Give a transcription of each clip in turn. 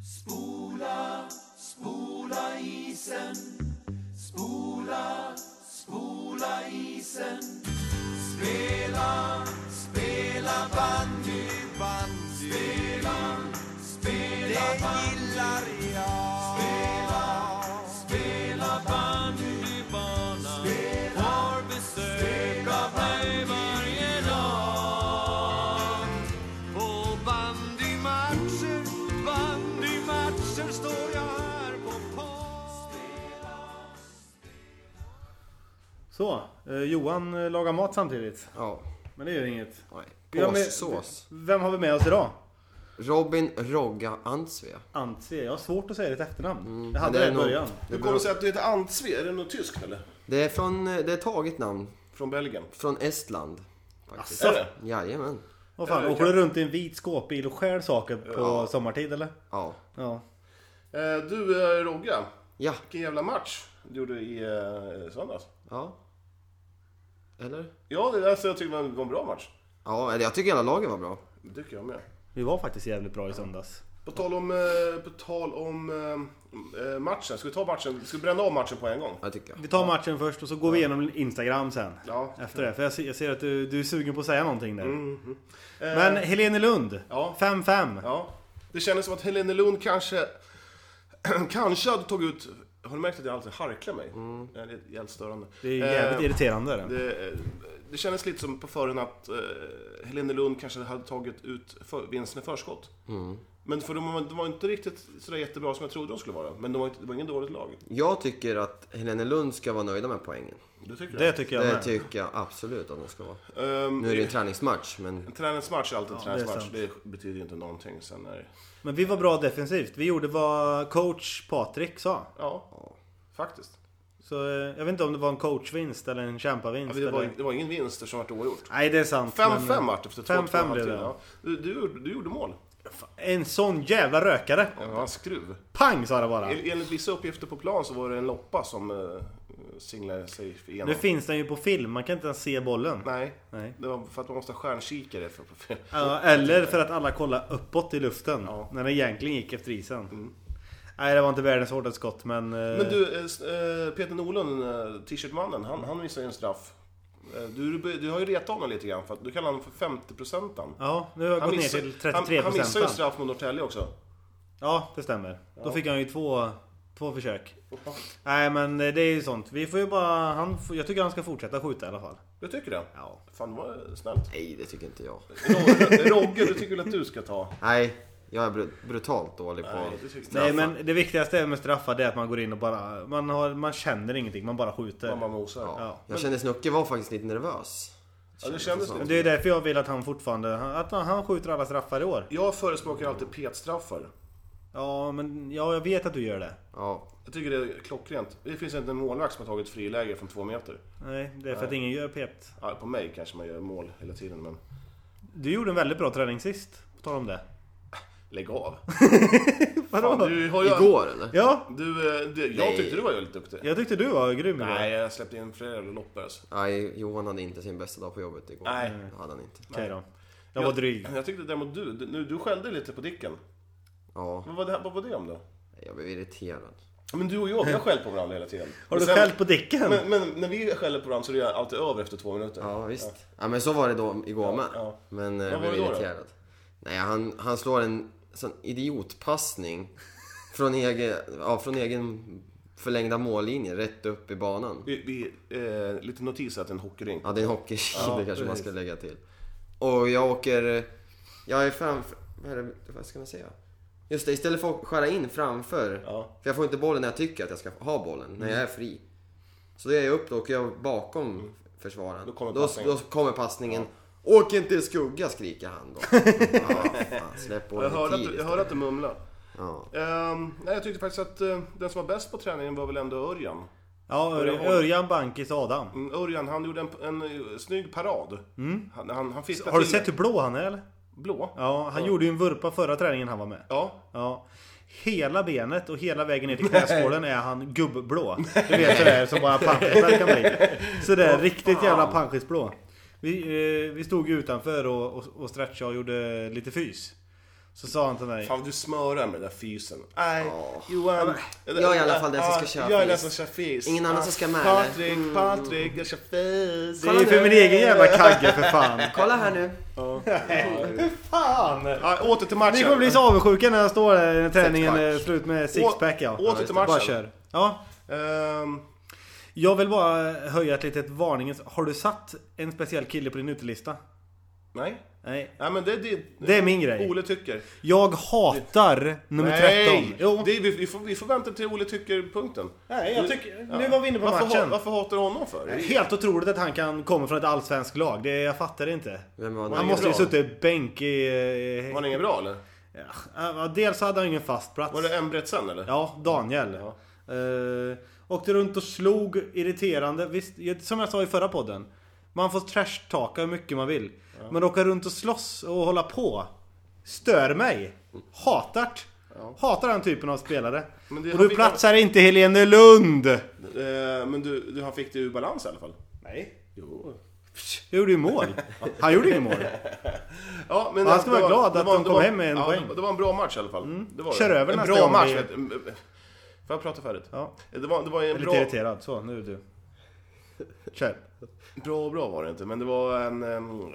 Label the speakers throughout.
Speaker 1: Spola, spola isen. Spola, spola isen. Spela, spela bandy. bandy. Spela, spela det bandy. gillar jag. Spela, spela bandybanan. Har besök av mig varje dag. På bandymatcher, bandymatcher står jag här på plan.
Speaker 2: Så, eh, Johan eh, lagar mat samtidigt.
Speaker 3: Ja.
Speaker 2: Men det gör inget.
Speaker 3: Nej.
Speaker 2: Vi har med-
Speaker 3: Påssås.
Speaker 2: Vem har vi med oss idag?
Speaker 3: Robin Rogga Antsve.
Speaker 2: Antje. Jag har svårt att säga ditt efternamn. jag
Speaker 3: det
Speaker 2: hade
Speaker 3: är
Speaker 2: det i
Speaker 3: nog-
Speaker 2: början.
Speaker 4: Hur kommer det sig att du heter Antsve? Är det något tyskt eller?
Speaker 3: Det är från, eh, det är taget namn.
Speaker 4: Från Belgien?
Speaker 3: Från Estland. Faktiskt.
Speaker 4: Asså? Är det?
Speaker 3: Jajamän.
Speaker 2: Vad fan,
Speaker 4: Ja, det
Speaker 2: åker du
Speaker 4: kan-
Speaker 2: runt i en vit skåpbil och skär saker på
Speaker 3: Ja.
Speaker 2: sommartid eller?
Speaker 3: Ja.
Speaker 2: Ja.
Speaker 4: Eh, du eh, Rogga,
Speaker 3: Ja.
Speaker 4: vilken jävla match du gjorde i eh, söndags.
Speaker 3: Ja. Eller?
Speaker 4: Ja, det, alltså, jag tycker det var en- var en bra match.
Speaker 3: Ja, eller jag tycker hela laget var bra.
Speaker 4: Det tycker jag med.
Speaker 2: Vi var faktiskt jävligt bra i söndags.
Speaker 4: På tal om, eh, på tal om eh, eh, matchen, ska vi ta matchen? Ska vi bränna av matchen på en gång?
Speaker 3: Jag tycker jag.
Speaker 2: Vi tar matchen först och så går vi igenom Instagram sen.
Speaker 4: Ja.
Speaker 2: Efter det. För jag ser, jag ser att du, du är sugen på att säga någonting där.
Speaker 4: Eh,
Speaker 2: Men Helene Lund.
Speaker 4: Ja.
Speaker 2: 5-5.
Speaker 4: Ja. Det kändes som att Helene Lund kanske, kanske hade tagit ut, har du märkt att jag alltid harklar mig? Det är jävligt störande.
Speaker 2: Mm. Det är jävligt
Speaker 4: Eh,
Speaker 2: irriterande. Det.
Speaker 4: Det, det kändes lite som på förhand att eh, Helene Lund kanske hade tagit ut för, vinsten i förskott.
Speaker 3: Mm.
Speaker 4: Men för de, var- de var inte riktigt sådär jättebra som jag trodde de skulle vara. Men de var inte, det var ingen dåligt lag.
Speaker 3: Jag tycker att Helene Lund ska vara nöjda med poängen.
Speaker 4: Det tycker
Speaker 2: det tycker jag
Speaker 3: Det
Speaker 2: med.
Speaker 3: tycker jag absolut att de ska vara.
Speaker 4: jag. Ehm,
Speaker 3: Nu är det ju en träningsmatch, men
Speaker 4: En träningsmatch är alltid en
Speaker 2: det är
Speaker 4: träningsmatch.
Speaker 2: sant.
Speaker 4: Det, betyder ju inte någonting sen när...
Speaker 2: Men vi var bra defensivt. Vi gjorde vad coach Patrik sa.
Speaker 4: Ja, faktiskt.
Speaker 2: Så eh, jag vet inte om det var en coachvinst eller en
Speaker 4: Ja,
Speaker 2: kämpavinst.
Speaker 4: det, var,
Speaker 2: eller...
Speaker 4: det var ingen vinst som vart oavgjort.
Speaker 2: Nej det är sant.
Speaker 4: 5-5
Speaker 2: men-
Speaker 4: vart efter 2-2
Speaker 2: 5-5 blev det.
Speaker 4: Ja. Du, du, gjorde- du gjorde mål.
Speaker 2: En sån jävla rökare.
Speaker 4: Ja, skruv.
Speaker 2: Pang sa det bara.
Speaker 4: En- Enligt vissa uppgifter på plan så var det en loppa som eh, singlade sig igenom.
Speaker 2: Nu finns den ju på film. Man kan inte ens se bollen.
Speaker 4: Nej.
Speaker 2: Nej.
Speaker 4: Det var för att man måste ha stjärnkikare för att få
Speaker 2: Ja, eller för att alla kollar uppåt i luften.
Speaker 4: Ja. Mm.
Speaker 2: När den egentligen gick efter isen. Nej det var inte världens hårdaste skott men...
Speaker 4: Men du, eh, s- eh, Peter Norlund, eh, t-shirtmannen, han, han missade ju en straff. Eh, Du, du har ju retat honom lite grann, för att du kallar honom för 50-procentaren.
Speaker 2: Ja, nu har jag gått ner
Speaker 4: missar-
Speaker 2: till
Speaker 4: han, han missade
Speaker 2: 33%
Speaker 4: ju straff mot Norrtälje också.
Speaker 2: Ja, det stämmer. Då fick han ju två, två försök. Nej men det är ju sånt. Vi får ju bara... Han, får- jag tycker han ska fortsätta skjuta i alla fall.
Speaker 4: Du tycker det?
Speaker 2: Ja.
Speaker 4: Fan, vad snällt.
Speaker 3: nej, det tycker inte jag.
Speaker 4: Ro- Rogge, du tycker väl att du ska ta?
Speaker 3: Nej, jag är bru- brutalt dålig på
Speaker 4: det tycker inte
Speaker 2: Nej
Speaker 3: straffar.
Speaker 2: men det viktigaste med straffar det är att man går in och bara... Man, har, man känner ingenting, man bara skjuter.
Speaker 4: Mamma mosar.
Speaker 3: Ja.
Speaker 2: Ja.
Speaker 3: Jag kände Snucke var faktiskt lite nervös.
Speaker 4: Ja, det kändes
Speaker 3: så.
Speaker 4: lite.
Speaker 2: Men Det är därför jag vill att han fortfarande... Att han- han skjuter alla straffar i år.
Speaker 4: Jag förespråkar alltid petstraffar.
Speaker 2: Ja, men ja, jag vet att du gör det.
Speaker 3: Ja,
Speaker 4: Jag tycker det är klockrent. Det finns inte en målvakt som har tagit friläge från två meter.
Speaker 2: Nej, det är för att ingen gör pet.
Speaker 4: Ja, på mig kanske man gör mål hela tiden, men...
Speaker 2: Du gjorde en väldigt bra träning sist. På tal om det.
Speaker 4: Lägg av!
Speaker 2: Vadå?
Speaker 4: Fan, du har ju...
Speaker 3: igår eller?
Speaker 2: Ja,
Speaker 4: Du, eh, du, jag
Speaker 3: Nej.
Speaker 4: tyckte du var väldigt duktig.
Speaker 2: jag tyckte du var grym igår.
Speaker 4: Nej, jag släppte in flera jävla loppor alltså.
Speaker 3: Nej, Johan hade inte sin bästa dag på jobbet igår. Mm.
Speaker 4: Nej.
Speaker 3: Det hade han inte.
Speaker 2: Okej då. Jag var dryg.
Speaker 4: Jag tyckte däremot du, du, nu- du skällde lite på Dicken.
Speaker 3: Ja,
Speaker 4: Vad var det, vad var det om då?
Speaker 3: jag blev irriterad.
Speaker 4: Men du och jag, vi har skällt på varandra hela tiden.
Speaker 2: Har
Speaker 4: Men
Speaker 2: du
Speaker 4: sen-
Speaker 2: skällt på Dicken?
Speaker 4: Men, men när vi skäller på varandra så är det alltid över efter två minuter.
Speaker 3: Ja, visst. Ja. men så var det då igår med.
Speaker 4: ja.
Speaker 3: Men eh, jag
Speaker 4: Vad var
Speaker 3: blev
Speaker 4: det då då?
Speaker 3: irriterad. Nej, han, han slår en sån idiotpassning från egen, ja, från egen förlängda mållinje rätt upp i banan.
Speaker 4: Vi, vi, eh, lite notis att det är en hockeyrink.
Speaker 3: Ja, det är en hockeykille
Speaker 2: Ja,
Speaker 3: kanske man
Speaker 2: precis.
Speaker 3: ska lägga till. Och jag åker... eh, Jag är framför... Vad, är det, vad ska man säga? Just det, istället för att skära in framför.
Speaker 4: Ja. Mm.
Speaker 3: För jag får inte bollen när jag tycker att jag ska ha bollen, när jag är fri. Så då är jag upp, då åker jag bakom försvararen.
Speaker 4: Då kommer
Speaker 3: då,
Speaker 4: passningen.
Speaker 3: då kommer passningen. Åk inte i skugga, skriker han då. ja, fan, släpp
Speaker 4: Jag
Speaker 3: bollen
Speaker 4: hörde,
Speaker 3: i tid
Speaker 4: att du, jag
Speaker 3: istället.
Speaker 4: hörde att du mumlade.
Speaker 3: Ja.
Speaker 4: Ehm, nej, jag tyckte faktiskt att eh, den som var bäst på träningen var väl ändå Örjan.
Speaker 2: Ja, Ör- Örjan Bankis Adam.
Speaker 4: Mm, Örjan, han gjorde en, en, eh, snygg parad. Han, han, han fiskade
Speaker 2: Mm. Har du
Speaker 4: till
Speaker 2: sett hur blå han är eller?
Speaker 4: Blå?
Speaker 2: Ja, han gjorde ju en vurpa förra träningen han var med.
Speaker 4: Ja.
Speaker 2: Ja. Hela benet och hela vägen ner till knäskålen är han gubbblå. Du vet sådär som bara panschisar kan bli. Sådär riktigt jävla panschisblå. Vi, eh, vi stod ju utanför och, och, och stretchade och gjorde lite fys. Så sa han till mig.
Speaker 4: Fan du smörar med den där fysen. Nej,
Speaker 3: Ja,
Speaker 4: Johan.
Speaker 3: men jag är i alla fall den som ska köra
Speaker 4: Jag är den
Speaker 3: fis.
Speaker 4: som kör fis.
Speaker 3: Ingen annan som ska med, eller?
Speaker 4: Patrik, Patrik, jag kör fis.
Speaker 2: Det är ju för min egen jävla kagge för fan.
Speaker 3: Kolla här nu.
Speaker 2: Fan!
Speaker 4: Ja, åter till matchen.
Speaker 2: Ni kommer bli så avundsjuka när jag står där när träningen
Speaker 3: Sexpack.
Speaker 2: är slut med sixpack ja.
Speaker 4: Å- åter till matchen.
Speaker 2: Bara kör. Ja.
Speaker 4: Ehm,
Speaker 2: Jag vill bara höja ett litet varningens. Har du satt en speciell kille på din utelista?
Speaker 4: nej.
Speaker 2: Nej.
Speaker 4: Nej men det är din...
Speaker 2: Det är min grej.
Speaker 4: Ole tycker.
Speaker 2: Jag hatar nummer 13.
Speaker 4: nej!
Speaker 2: Jo.
Speaker 4: Det är, vi, vi, får, vi får vänta till Ole tycker-punkten.
Speaker 2: Nej, jag tycker...
Speaker 4: Ja.
Speaker 2: Nu var vi inne på
Speaker 4: varför, ha-
Speaker 2: matchen.
Speaker 4: Varför hatar du honom för?
Speaker 2: Helt otroligt att han kan komma från ett allsvenskt lag. Det, jag fattar det inte.
Speaker 3: Vem var
Speaker 2: Han
Speaker 3: det?
Speaker 2: måste ju
Speaker 4: bra?
Speaker 2: suttit bänk i... eh,
Speaker 4: Var han ingen bra eller?
Speaker 2: Ja, dels hade han ingen fast plats.
Speaker 4: Var det Embretsen eller?
Speaker 2: Alltså- Ja, Daniel.
Speaker 4: Ja.
Speaker 2: Eh, åkte runt och slog irriterande. Visst, som jag sa i förra podden. Man får trashtalka hur mycket man vill. Men åka runt och slåss och hålla på. Stör mig. Hatar. Hatar den typen av spelare.
Speaker 4: Men det-
Speaker 2: och
Speaker 4: han
Speaker 2: du
Speaker 4: fick-
Speaker 2: platsar inte Helene Lund.
Speaker 4: Eh, men du, du, han fick det ur balans i alla fall.
Speaker 2: Nej.
Speaker 4: Jo.
Speaker 2: Jag gjorde ju mål. Han gjorde inget mål.
Speaker 4: Ja, men
Speaker 2: Han ska
Speaker 4: det
Speaker 2: vara
Speaker 4: var-
Speaker 2: glad
Speaker 4: det
Speaker 2: att
Speaker 4: var-
Speaker 2: de
Speaker 4: det
Speaker 2: kom
Speaker 4: var-
Speaker 2: hem med en
Speaker 4: ja,
Speaker 2: poäng. Mm.
Speaker 4: Det, det var en bra match i alla fall. Det var det.
Speaker 2: Kör över
Speaker 4: En
Speaker 2: nästa
Speaker 4: bra
Speaker 2: gång
Speaker 4: match.
Speaker 2: vi-
Speaker 4: vet du. Får jag prata färdigt?
Speaker 2: Ja.
Speaker 4: Det var, det var
Speaker 2: Jag
Speaker 4: en
Speaker 2: är
Speaker 4: bra...
Speaker 2: lite irriterad. Så, nu är du. Kör.
Speaker 4: Bra och bra var det inte, men det var en, en,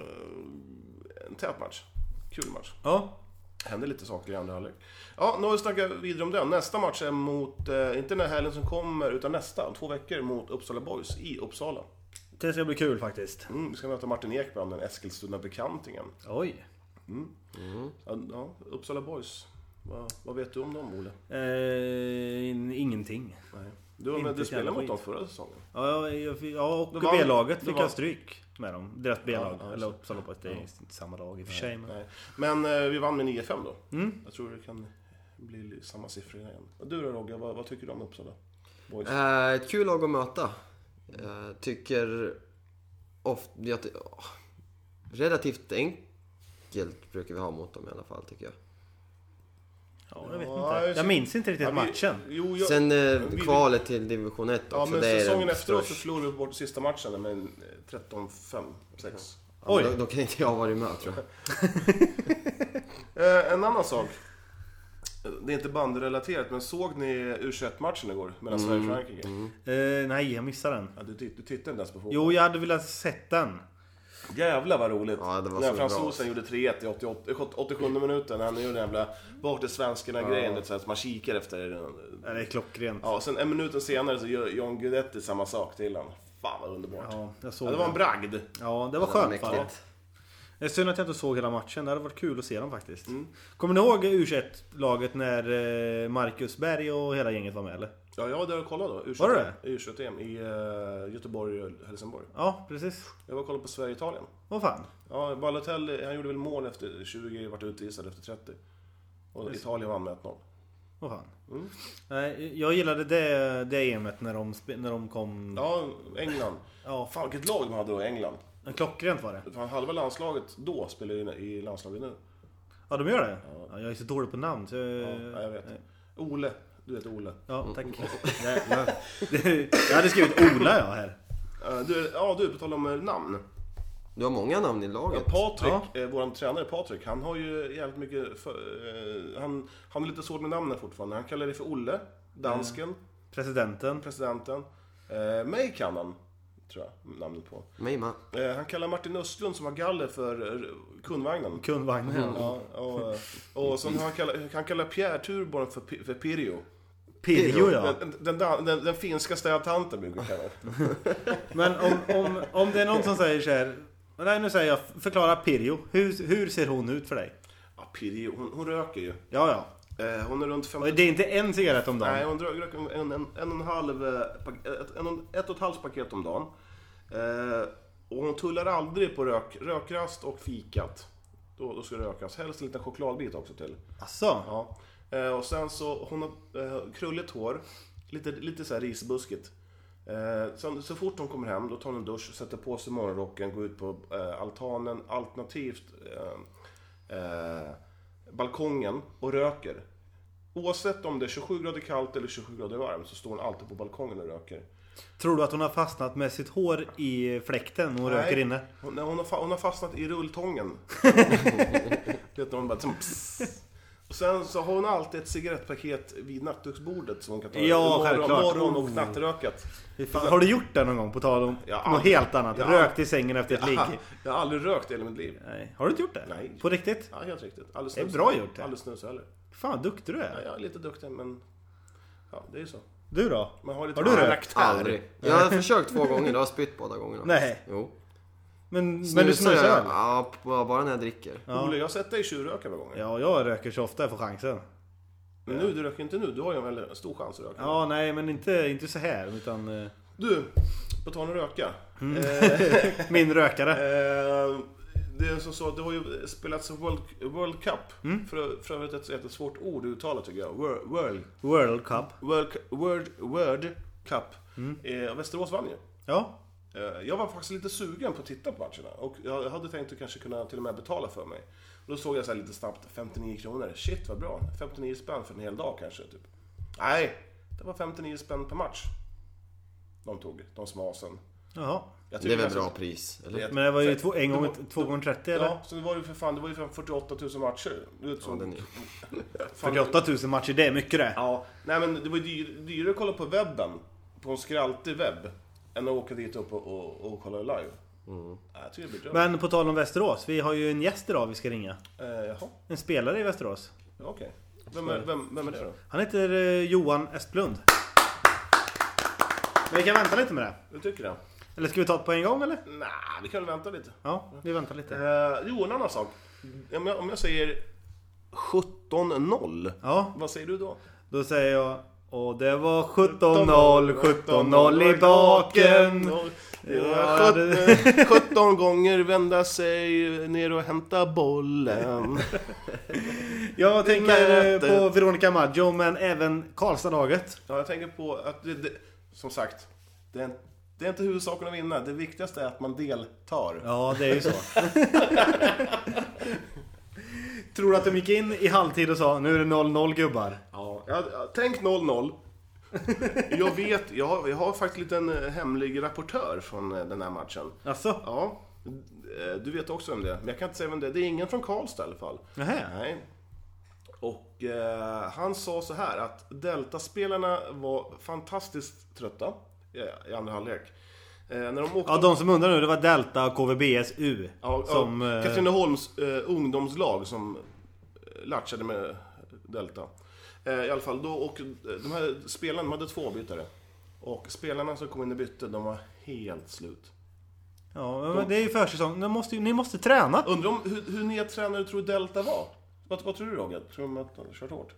Speaker 4: en tät match. Kul match.
Speaker 2: Ja.
Speaker 4: hände lite saker i andra halvlek. Ja, nu har vi snackat vidare om den. Nästa match är mot, eh, inte den här helgen som kommer, utan nästa. Om två veckor mot Uppsala Boys i Uppsala.
Speaker 2: Det ska bli kul faktiskt.
Speaker 4: Mm, vi ska möta Martin Ekbrand, den Eskilstuna-bekantingen.
Speaker 2: Oj.
Speaker 4: Ja, ja, Uppsala Boys. Vad, vad vet du om dem, Ole?
Speaker 2: Eh, ingenting.
Speaker 4: Nej. Du, var med,
Speaker 2: Inte
Speaker 4: du spelade mot
Speaker 2: skit.
Speaker 4: dem förra säsongen.
Speaker 2: Ja, jag, jag, ja och
Speaker 4: Då vann-
Speaker 2: B-laget
Speaker 4: då
Speaker 2: fick
Speaker 4: vann-
Speaker 2: jag stryk med dem. Deras B-lag.
Speaker 4: ja,
Speaker 2: eller
Speaker 4: så.
Speaker 2: Uppsala Boys. Det är inte samma lag i och för sig. Men...
Speaker 4: Nej. Men eh, vi vann med 9-5 då.
Speaker 2: Mm.
Speaker 4: Jag tror det kan bli samma siffror igen. Och Du då Rogge, vad, vad tycker du om Uppsala
Speaker 2: Äh,
Speaker 4: Boys?
Speaker 3: Eh, Ett kul lag att möta. Eh, tycker ofta... Jag, ty- åh. relativt enkelt brukar vi ha mot dem i alla fall, tycker jag.
Speaker 2: Ja, jag vet
Speaker 4: Ja,
Speaker 2: inte.
Speaker 4: just-
Speaker 2: Jag minns inte riktigt
Speaker 4: Ja, vi-
Speaker 2: matchen.
Speaker 4: Jo, jag,
Speaker 3: Sen
Speaker 4: vi-
Speaker 3: eh, kvalet till division 1 också.
Speaker 4: Ja, men
Speaker 3: det är
Speaker 4: säsongen
Speaker 3: den
Speaker 4: efteråt så
Speaker 3: största.
Speaker 4: förlorade vi bort sista matchen med eh, 13-5, 6.
Speaker 2: Oj.
Speaker 3: Då, då kan inte jag ha varit med tror jag.
Speaker 4: Eh, en annan sak. Eh, Det är inte bandrelaterat, men såg ni U21-matchen igår mellan Sverige
Speaker 3: Mm.
Speaker 4: och Frankrike?
Speaker 2: Eh, nej, jag missade den.
Speaker 4: Ja, du, titt- du tittade inte ens på fotboll.
Speaker 2: Jo, jag hade velat sett den.
Speaker 4: Jävlar vad roligt!
Speaker 3: Ja, det var
Speaker 4: när
Speaker 3: så bra.
Speaker 4: fransosen gjorde 3-1 i 88, 87 minuten, när han gjorde den jävla bort till svenskarna grejen, vet du, så här, att man kikar efter... den.
Speaker 2: Ja, Det är klockrent.
Speaker 4: Ja, och sen en minut senare så gör John Guidetti samma sak till honom. Fan vad underbart! Ja,
Speaker 2: Ja, jag såg
Speaker 4: det var en bragd!
Speaker 2: Ja, det var
Speaker 3: Det var
Speaker 2: skönt. va?
Speaker 3: mäktigt.
Speaker 2: Det är synd att jag inte såg hela matchen. Det hade varit kul att se dem faktiskt. Kommer ni ihåg U21-laget när eh, Marcus Berg och hela gänget var med eller?
Speaker 4: Ja, jag var där och kollade då. U21,
Speaker 2: Var det
Speaker 4: U21-EM i eh, Göteborg och Helsingborg.
Speaker 2: Ja, precis.
Speaker 4: Jag var och kollade på Sverige-Italien.
Speaker 2: Vad fan.
Speaker 4: Ja, Balotelli, han gjorde väl mål efter 20, vart utvisad efter 30. Och Italien vann med 1-0.
Speaker 2: Vad fan.
Speaker 4: Mm.
Speaker 2: Nej, jag gillade det, det EMet när de, spe- när de kom...
Speaker 4: Ja, England.
Speaker 2: Ja,
Speaker 4: Fan vilket lag de hade då, England.
Speaker 2: fan, klockrent var det.
Speaker 4: Fan, halva landslaget då spelar ju i landslaget nu.
Speaker 2: Ja, de gör det? Ja, jag är så dålig på namn så...
Speaker 4: Ja, Eh, jag vet. Ole, du vet Ole.
Speaker 2: Ja, tack. Jävlar. Det- jag hade skrivit Ola jag här.
Speaker 4: Eh, Du, ja du, på tal om eh, namn.
Speaker 3: Du har många namn i
Speaker 4: Ja,
Speaker 3: laget.
Speaker 4: Patrik, eh, vår tränare Patrik, han har ju jävligt mycket... För, eh, han, han har lite svårt med namnen fortfarande. Han kallar det för Olle, dansken.
Speaker 2: Presidenten.
Speaker 4: presidenten. Eh, mig kan han, tror jag namnet på.
Speaker 3: Mima.
Speaker 4: Eh, han kallar Martin Östlund som var galler för eh, kundvagnen.
Speaker 2: Kundvagnen.
Speaker 4: Ja, och, eh, och sen har han kallar, han kallar Pierre Turbon för, Pi- för Pirjo.
Speaker 2: Pirjo ja.
Speaker 4: Den, den, den, den, den finska städtanten brukar jag kalla det.
Speaker 2: Men om, om, om det är någon som säger så här. Nej nu säger jag, förklara Pirjo. Hur, hur ser hon ut för dig?
Speaker 4: Ja, Pirjo, hon, hon röker ju.
Speaker 2: Ja, ja.
Speaker 4: Eh, hon är runt
Speaker 2: Och
Speaker 4: 50...
Speaker 2: det är inte en cigarett om
Speaker 4: Nej,
Speaker 2: dagen.
Speaker 4: hon rö- röker en, en, en, och en halv... eh, pak- Ett, en, och- ett och ett halvt paket om dagen. Eh, och hon tullar aldrig på rök, rökrast och fikat. Då, då ska det rökas. Helst en liten chokladbit också till.
Speaker 2: Asså?
Speaker 4: Ja. Eh, och sen så, hon har eh, krulligt hår, lite, lite så här risbuskigt. Eh, sen, så fort hon kommer hem, då tar hon en dusch, sätter på sig morgonrocken, går ut på eh, altanen, alternativt eh, eh, balkongen och röker. Oavsett om det är 27 grader kallt eller 27 grader varmt så står hon alltid på balkongen och röker.
Speaker 2: Tror du att hon har fastnat med sitt hår i fläkten och hon
Speaker 4: Nej.
Speaker 2: röker inne?
Speaker 4: Hon, nej, hon, har, fa- hon har fastnat i rulltången. du vet när hon bara... Som, pss. Sen så har hon alltid ett cigarettpaket vid nattduksbordet som hon kan ta.
Speaker 2: Ja,
Speaker 4: morgon,
Speaker 2: självklart. Oh.
Speaker 4: Morgon och nattrökat.
Speaker 2: Fy fan, Har du gjort det någon gång? På tal om
Speaker 4: Ja.
Speaker 2: något helt annat.
Speaker 4: Ja.
Speaker 2: Rökt i sängen efter ett ligg.
Speaker 4: Aha, Jag har aldrig rökt i hela mitt liv.
Speaker 2: Nej. Har du inte gjort det?
Speaker 4: Nej.
Speaker 2: På riktigt?
Speaker 4: Ja, helt riktigt. Aldrig
Speaker 2: Det är
Speaker 4: snus.
Speaker 2: bra gjort det.
Speaker 4: Aldrig snus heller.
Speaker 2: Fan vad duktig du
Speaker 4: Ja,
Speaker 2: är.
Speaker 4: jag är lite duktig men... Ja, det är ju så.
Speaker 2: Du då?
Speaker 4: Man har lite
Speaker 2: Har du rökt?
Speaker 4: karaktär.
Speaker 3: Aldrig. Jag har försökt två gånger, då har jag spytt båda gångerna.
Speaker 2: Nej.
Speaker 3: Jo.
Speaker 2: Men, men du snusar
Speaker 3: jag-
Speaker 2: öl?
Speaker 3: Ja, p- ja, bara när jag dricker.
Speaker 4: Olle, jag har sett dig tjuvröka några gånger.
Speaker 2: Ja, jag röker så ofta jag får chansen.
Speaker 4: Men nu, du röker inte nu. Du har ju en väldigt stor chans att röka.
Speaker 2: Ja, nej men inte, inte så här utan eh,
Speaker 4: Du, på tal om röka.
Speaker 2: min rökare.
Speaker 4: Eh, det är som så att det har ju spelats World, World Cup.
Speaker 3: Mm.
Speaker 4: För, för övrigt ett jättesvårt ord att uttala tycker jag. Wor- World,
Speaker 2: World Cup.
Speaker 4: World, World, World Cup.
Speaker 3: Mm.
Speaker 4: Eh, Västerås vann ju.
Speaker 2: Ja.
Speaker 4: Eh, Jag var faktiskt lite sugen på att titta på matcherna och jag hade tänkt att kanske kunna till och med betala för mig. Då såg jag så här lite snabbt 59 kronor. Shit vad bra. 59 spänn för en hel dag kanske. Typ. Nej, det var 59 spänn per match. De tog, de smasen.
Speaker 2: Jaha.
Speaker 4: Jag
Speaker 3: Det är
Speaker 4: tycker
Speaker 3: väl
Speaker 4: nästan-
Speaker 3: bra pris? Eller?
Speaker 4: Det-
Speaker 2: Men det var ju
Speaker 4: så-
Speaker 2: två, en gång,
Speaker 4: det var-
Speaker 2: två gånger 30 eller?
Speaker 4: Ja, så det var ju för fan, det var ju för 48 000 matcher. Du vet,
Speaker 3: Ja,
Speaker 4: som,
Speaker 3: den är...
Speaker 4: fan,
Speaker 2: 48 000 matcher, det är mycket det.
Speaker 4: Ja, nej men det var ju dyr, dyrare att kolla på webben, på en skraltig webb, än att åka dit upp och, och, och kolla live. Nej, jag tycker det blir dyrt.
Speaker 2: Men på tal om Västerås, vi har ju en gäst idag vi ska ringa.
Speaker 4: Eh, jaha,
Speaker 2: En spelare i Västerås.
Speaker 4: ja, okej. Vem, är- vem, vem är det då?
Speaker 2: Han heter eh, Johan Esplund. Men vi kan vänta lite med det.
Speaker 4: Du tycker det?
Speaker 2: Eller ska vi ta det på en gång eller?
Speaker 4: Nej, vi kan väl vänta lite.
Speaker 2: Ja, vi väntar lite.
Speaker 4: Eh, jo, en annan sak. Om jag, om jag säger 17-0,
Speaker 2: Ja,
Speaker 4: vad säger du då?
Speaker 2: då säger jag... Och det var 17-0, 17-0 i baken. Ja, det-
Speaker 4: 17, 17 gånger vända sig ner och hämta bollen.
Speaker 2: Jag tänker eh,
Speaker 4: Nej, det-
Speaker 2: på Veronica Maggio, men även Karlstadlaget.
Speaker 4: Ja, jag tänker på att det, det, som sagt, det är, det är inte huvudsaken att vinna. Det viktigaste är att man deltar.
Speaker 2: Ja, det är ju så. Tror du att de gick in i halvtid och sa nu är det 0-0 gubbar?
Speaker 4: Ja. jag- tänk 0-0. Jag vet, jag har, jag har faktiskt en liten eh, hemlig rapportör från eh, den här matchen.
Speaker 2: Alltså?
Speaker 4: Ja, eh, du vet också vem det är. Men jag kan inte säga vem det är. Det är ingen från Karlstad i alla fall.
Speaker 2: Nähä.
Speaker 4: Nej. Och eh, han sa så här att Delta-spelarna var fantastiskt trötta eh, i andra halvlek. Eh, när de åkte
Speaker 2: Ja, de som undrar nu, det var Delta och KVBSU.
Speaker 4: Ja,
Speaker 2: som...
Speaker 4: ja,
Speaker 2: eh,
Speaker 4: Katrineholms eh, ungdomslag som eh, latchade med Delta. Eh, I alla fall, då, och eh, de här spelarna, de hade två avbytare. Och spelarna som kom in i bytte, de var helt slut.
Speaker 2: ja, men det är ju försäsong. Ni måste, ju- ni måste träna.
Speaker 4: Undrar om hur, hur nedtränade tror du Delta var? Vad, vad tror du Roger? Tror de att de har kört hårt?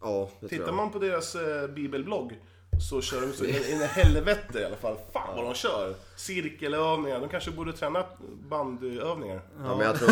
Speaker 3: Ja, det tror
Speaker 4: Tittar
Speaker 3: jag.
Speaker 4: man på deras eh, bibelblogg så kör de så in in i helvete i alla fall. Fan vad de kör! Cirkelövningar, de kanske borde träna bandyövningar.
Speaker 3: Ja, men jag tror...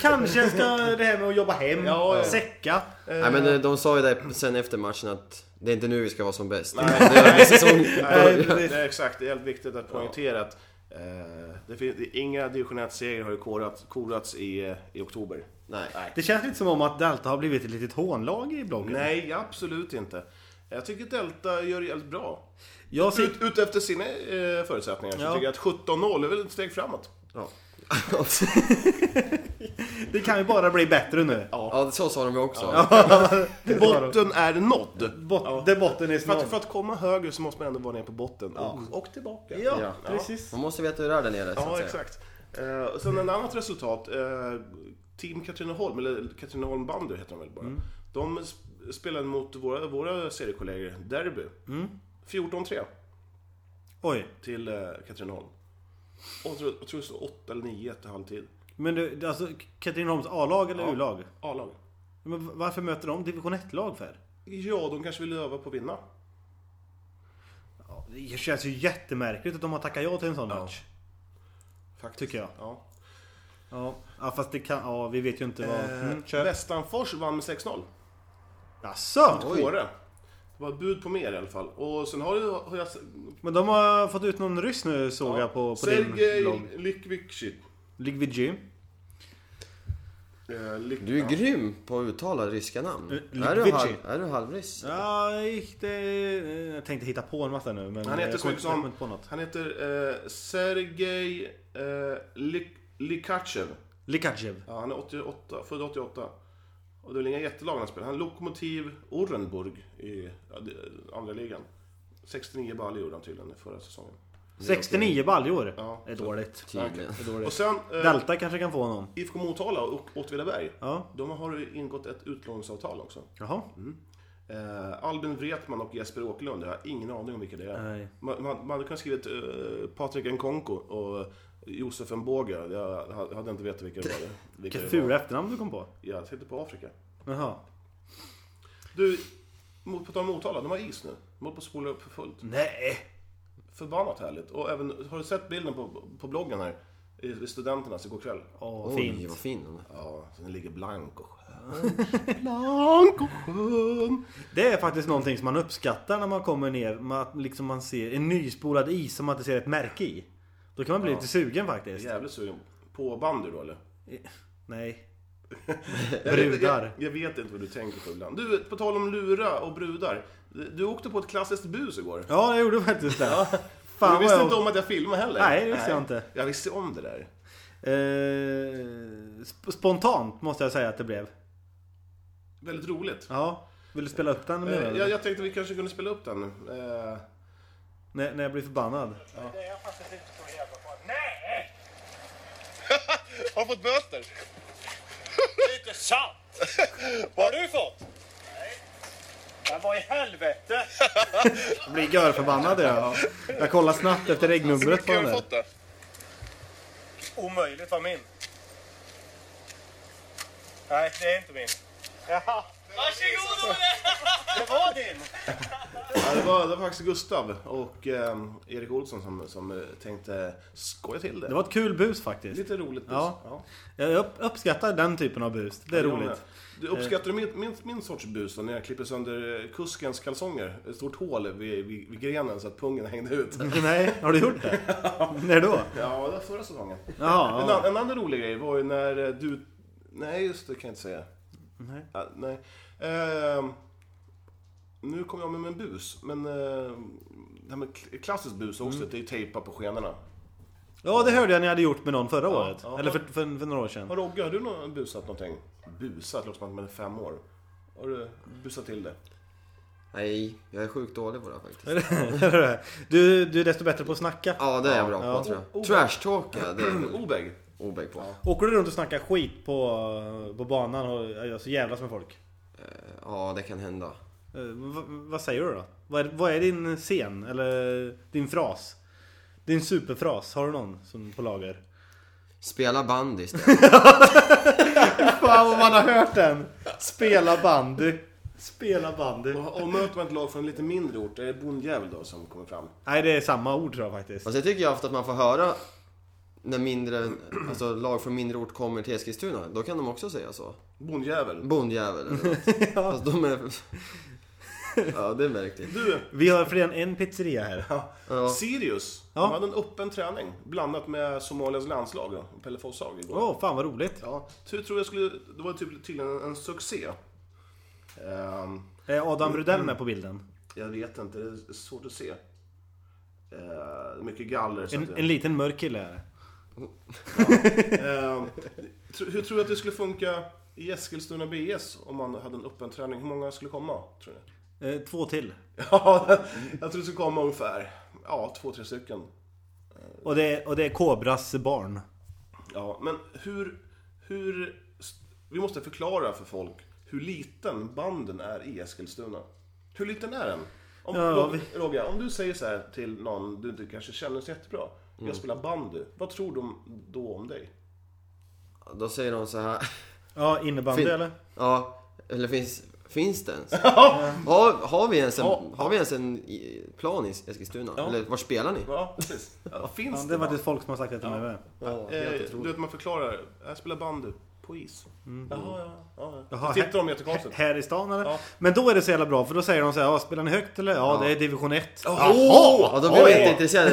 Speaker 2: Kanske ska det här med att jobba hem,
Speaker 4: Ja, ja.
Speaker 2: säcka.
Speaker 3: Nej, men eh, de sa ju det sen efter matchen att det är inte nu vi ska vara som bäst. Det är liksom en säsong...
Speaker 4: Nej, det är exakt. Det är helt viktigt att poängtera att eh, det finns, det, inga division 1-segrar har ju korats, korats i, eh, i oktober.
Speaker 3: Nej.
Speaker 2: Det känns lite som om att Delta har blivit ett litet hånlag i bloggen.
Speaker 4: Nej, absolut inte. Jag tycker Delta gör det jävligt bra.
Speaker 2: Jag ser...
Speaker 4: Ut, ut efter sina eh, förutsättningar så
Speaker 2: Ja.
Speaker 4: tycker jag att 17-0 är väl ett steg framåt.
Speaker 3: Ja.
Speaker 2: Det kan ju bara bli bättre nu.
Speaker 3: ja, så sa de ju också.
Speaker 4: Botten är nådd!
Speaker 2: Bot, Där botten är
Speaker 4: För att,
Speaker 2: snart.
Speaker 4: för att komma högre så måste man ändå vara ner på botten och, och tillbaka.
Speaker 2: Ja, precis.
Speaker 3: Man måste veta hur det är där nere, så att
Speaker 4: Ja,
Speaker 3: säga.
Speaker 4: exakt. Eh, och sen ett annat resultat. Eh, Team Katrineholm, eller Katrineholm Bandy heter de väl bara.
Speaker 2: Mm.
Speaker 4: De sp- spelade mot våra, våra seriekollegor, Derby.
Speaker 2: Mm.
Speaker 4: 14-3
Speaker 2: Oj.
Speaker 4: till eh, Katrineholm. Och jag tror jag tror det står 8 eller 9 till halvtid.
Speaker 2: Men du, alltså Katrineholms A-lag eller
Speaker 4: Ja.
Speaker 2: U-lag?
Speaker 4: A-lag.
Speaker 2: Men v- varför möter de division 1-lag för?
Speaker 4: Ja, de kanske vill öva på att vinna.
Speaker 2: Ja, Det känns ju jättemärkligt att de har tackat ja till en sån match.
Speaker 4: Faktiskt.
Speaker 2: Tycker jag.
Speaker 4: Ja.
Speaker 2: Ja. ja, fast det kan... Ja, vi vet ju inte vad... Mm,
Speaker 4: Eh,
Speaker 2: kör.
Speaker 4: Västanfors vann med 6-0.
Speaker 2: Jaså?
Speaker 3: Oj.
Speaker 4: Kåre. Det var bud på mer i alla fall. Och sen har, ju, har jag...
Speaker 2: Men de har fått ut någon ryss nu såg jag på, på din
Speaker 4: Sergej
Speaker 2: blogg.
Speaker 4: Lykvichit.
Speaker 2: Ligvigi.
Speaker 4: Eh, Lyk-
Speaker 3: Du är grym på att uttala ryska namn.
Speaker 2: L-
Speaker 3: Är du,
Speaker 2: Litvici.
Speaker 3: halv, är du halvryss?
Speaker 2: Ja, jag gick det... eh, Jag tänkte hitta på en massa nu men...
Speaker 4: Han heter
Speaker 2: jag
Speaker 4: så
Speaker 2: kom-
Speaker 4: mycket
Speaker 2: jag kom
Speaker 4: som...
Speaker 2: inte på något.
Speaker 4: Han heter eh, Sergej eh, Lik- Likachev.
Speaker 2: Likajev.
Speaker 4: Ja, han är 88, född 88. Och det är väl inga jättelag han spelar. Han är Lokomotiv Orenburg i ja, det- andra ligan. 69 baljor gjorde han tydligen i förra säsongen.
Speaker 2: 69 baljor.
Speaker 4: Ja,
Speaker 2: är dåligt.
Speaker 3: Tydligen.
Speaker 2: Är dåligt.
Speaker 4: Och sen eh,
Speaker 2: Delta kanske kan få honom.
Speaker 4: IFK Motala och Åtvidaberg.
Speaker 2: Ja.
Speaker 4: De har ju ingått ett utlåningsavtal också.
Speaker 2: Jaha.
Speaker 4: Eh, Albin Wretman och Jesper Åkerlund, jag har ingen aning om vilka det är.
Speaker 2: Nej.
Speaker 4: Man, man, man hade kunnat skrivit eh, Patrik Nkonko och Josef Mboga. Jag ha- hade inte vetat vilka det var. Vilka
Speaker 2: Vilket
Speaker 4: det var.
Speaker 2: fula efternamn du kom på.
Speaker 4: Jag tänkte på Afrika.
Speaker 2: Jaha.
Speaker 4: Du, mot- på tal om Motala, de har is nu. De håller på att spola upp för fullt.
Speaker 2: Nej.
Speaker 4: Förbannat härligt. Och även, har du sett bilden på, på bloggen här? I, i Studenternas igår kväll?
Speaker 2: Åh,
Speaker 3: Oj,
Speaker 2: fint.
Speaker 3: vad fin den är.
Speaker 4: Ja, den ligger blank och skön. blank och skön.
Speaker 2: Det är faktiskt någonting som man uppskattar när man kommer ner. med Att liksom man ser en nyspolad is som man inte ser ett märke i. Då kan man bli lite sugen faktiskt.
Speaker 4: Jävligt sugen. På bandy då eller?
Speaker 2: Nej.
Speaker 4: Jag vet-
Speaker 2: Brudar.
Speaker 4: Jag, jag vet inte vad du tänker på ibland. Du, på tal om lura och brudar. Du du åkte på ett klassiskt bus igår.
Speaker 2: Ja, jag gjorde faktiskt det.
Speaker 4: Fan,
Speaker 2: Fan
Speaker 4: du
Speaker 2: vad
Speaker 4: visste
Speaker 2: jag...
Speaker 4: inte om att jag filmade heller.
Speaker 2: Nej, det visste jag inte.
Speaker 4: Jag visste om det där.
Speaker 2: Eh, sp- spontant måste jag säga att det blev.
Speaker 4: Väldigt roligt.
Speaker 2: Ja. Vill du spela upp den?
Speaker 4: Eh,
Speaker 2: Med
Speaker 4: Jag, jag tänkte vi kanske kunde spela upp den. Eh,
Speaker 2: när, när jag blir förbannad.
Speaker 5: Det är faktiskt inte så jävla farligt. Nej!
Speaker 4: Har fått böter?
Speaker 5: Det är inte sant! Vad har du fått? Nej. Men vad i helvete?
Speaker 2: Jag blir görförbannad jag. Jag kollar snabbt efter regnumret på den där.
Speaker 4: det?
Speaker 5: Omöjligt, var min. Nej, det är inte min. Jaha. Varsågod Det var din!
Speaker 4: Ja, det, var, det var faktiskt Gustav och eh, Erik Olsson som, som eh, tänkte skoja till det.
Speaker 2: Det var ett kul bus faktiskt.
Speaker 4: Lite roligt bus.
Speaker 2: Ja. Jag upp, uppskattar den typen av bus. Det är
Speaker 4: jag med.
Speaker 2: roligt. Eh.
Speaker 4: Du uppskattar du min, min, min sorts bus då, när jag klipper sönder eh, kuskens kalsonger? Ett stort hål vid, vid, vid grenen så att pungen hängde ut.
Speaker 2: Nej, har du gjort det? När då?
Speaker 4: Ja, det var förra säsongen.
Speaker 2: Jaha,
Speaker 4: En,
Speaker 2: ja.
Speaker 4: an- en annan rolig grej var ju när eh, du... Nej, just det kan jag inte säga.
Speaker 2: Nej.
Speaker 4: Ja, nej. Ehm, nu kom jag med en bus, men eh, det här med k- klassiskt bus
Speaker 2: Mm.
Speaker 4: också, det är ju tejpa på skenorna.
Speaker 2: ja, det hörde jag ni hade gjort med någon förra året.
Speaker 4: ja.
Speaker 2: Eller för, för, för några år sedan.
Speaker 4: Har Rogge, har du nå- busat någonting? Busat? Låter som att man är fem år. Har du busat till det?
Speaker 3: Nej, jag är sjukt dålig på det här faktiskt.
Speaker 2: du, du är desto bättre på att snacka.
Speaker 3: Ja, det är jag bra på
Speaker 2: Ja.
Speaker 3: tror jag. Trashtalka, det är jag väl
Speaker 4: Obeg?
Speaker 3: obäg på.
Speaker 2: Åker du runt och snackar skit på, på banan och ja, så jävlas med folk?
Speaker 3: Ja, det kan hända.
Speaker 2: Eh, vad- vad säger du då? Vad är, vad är din scen? Eller din fras? Din superfras? Har du någon som på lager?
Speaker 3: Spela bandy istället.
Speaker 2: Fan vad man har hört den! Spela bandy! Spela bandy!
Speaker 4: Och, och möter man ett lag från en lite mindre ort, är det bondjävel då som kommer fram?
Speaker 2: Nej det är samma ord tror jag faktiskt.
Speaker 3: Alltså jag tycker ju ofta att man får höra när mindre, alltså lag från mindre ort kommer till Eskilstuna. Då kan de också säga så.
Speaker 4: Bondjävel?
Speaker 3: Bondjävel eller något. Fast de är... Ja, det är märkligt.
Speaker 4: Du,
Speaker 2: Vi har fler än en pizzeria här.
Speaker 3: Ja.
Speaker 4: Sirius,
Speaker 2: Ja.
Speaker 4: de hade en öppen träning blandat med Somalias landslag då, Pelle Fosshag igår.
Speaker 2: Åh fan vad roligt!
Speaker 4: Ja, tur tror jag skulle, det var typ tydligen en, en succé. Ehm,
Speaker 2: Är Eh, Adam Rudell med på bilden?
Speaker 4: jag vet inte, det är svårt att se. Ehm, mycket galler. Så
Speaker 2: En,
Speaker 4: att,
Speaker 2: en liten mörk kille är det.
Speaker 4: Ehm, tro- hur tror du att det skulle funka i Eskilstuna BS om man hade en öppen träning? Hur många skulle komma, tror ni?
Speaker 2: Eh, två till.
Speaker 4: Ja, jag tror det skulle komma ungefär, ja, två, tre stycken.
Speaker 2: Och det, är- och det är Kobras barn.
Speaker 4: Ja, men hur, hur... Vi måste förklara för folk hur liten banden är i Eskilstuna. Hur liten är den? Om,
Speaker 2: Ja,
Speaker 4: Rog-
Speaker 2: vi-
Speaker 4: Rogga, om du säger så här till någon du inte kanske känner så jättebra.
Speaker 2: Mm.
Speaker 4: Jag spelar bandy. Vad tror de då om dig?
Speaker 3: Då säger de så här.
Speaker 2: Ja, innebandy
Speaker 3: Fin-
Speaker 2: eller?
Speaker 3: Ja, eller finns, finns det ens? Har, har, vi ens en, har vi ens en i- plan i Eskilstuna? Eller var spelar ni?
Speaker 4: Ja, precis. Ja, finns
Speaker 2: Ja, det
Speaker 4: det?
Speaker 2: är faktiskt folk som har sagt det till mig med.
Speaker 3: Ja,
Speaker 4: eh,
Speaker 3: helt
Speaker 4: du
Speaker 3: otroligt.
Speaker 4: vet, man förklarar. Jag spelar bandy på is. Jaha, ja. ja, ja.
Speaker 2: Mm. Jaha,
Speaker 4: Då tittar de jättekonstigt.
Speaker 2: Här i stan eller?
Speaker 4: Ja.
Speaker 2: Men då är det så jävla bra för då säger de så här, ja, spelar ni högt eller? Ja, det är division 1.
Speaker 3: Ja, då blir man inte intresserad.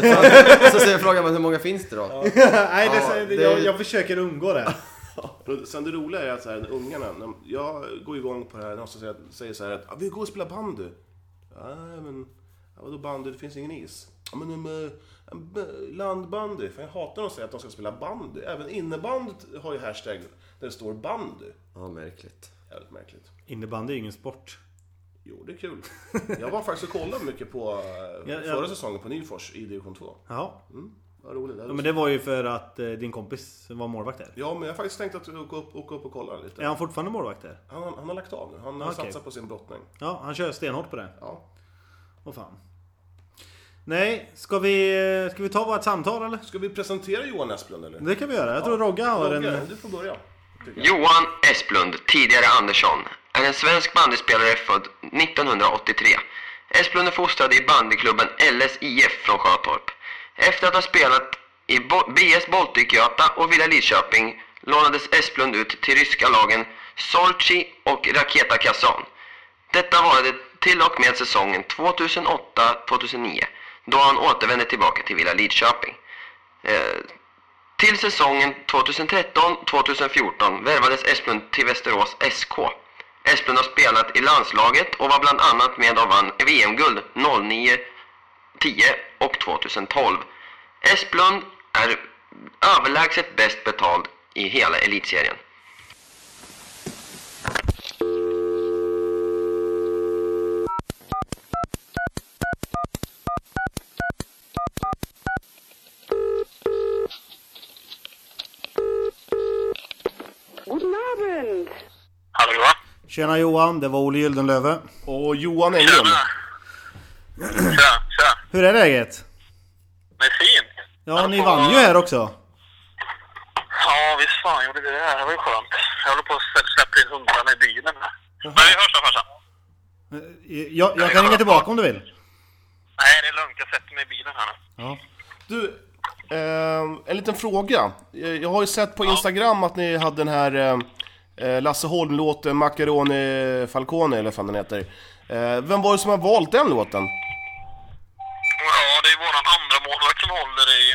Speaker 3: Så- Så säger frågan man hur många finns det då?
Speaker 2: Nej, det,
Speaker 3: Ja,
Speaker 2: säger-
Speaker 3: det-
Speaker 2: Jag, jag försöker undgå det.
Speaker 4: Och Sen det roliga är att så här, när ungarna, när jag går igång på det här, när de säger, säger så här att ah, vi går och spelar bandy. Nej men, Ja, vadå bandy? Det finns ingen is. Ja, men um, landbandy. Fan, jag hatar när de säger att de ska spela bandy. Även innebandy har ju hashtag där det står bandy.
Speaker 3: Ja, märkligt.
Speaker 4: Jävligt märkligt.
Speaker 2: Innebandy är ju ingen sport.
Speaker 4: Jo, det är kul. Jag var faktiskt och kollade mycket på eh,
Speaker 2: ja.
Speaker 4: förra säsongen på Nyfors i division 2.
Speaker 2: Ja.
Speaker 4: Vad roligt.
Speaker 2: ja men det var ju för att eh, din kompis var målvakt där.
Speaker 4: Ja, men jag har faktiskt tänkt att åka upp, åka upp och kolla lite.
Speaker 2: Är han fortfarande målvakt där?
Speaker 4: Han, han har lagt av nu. Han
Speaker 2: Okej.
Speaker 4: satsar på sin brottning.
Speaker 2: Ja, han kör stenhårt på det.
Speaker 4: Ja.
Speaker 2: Åh fan. Nej, ska vi, eh, ska vi ta vårt samtal eller?
Speaker 4: Ska vi presentera Johan Esplund eller?
Speaker 2: Det kan vi göra. Jag tror Rogga har
Speaker 4: Roger,
Speaker 2: en...
Speaker 4: Du får börja. tycker jag.
Speaker 6: Johan Esplund, tidigare Andersson, är en svensk bandyspelare född 1983. Esplund är fostrad i bandyklubben LSIF från Sjötorp. Efter att ha spelat i Bo- BS Baltikgöta och Villa Lidköping lånades Esplund ut till ryska lagen Solchi och Raketa Kazan. Detta varade till och med säsongen 2008-2009 då han återvände tillbaka till Villa Lidköping. Eh, till säsongen 2013-2014 värvades Esplund till Västerås SK. Esplund har spelat i landslaget och var bland annat med och vann VM-guld 09, 10 och 2012. Esplund är överlägset bäst betald i hela elitserien.
Speaker 7: Guten Abend.
Speaker 5: Hallå Johan?
Speaker 2: Tjena Johan, det var Olle Gyldenlöve.
Speaker 4: Och Johan Englund.
Speaker 5: Tja, tja.
Speaker 2: Hur är läget?
Speaker 5: Men fint.
Speaker 2: Ja, ni vann ju här också.
Speaker 5: Ja, visst fan gjorde vi det. här. Det var ju skönt. Jag håller på att släppa in hundarna i bilen. Men vi hörs då farsan.
Speaker 2: Jag, jag kan ringa tillbaka om du vill.
Speaker 5: Nej, det är lugnt. Jag sätter mig i bilen här nu.
Speaker 2: Ja.
Speaker 4: Du, ehm, en liten fråga. Eh, Jag har ju sett på Instagram att ni hade den här eh, eh, Lasse Holm-låten Macaroni Falcone, eller vad fan den heter. Eh, vem var det som har valt den låten?
Speaker 5: Ja, det är våran andra målvakt som håller i,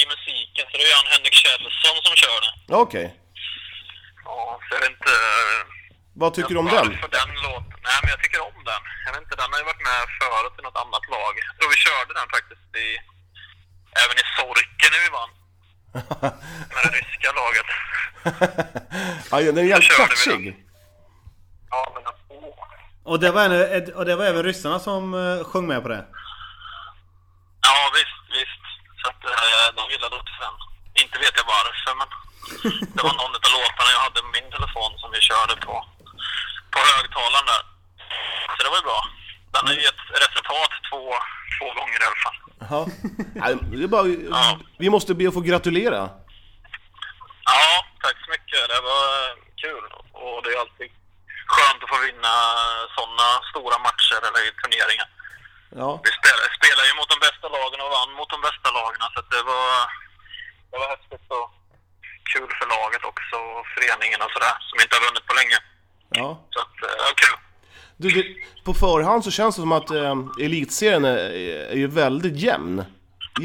Speaker 5: i musiken. Så det är ju han Henrik Kjellson som kör det.
Speaker 4: Ja, Okej.
Speaker 5: Ja, så jag vet inte...
Speaker 4: Vad tycker du om den?
Speaker 5: För den låten. Nej, men jag tycker om den. Jag vet inte, den har ju varit med förut i något annat lag. Jag tror vi körde den faktiskt i... Även i Sorken när vi vann. med det ryska laget.
Speaker 4: Ja, den är jävligt
Speaker 5: körde vi
Speaker 4: klatschig.
Speaker 5: Ja, men... åh.
Speaker 2: Och det, var en, ett- och det var även ryssarna som eh, sjöng med på det.
Speaker 5: Ja, visst, visst. Så att eh, de gillade också den. Inte vet jag varför, men det var någon av låtarna jag hade med min telefon som vi körde på, på högtalaren där. Så det var ju bra. Den har ju gett resultat två, två gånger i alla fall.
Speaker 4: Ja. Nej, det är bara, vi måste be att få gratulera.
Speaker 5: Ja, tack så mycket. Det var eh, kul. Och det är alltid skönt att få vinna sådana stora matcher eller i turneringar.
Speaker 4: Ja.
Speaker 5: Vi spelade, spelade ju mot de bästa lagen och vann mot de bästa lagen. Så att det var, det var häftigt och kul för laget också och föreningen och sådär som inte har vunnit på länge.
Speaker 4: ja.
Speaker 5: Så att, eh, det var kul.
Speaker 4: Du, det, på förhand så känns det som att eh, elitserien är, är ju väldigt jämn.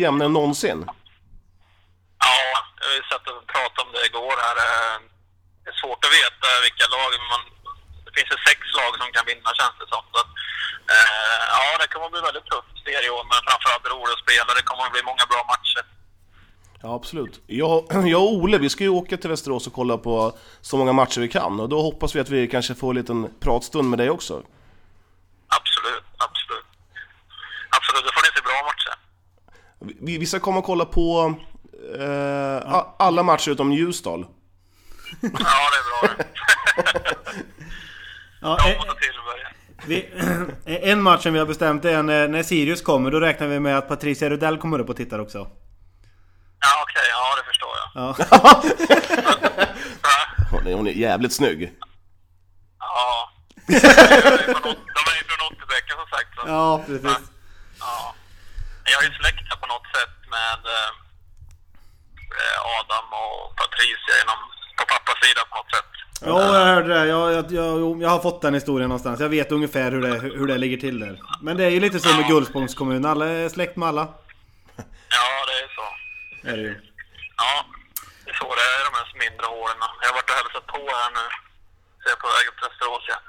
Speaker 4: Jämnare än någonsin.
Speaker 5: Ja, vi satt och pratade om det igår här. eh, Det är svårt att veta vilka lag, men man, det finns ju sex lag som kan vinna känns det som. Så att, eh, ja, det kommer att bli väldigt tufft serie i år, men framförallt beror det på spelare. Det kommer att bli många bra matcher.
Speaker 4: Ja, absolut. Jag, jag och Ole, vi ska ju åka till Västerås och kolla på så många matcher vi kan. Och då hoppas vi att vi kanske får en liten pratstund med dig också.
Speaker 5: Absolut, absolut. Absolut, det får ni se bra matcher.
Speaker 4: Vi, vi ska komma och kolla på eh, a, alla matcher utom Ljusdal.
Speaker 5: Ja, det är bra det.
Speaker 2: Ja,
Speaker 5: De
Speaker 2: eh,
Speaker 5: måste tillbörja.
Speaker 2: vi, en match som vi har bestämt är eh, när, när Sirius kommer. Då räknar vi med att Patricia Rudell kommer upp och tittar också.
Speaker 5: Ja, okej. Ja, det förstår jag.
Speaker 2: Ja.
Speaker 5: Va?
Speaker 4: Hon är, hon är jävligt snygg.
Speaker 5: Ja. De är ju från Otterbäcken som sagt. Så.
Speaker 2: Ja, precis.
Speaker 5: Ja. Jag är ju släkt här på något sätt med eh, eh, Adam och Patricia inom, på pappas sida på något sätt.
Speaker 2: Ja, jag hörde det. Jag, jag, jag, jo, jag har fått den historien någonstans. Jag vet ungefär hur det, hur det ligger till där. Men det är ju lite så med Gullspångs kommun. Alla är släkt med alla.
Speaker 5: Ja, det är så.
Speaker 2: Är det ju.
Speaker 5: Ja, det är så det är i de här mindre åren. Jag har varit och hälsat på här nu. Så jag är på väg upp till Västerås igen.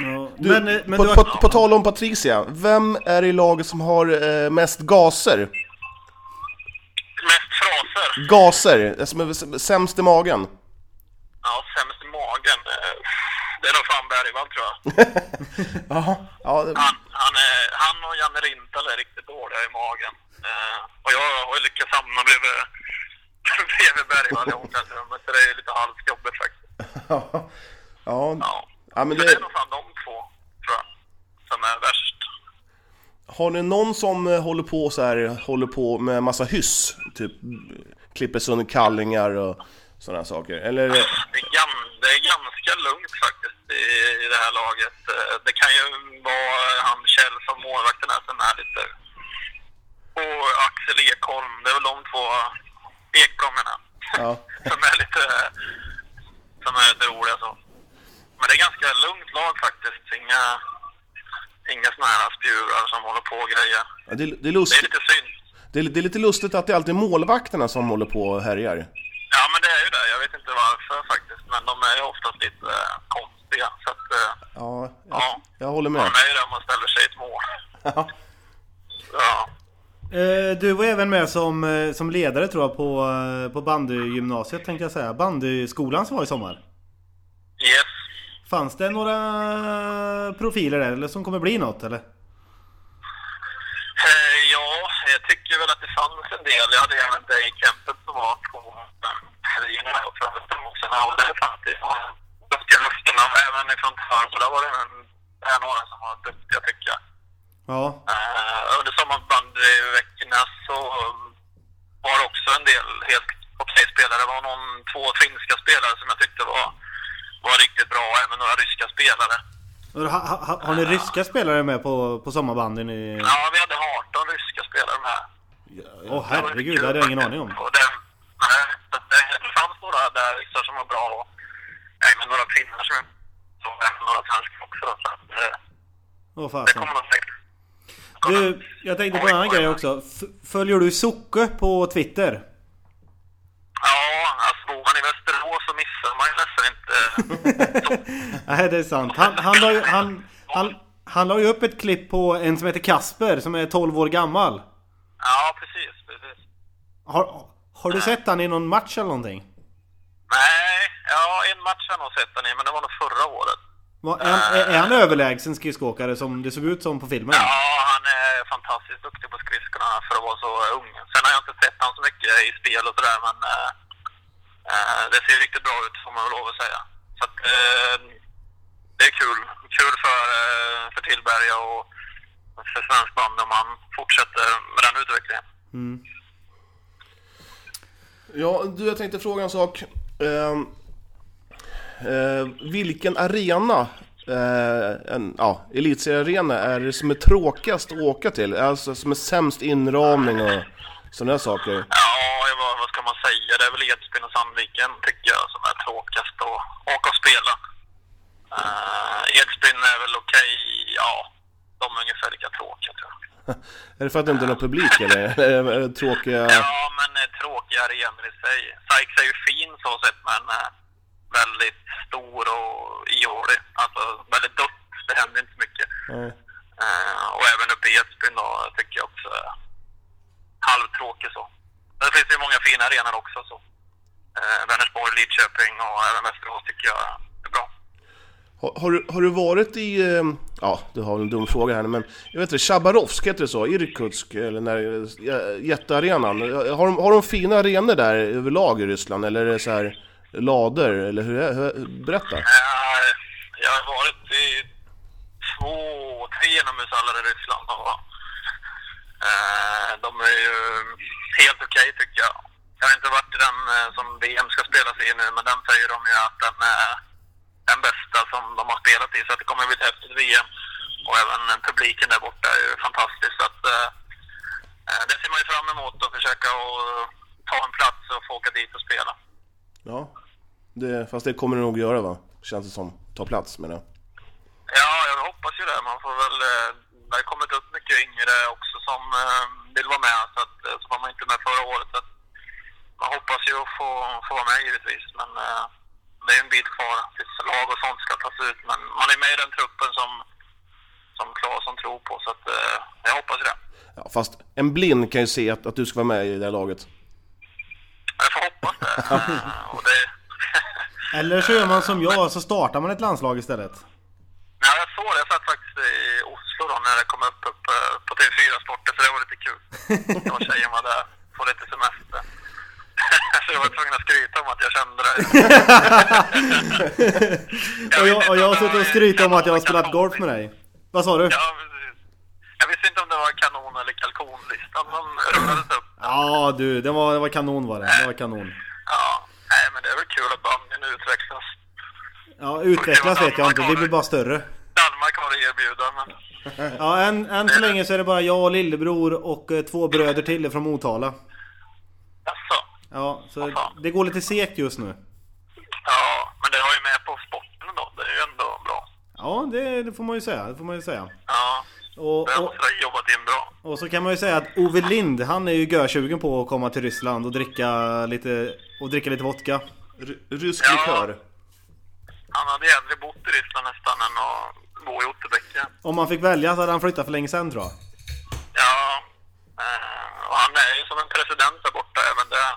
Speaker 2: Ja.
Speaker 4: Du,
Speaker 2: men eh, men
Speaker 4: på,
Speaker 2: du har...
Speaker 4: på, på tal om Patricia, vem är i laget som har eh, mest gaser?
Speaker 5: Mest fraser.
Speaker 4: Gaser, eh, som är sämst i magen.
Speaker 5: Ja, sämst i magen. eh, Det är nog fan Bergvall tror jag.
Speaker 4: Jaha. Ja,
Speaker 5: Han, han, är, han och Janne Rintal är riktigt dåliga i magen. Eh, och jag har ju lyckats hamna bredvid, bredvid Bergvall i omklädningsrummet så det är ju lite halvt jobbigt faktiskt.
Speaker 4: ja, ja.
Speaker 5: Ja.
Speaker 4: Ja, men
Speaker 5: men
Speaker 4: det-
Speaker 5: det är nog fan de två, tror jag, som är värst.
Speaker 4: Har ni någon som eh, håller på så här, håller på med massa hyss? Typ eh, klipper sönder kallingar och sådana saker. Eller? eh,
Speaker 5: Det är, gan, det är ganska lugnt faktiskt i, i det här laget. Eh, Det kan ju vara han Kjell som målvakten är som är lite... Och Axel Ekholm, det är väl de två Ekholm menar jag.
Speaker 4: Ja.
Speaker 5: som är lite... Som är lite roliga så. Men det är ganska lugnt lag faktiskt. Inga, inga såna här spjurar som håller på och grejer.
Speaker 4: Ja, Det, det, är
Speaker 5: Det är
Speaker 4: lust,
Speaker 5: lite synd.
Speaker 4: det, är, det är lite lustigt att det alltid är målvakterna som håller på och härjar.
Speaker 5: Ja, men det är ju det. Jag vet inte varför faktiskt. Men de är ju oftast lite eh, konstiga. Så att, eh,
Speaker 4: Ja, jag,
Speaker 5: Ja.
Speaker 4: jag håller
Speaker 5: man
Speaker 4: med.
Speaker 5: är ju där om man ställer sig i ett mål.
Speaker 4: Ja.
Speaker 5: Ja.
Speaker 2: Eh, Du var även med som, eh, som ledare tror jag på, eh, på bandygymnasiet tänkte jag säga. Bandyskolan som var i sommar.
Speaker 5: Yes.
Speaker 2: Fanns det några profiler där eller som kommer bli något eller?
Speaker 5: Eh, ja, jag tycker väl att det fanns en del. Jag hade även dig i campet som var på eh, helgerna och förhållandena. Och där fanns det ju duktiga luften. Även ifrån Törnbo, där var det en, där några som var duktiga tycker jag.
Speaker 2: Ja.
Speaker 5: Eh, under sommarbandyveckorna så eh, var det också en del helt okej spelare. Det var någon, två finska spelare som jag tyckte var, var riktigt bra, även några ryska spelare.
Speaker 2: Och Ha, ha, ha- har ni ryska spelare med på, på sommarbanden? i-
Speaker 5: Ja, vi hade 18 ryska spelare med.
Speaker 2: Åh herregud, det hade jag ingen aning om.
Speaker 5: Och det, nej, så att det- det fanns några där ryssar som var bra och även några finnar som som även några svenskar också. Så att, eh,
Speaker 2: Åh
Speaker 5: det
Speaker 2: fasen.
Speaker 5: kommer nog säkert.
Speaker 2: Du, jag tänkte på en annan grej också. F- Följer du Socke på Twitter?
Speaker 5: Ja, alltså bor man i Västerås så missar man ju nästan inte
Speaker 2: Nej, det är sant. Han, han, la ju, han, han, han la ju upp ett klipp på en som heter Kasper som är 12 år gammal.
Speaker 5: Ja, precis. precis.
Speaker 2: Har, har du sett han i någon match eller någonting?
Speaker 5: Nej, ja, en match har jag nog sett den i, men det var nog förra året.
Speaker 2: Vad- Är, han- är, är han överlägsen skridskoåkare som det såg ut som på filmen?
Speaker 5: Ja, han är fantastiskt duktig på skridskorna för att vara så ung. Sen har jag inte sett han så mycket i spel och sådär, men eh, eh, det ser riktigt bra ut får man väl lov att säga. Så att, eh, det är kul. Kul för, eh, för Tillberga och för svensk band om han fortsätter med den utvecklingen.
Speaker 4: Ja, du, jag tänkte fråga en sak. Ehm, eh, vilken arena, eh, en ja, elitseriearena, är det som är tråkigast att åka till? Alltså som är sämst inramning och sådana där saker.
Speaker 5: Ja, jag var, vad ska man säga? Det är väl Edsbyn och Sandviken tycker jag som är tråkigast att åka och spela. Uh, Edsbyn är väl okej, ja. De är ungefär lika tråkiga tror jag.
Speaker 4: Är det för att det inte är någon publik eller? Eller är det tråkiga...
Speaker 5: Ja, men eh, tråkiga arenor i sig. Sykes är ju fin så sett, men eh, väldigt stor och ihålig. Alltså väldigt dött. Det händer inte så mycket.
Speaker 4: Nej.
Speaker 5: Eh, och även uppe i Edsbyn då tycker jag också är halvtråkig så. Men det finns ju många fina arenor också så. Eh, Vänersborg, Lidköping och även Västerås tycker jag är bra.
Speaker 4: Har, har, du- har du varit i... eh, Ja, du har väl en dum fråga här men... Jag vet inte, Chabarovsk heter det så? Irkutsk? Eller när, eh, jättearenan? Har de, har de fina arenor där överlag i Ryssland? Eller är det så här lader? Eller hur är hur, Berätta!
Speaker 5: Eh, jag har varit i två, tre inomhushallar i Ryssland. Och, eh, de är ju helt okej tycker jag. Jag har inte varit i den eh, som VM ska spelas i nu, men den säger de ju att den är den bästa som de har spelat i. Så att det kommer bli ett häftigt VM. Och även eh, publiken där borta är ju fantastisk. Så att, eh, eh, det ser man ju fram emot att försöka och ta en plats och få åka dit och spela.
Speaker 4: Ja. Det, fast det kommer du nog göra va? Känns det som. Ta plats menar jag.
Speaker 5: Ja, jag hoppas ju det. Man får väl... eh, Det har kommit upp mycket yngre också som eh, vill vara med. Så, att, eh, så var man inte med förra året. Så att man hoppas ju att få, få vara med givetvis. Men, eh, det är en bit kvar tills lag och sånt ska tas ut. Men man är med i den truppen som, som Claesson tror på, så att, eh, jag hoppas det.
Speaker 4: Ja, fast en blind kan ju se att, att du ska vara med i det här laget.
Speaker 5: Jag får hoppas det. Eh, och det
Speaker 2: Eller så gör man som jag, så startar man ett landslag istället.
Speaker 5: ja, jag såg det. Jag satt faktiskt i Oslo då när det kom upp, upp eh, på TV4 Sporten, så det var lite kul. Jag och tjejen var där på lite semester. så jag var tvungen att skryta om att jag kände det.
Speaker 2: Och
Speaker 5: vet
Speaker 2: jag,
Speaker 5: inte
Speaker 2: och jag har
Speaker 5: om det
Speaker 2: suttit
Speaker 5: var
Speaker 2: och skrytit om
Speaker 5: kanon
Speaker 2: att jag har
Speaker 5: eller
Speaker 2: spelat
Speaker 5: kanon.
Speaker 2: golf med dig. Vad sa du?
Speaker 5: Ja, precis. Jag visste inte om det var kanon eller kalkonlistan som rullades upp.
Speaker 2: Ja du, det var, det var kanon var det. Det var kanon.
Speaker 5: Ja, nej men det är väl kul att bandyn utvecklas.
Speaker 2: Ja, utvecklas vet jag inte. Vi blir bara större.
Speaker 5: Danmark har att erbjuda, men
Speaker 2: Ja, än, än så länge så är det bara jag och lillebror och eh, två bröder till från Motala.
Speaker 5: alltså,
Speaker 2: Ja, så det går lite segt just nu.
Speaker 5: Ja, men det har ju med på sporten då. Det är ju ändå bra.
Speaker 2: Ja, det, det får man ju säga. Det får man ju säga.
Speaker 5: Ja,
Speaker 2: Och,
Speaker 5: det
Speaker 2: och,
Speaker 5: måste ha jobbat in bra.
Speaker 2: och så kan man ju säga att Ove Lind, han är ju görsugen på att komma till Ryssland och dricka lite, och dricka lite vodka.
Speaker 4: R- rysk
Speaker 5: Ja.
Speaker 4: likör.
Speaker 5: Han hade ju hellre bott i Ryssland nästan än att bo i Otterbäcken.
Speaker 2: Om man fick välja så hade han flyttat för länge sedan tror jag.
Speaker 5: Ja, eh, och han är ju som en president där borta även det.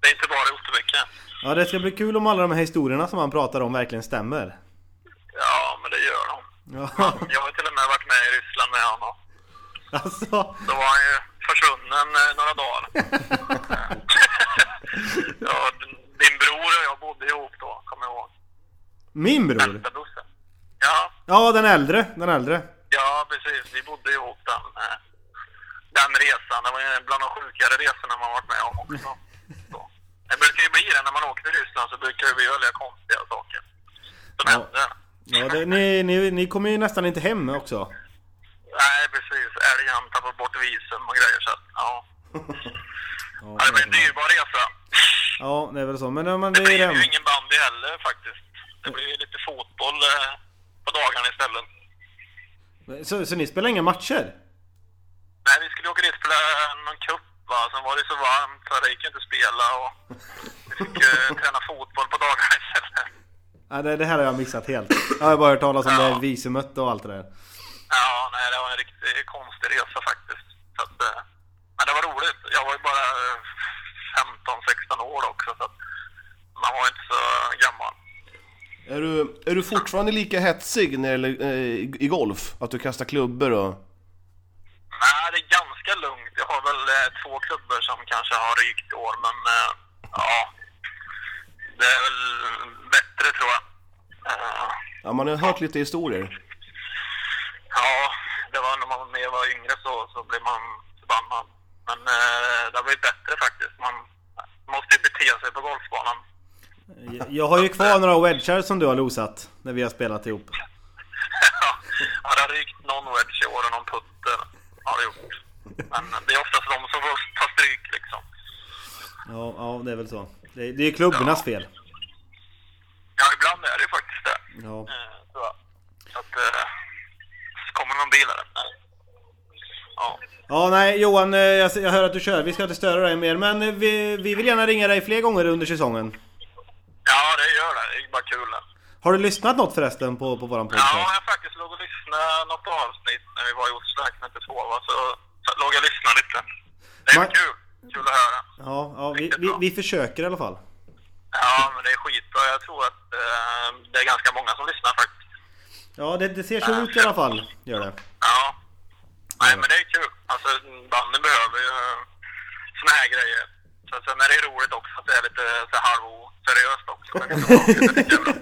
Speaker 5: Det är inte bara i Otterbäcken.
Speaker 2: Ja, det ska bli kul om alla de här historierna som han pratar om verkligen stämmer.
Speaker 5: Ja, men det gör de.
Speaker 2: Ja,
Speaker 5: Jag har ju till och med varit med i Ryssland med honom.
Speaker 2: alltså.
Speaker 5: Då var han ju försvunnen eh, några dagar. ja, din- din bror och jag bodde ihop då, kommer jag ihåg.
Speaker 2: Min bror?
Speaker 5: Bästa bussen. Ja,
Speaker 2: Ja, den äldre. Den äldre.
Speaker 5: ja precis. Vi bodde ihop den, eh, den resan. Det var ju bland de sjukare resorna man varit med om också.
Speaker 2: Mm.
Speaker 5: Så. Det brukar ju bli det när man åker till Ryssland så brukar vi välja konstiga saker som
Speaker 2: Ja.
Speaker 5: händer.
Speaker 2: Ja, det, ni, ni, ni kommer ju nästan inte hem också.
Speaker 5: Nej, precis. Älgen tappar bort visum och grejer. Så att, ja. ja, det var en dyrbar resa.
Speaker 2: Ja, det är väl så. Men, ja, men
Speaker 5: Det
Speaker 2: det är
Speaker 5: blir
Speaker 2: hem.
Speaker 5: ju ingen bandy heller faktiskt. Det blir ju lite fotboll eh, på dagarna istället.
Speaker 2: Så, så ni spelar inga matcher?
Speaker 5: Nej, vi skulle åka dit och spela någon cup va. Sen var det så varmt så det gick ju inte att spela och vi fick eh, träna fotboll på dagarna istället.
Speaker 2: Ja, det, det här har jag missat helt. Jag har bara hört talas om det här visumet och allt det där.
Speaker 5: Ja, nej, det var en riktigt konstig resa faktiskt. Så att, eh, men det var roligt. Jag var ju bara 15-16 år också så att man var inte så gammal.
Speaker 4: Är du, är du fortfarande lika hetsig när det gäller, eh, i i golf? Att du kastar klubbor och...
Speaker 5: Nej, det är ganska lugnt. Jag har väl eh, två klubbor som kanske har rykt i år, men eh, ja. Det är väl bättre tror jag. Eh,
Speaker 4: Ja, man har hört lite historier.
Speaker 5: ja, det var när man mer var yngre så, så blev man förbannad. Men eh, det var ju bättre faktiskt. Man måste ju bete sig på golfbanan.
Speaker 2: Jag- Jag har ju kvar några wedgar som du har losat. När vi har spelat ihop.
Speaker 5: ja, det har rykt någon wedge i år och någon putter har det gjort. Men det är oftast de som får ta stryk liksom.
Speaker 2: Ja, ja det är väl så. Det, det är klubbornas fel.
Speaker 5: Ja, ibland är det ju faktiskt det.
Speaker 2: Ja.
Speaker 5: Eh, Så så att... eh, Så kommer någon bil här. Nej. Ja.
Speaker 2: Ja, nej Johan, eh, jag, jag hör att du kör. Vi ska inte störa dig mer. Men eh, vi, vi vill gärna ringa dig fler gånger under säsongen.
Speaker 5: ja, det gör det. Det är bara kul.
Speaker 2: Har du lyssnat något förresten på, på våran
Speaker 5: Ja,
Speaker 2: podcast?
Speaker 5: jag faktiskt låg och lyssnade något avsnitt när vi var i Oslo. Jag kunde inte sova, så, så låg jag och lyssnade lite. Det är
Speaker 2: Ma-
Speaker 5: kul. Kul att höra.
Speaker 2: Ja, ja vi, vi, vi försöker i alla fall.
Speaker 5: Ja, men det är skitbra. Jag tror att eh, det är ganska många som lyssnar faktiskt.
Speaker 2: Ja, det, det ser så ut i alla fall. Gör det.
Speaker 5: Ja. Nej, men det är kul. Alltså, banden behöver ju eh, såna här grejer. Så sen är det roligt också att det är lite så här halvoseriöst också. Men det är så roligt, det är lika bra.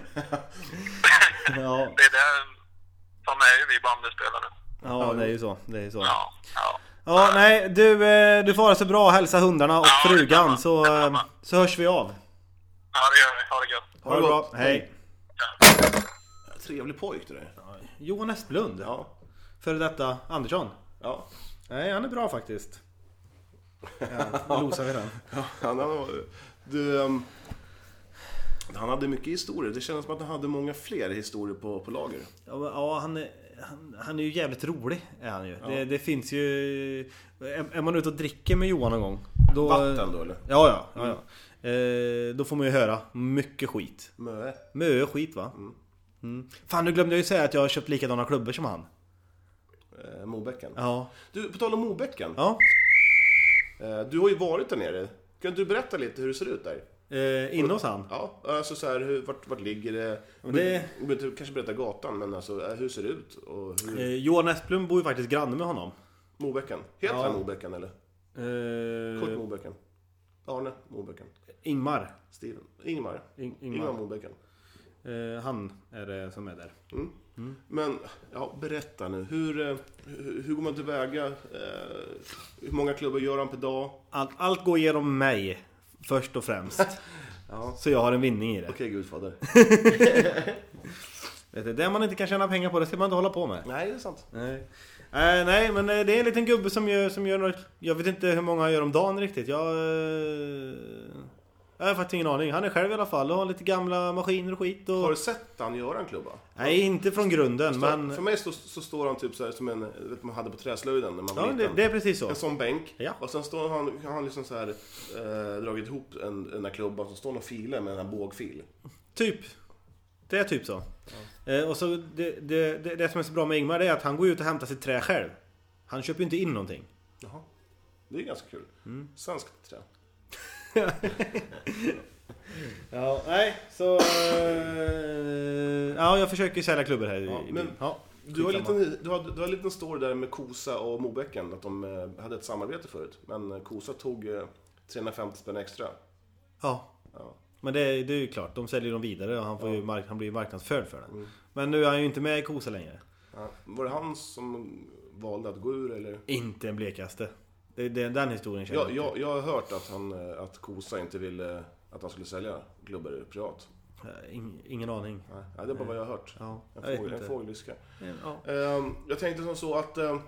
Speaker 2: Ja,
Speaker 5: det är det som är ju vi bandyspelare.
Speaker 2: ja det är ju så. Det är ju så.
Speaker 5: Ja, ja.
Speaker 2: Ja, nej du, eh, du får ha det så bra. Hälsa hundarna och
Speaker 5: Ja,
Speaker 2: frugan
Speaker 5: detsamma.
Speaker 2: så, eh,
Speaker 5: Detsamma.
Speaker 2: så hörs vi av.
Speaker 5: ja, det gör vi. Ha det gött.
Speaker 2: Ha det bra. Hej.
Speaker 4: Trevlig pojk du är.
Speaker 2: Johan Esplund. Ja. Före detta Andersson.
Speaker 4: Ja.
Speaker 2: Nej, han är bra faktiskt. Ja, losar vi den.
Speaker 4: Han, han, var- du, ehm, han hade mycket historier. Det kändes som att han hade många fler historier på, på lager.
Speaker 2: Ja, men, ja han, är, han, han är ju jävligt rolig. Är han ju. Det, det finns ju... Är, är man ute och eh, dricker med Johan någon gång. Då,
Speaker 4: Vatten då eller?
Speaker 2: Ja, ja. ja, ja. Eh, då får man ju höra mycket skit.
Speaker 4: Mö.
Speaker 2: Mycket skit va? Mm. Fan nu glömde jag ju säga att jag har köpt likadana klubbor som han.
Speaker 4: Eh, Mobäcken.
Speaker 2: Ja.
Speaker 4: Du, på tal om Mobäcken.
Speaker 2: Ja.
Speaker 4: Eh, du har ju varit där nere. Kan du berätta lite hur det ser ut där?
Speaker 2: Eh, inne hos han.
Speaker 4: Ja, alltså så här, hur, vart, vart ligger det? Du
Speaker 2: det-
Speaker 4: behöver inte kanske berätta gatan, men alltså eh, hur ser det ut? Och hur...
Speaker 2: Eh, Johan Esplund bor ju faktiskt granne med honom.
Speaker 4: Mobäcken. Heter han Mobäcken eller? Kurt
Speaker 2: Eh,
Speaker 4: Mobäcken. Arne Mobäcken.
Speaker 2: Ingmar.
Speaker 4: Steven. Ingmar.
Speaker 2: In- Ingmar.
Speaker 4: Ingmar, Mobäcken.
Speaker 2: Eh, han är det som är där.
Speaker 4: Men, ja, berätta nu. Hur, eh, hur, hur går man tillväga? Eh, hur många klubbar gör han per dag?
Speaker 2: Allt, allt går genom mig. Först och främst. Så jag har en vinning i det.
Speaker 4: Okej, gudfader.
Speaker 2: Vet du, Det man inte kan tjäna pengar på, det ska man inte hålla på med.
Speaker 4: Nej, det är sant.
Speaker 2: Nej, Eh, nej men eh, det är en liten gubbe som gör, som gör något, Jag vet inte hur många han gör om dagen riktigt. Jag, eh, jag har faktiskt ingen aning. Han är själv i alla fall och har lite gamla maskiner och skit. Och,
Speaker 4: Har du sett han göra en klubba?
Speaker 2: Nej, inte från grunden men...
Speaker 4: För mig så, så står han typ så här som en, vet man hade på träslöjden när man var
Speaker 2: Ja, det,
Speaker 4: liten.
Speaker 2: det är precis så.
Speaker 4: En sån bänk.
Speaker 2: Ja.
Speaker 4: Och sen står han, har han liksom så här eh, dragit ihop en, den där klubban, så står han och filar med den här bågfil.
Speaker 2: Typ. Det är typ så. Eh, och så det, det, det, det som är så bra med Ingmar det är att han går ut och hämtar sitt trä själv. Han köper ju inte in någonting.
Speaker 4: Jaha. Det är ganska kul.
Speaker 2: Mm.
Speaker 4: Svenskt trä.
Speaker 2: Ja, nej så... eh, ja, jag försöker ju sälja klubbor här i,
Speaker 4: Ja,
Speaker 2: i
Speaker 4: men-
Speaker 2: byn. Ja,
Speaker 4: Du har, en
Speaker 2: skitsamma.
Speaker 4: liten, du, har, du har en liten story där med Kosa och Mobäcken, att de eh, hade ett samarbete förut. Men eh, Kosa tog eh, 350 spänn extra.
Speaker 2: Ja.
Speaker 4: Ja.
Speaker 2: Men det, det är ju klart, de säljer dem vidare och han, får ju mark- han blir ju marknadsförd för det. Men nu är han ju inte med i Kosa längre.
Speaker 4: Ja. Var det han som valde att gå ur eller?
Speaker 2: Inte en blekaste. Det, det, den historien känner
Speaker 4: Jag,
Speaker 2: jag.
Speaker 4: jag, jag har hört att, han, eh, att Kosa inte ville eh, att han skulle sälja klubbor privat.
Speaker 2: Eh, Ing, ingen aning.
Speaker 4: Nej, det är bara vad jag har hört.
Speaker 2: Ja, jag
Speaker 4: en,
Speaker 2: vet
Speaker 4: fågel,
Speaker 2: inte.
Speaker 4: en fågelviska.
Speaker 2: Ja.
Speaker 4: Ehm, Jag tänkte som så att ehm,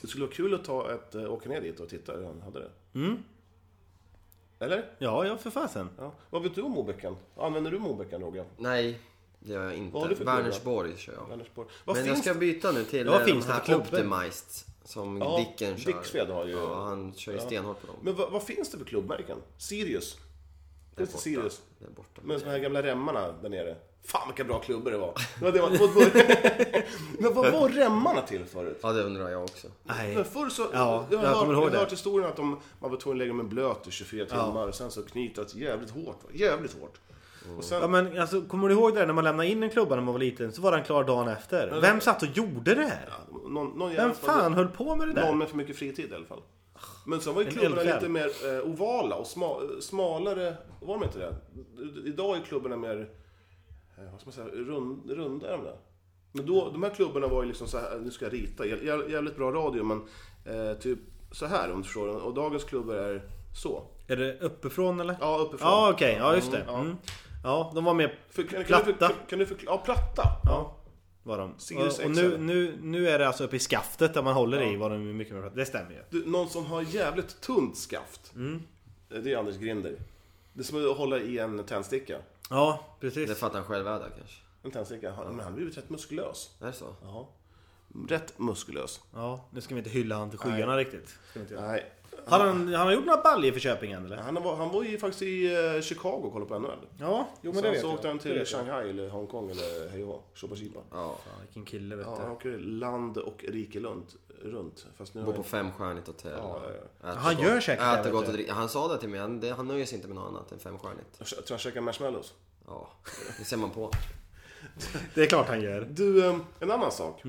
Speaker 4: det skulle vara kul att ta ett, eh, åka ner dit och titta hur han hade det.
Speaker 2: Mm.
Speaker 4: Eller?
Speaker 2: Ja, ja för fasen.
Speaker 4: Ja. Vad vet du om Mobäcken? Använder du Mobäcken Roger?
Speaker 3: Nej, det gör jag
Speaker 4: Vad
Speaker 3: inte.
Speaker 4: har du för klubba?
Speaker 3: Vänersborg kör jag.
Speaker 4: Vänersborg. Vad
Speaker 3: Men jag
Speaker 4: finns
Speaker 3: ska byta nu till
Speaker 2: Ja, vad
Speaker 3: eh, de
Speaker 2: finns det
Speaker 3: här
Speaker 2: för klubbor?
Speaker 3: Optimized som
Speaker 4: Ja,
Speaker 3: Dicken kör.
Speaker 4: Dicksved har ju-
Speaker 3: Ja, han kör ju stenhårt på dem.
Speaker 4: Men vad, vad finns det för klubbmärken? Sirius?
Speaker 3: Där
Speaker 4: Finns det Sirius?
Speaker 3: borta. Där borta.
Speaker 4: Med de här gamla remmarna där nere. Fan vilka bra klubbor det var. Det var det man, vad- vad- men vad var remmarna till förut?
Speaker 3: Ja, det undrar jag också.
Speaker 2: Nej.
Speaker 4: För förr så,
Speaker 2: Ja,
Speaker 4: jag har
Speaker 2: jag
Speaker 4: hört,
Speaker 2: kommer ihåg
Speaker 4: jag
Speaker 2: det.
Speaker 4: har hört historien att de, man var tvungen att lägga dem i en blöt i 24 timmar och sen så knytas jävligt hårt. va? Jävligt hårt. Och sen,
Speaker 2: Ja, men alltså, kommer du ihåg det där när man lämnade in en klubba när man var liten så var den klar dagen efter? Vem satt och gjorde det här?
Speaker 4: Någon, någon jävla-
Speaker 2: Vem fan höll på med det
Speaker 4: Någon
Speaker 2: där?
Speaker 4: med för mycket fritid i alla fall. Men sen var ju
Speaker 2: En
Speaker 4: klubborna
Speaker 2: eldsjäl.
Speaker 4: lite mer eh, ovala och sma, eh, smalare. Var de inte det? I- Idag är klubborna mer, eh, vad ska man säga, rund, runda är de där. Men då, de här klubborna var ju liksom så här, nu ska jag rita, jä- jä- jävligt bra radio men eh, typ så här om du förstår. Och dagens klubbor är så.
Speaker 2: Är det uppifrån eller?
Speaker 4: Ja, uppifrån.
Speaker 2: Ja, okej. Ja, just det.
Speaker 4: Mm, ja.
Speaker 2: Mm. Ja, de var med
Speaker 4: För, kan, Kan du,
Speaker 2: Platta.
Speaker 4: för- kan du förklara? Ja, platta.
Speaker 2: Ja, var de.
Speaker 4: Sirius
Speaker 2: och och
Speaker 4: XL.
Speaker 2: nu, nu, nu är det alltså uppe i skaftet där man håller i vad de är mycket mer pratar. Det stämmer ju.
Speaker 4: Du, någon som har jävligt tunt skaft.
Speaker 2: Mm.
Speaker 4: Eh, Det är Anders Grinder. Det är som att hålla i en tändsticka.
Speaker 2: Ja,
Speaker 3: Det är
Speaker 2: precis.
Speaker 3: för att han själv är där kanske.
Speaker 4: En tändsticka. Han, men han har blivit rätt muskulös.
Speaker 3: Är det så?
Speaker 4: Ja. Rätt muskulös.
Speaker 2: Ja, nu ska vi inte hylla han till skyarna riktigt. Ska vi inte göra.
Speaker 4: Nej.
Speaker 2: Har han, han har gjort några baljor för Köping än eller?
Speaker 4: Han var, han var ju faktiskt i eh, Chicago och kollade på NHL.
Speaker 2: Ja, jo men det
Speaker 4: Sen
Speaker 2: vet
Speaker 4: så åkte
Speaker 2: jag.
Speaker 4: han
Speaker 2: Det
Speaker 4: till
Speaker 2: vet jag.
Speaker 4: Shanghai eller Hongkong eller hej och hå, Chupa Chipa.
Speaker 3: Ja.
Speaker 2: Fan, vilken kille vet
Speaker 4: Ja, han
Speaker 2: du.
Speaker 4: åker land och rike runt. runt. Fast nu
Speaker 3: Bor
Speaker 4: har
Speaker 3: på
Speaker 4: han...
Speaker 3: femstjärnigt hotell.
Speaker 4: Ja, ja,
Speaker 3: Äter
Speaker 2: Han
Speaker 3: gott-
Speaker 2: gör säkert det,
Speaker 3: äter
Speaker 2: vet
Speaker 3: gott
Speaker 2: du.
Speaker 3: och dricker. Han sa det till mig. Han, det, han nöjer sig inte med något annat än femstjärnigt.
Speaker 4: Jag tror han käkar marshmallows.
Speaker 3: Ja, det ser man på.
Speaker 2: Det är klart han gör.
Speaker 4: Du, eh, en annan sak.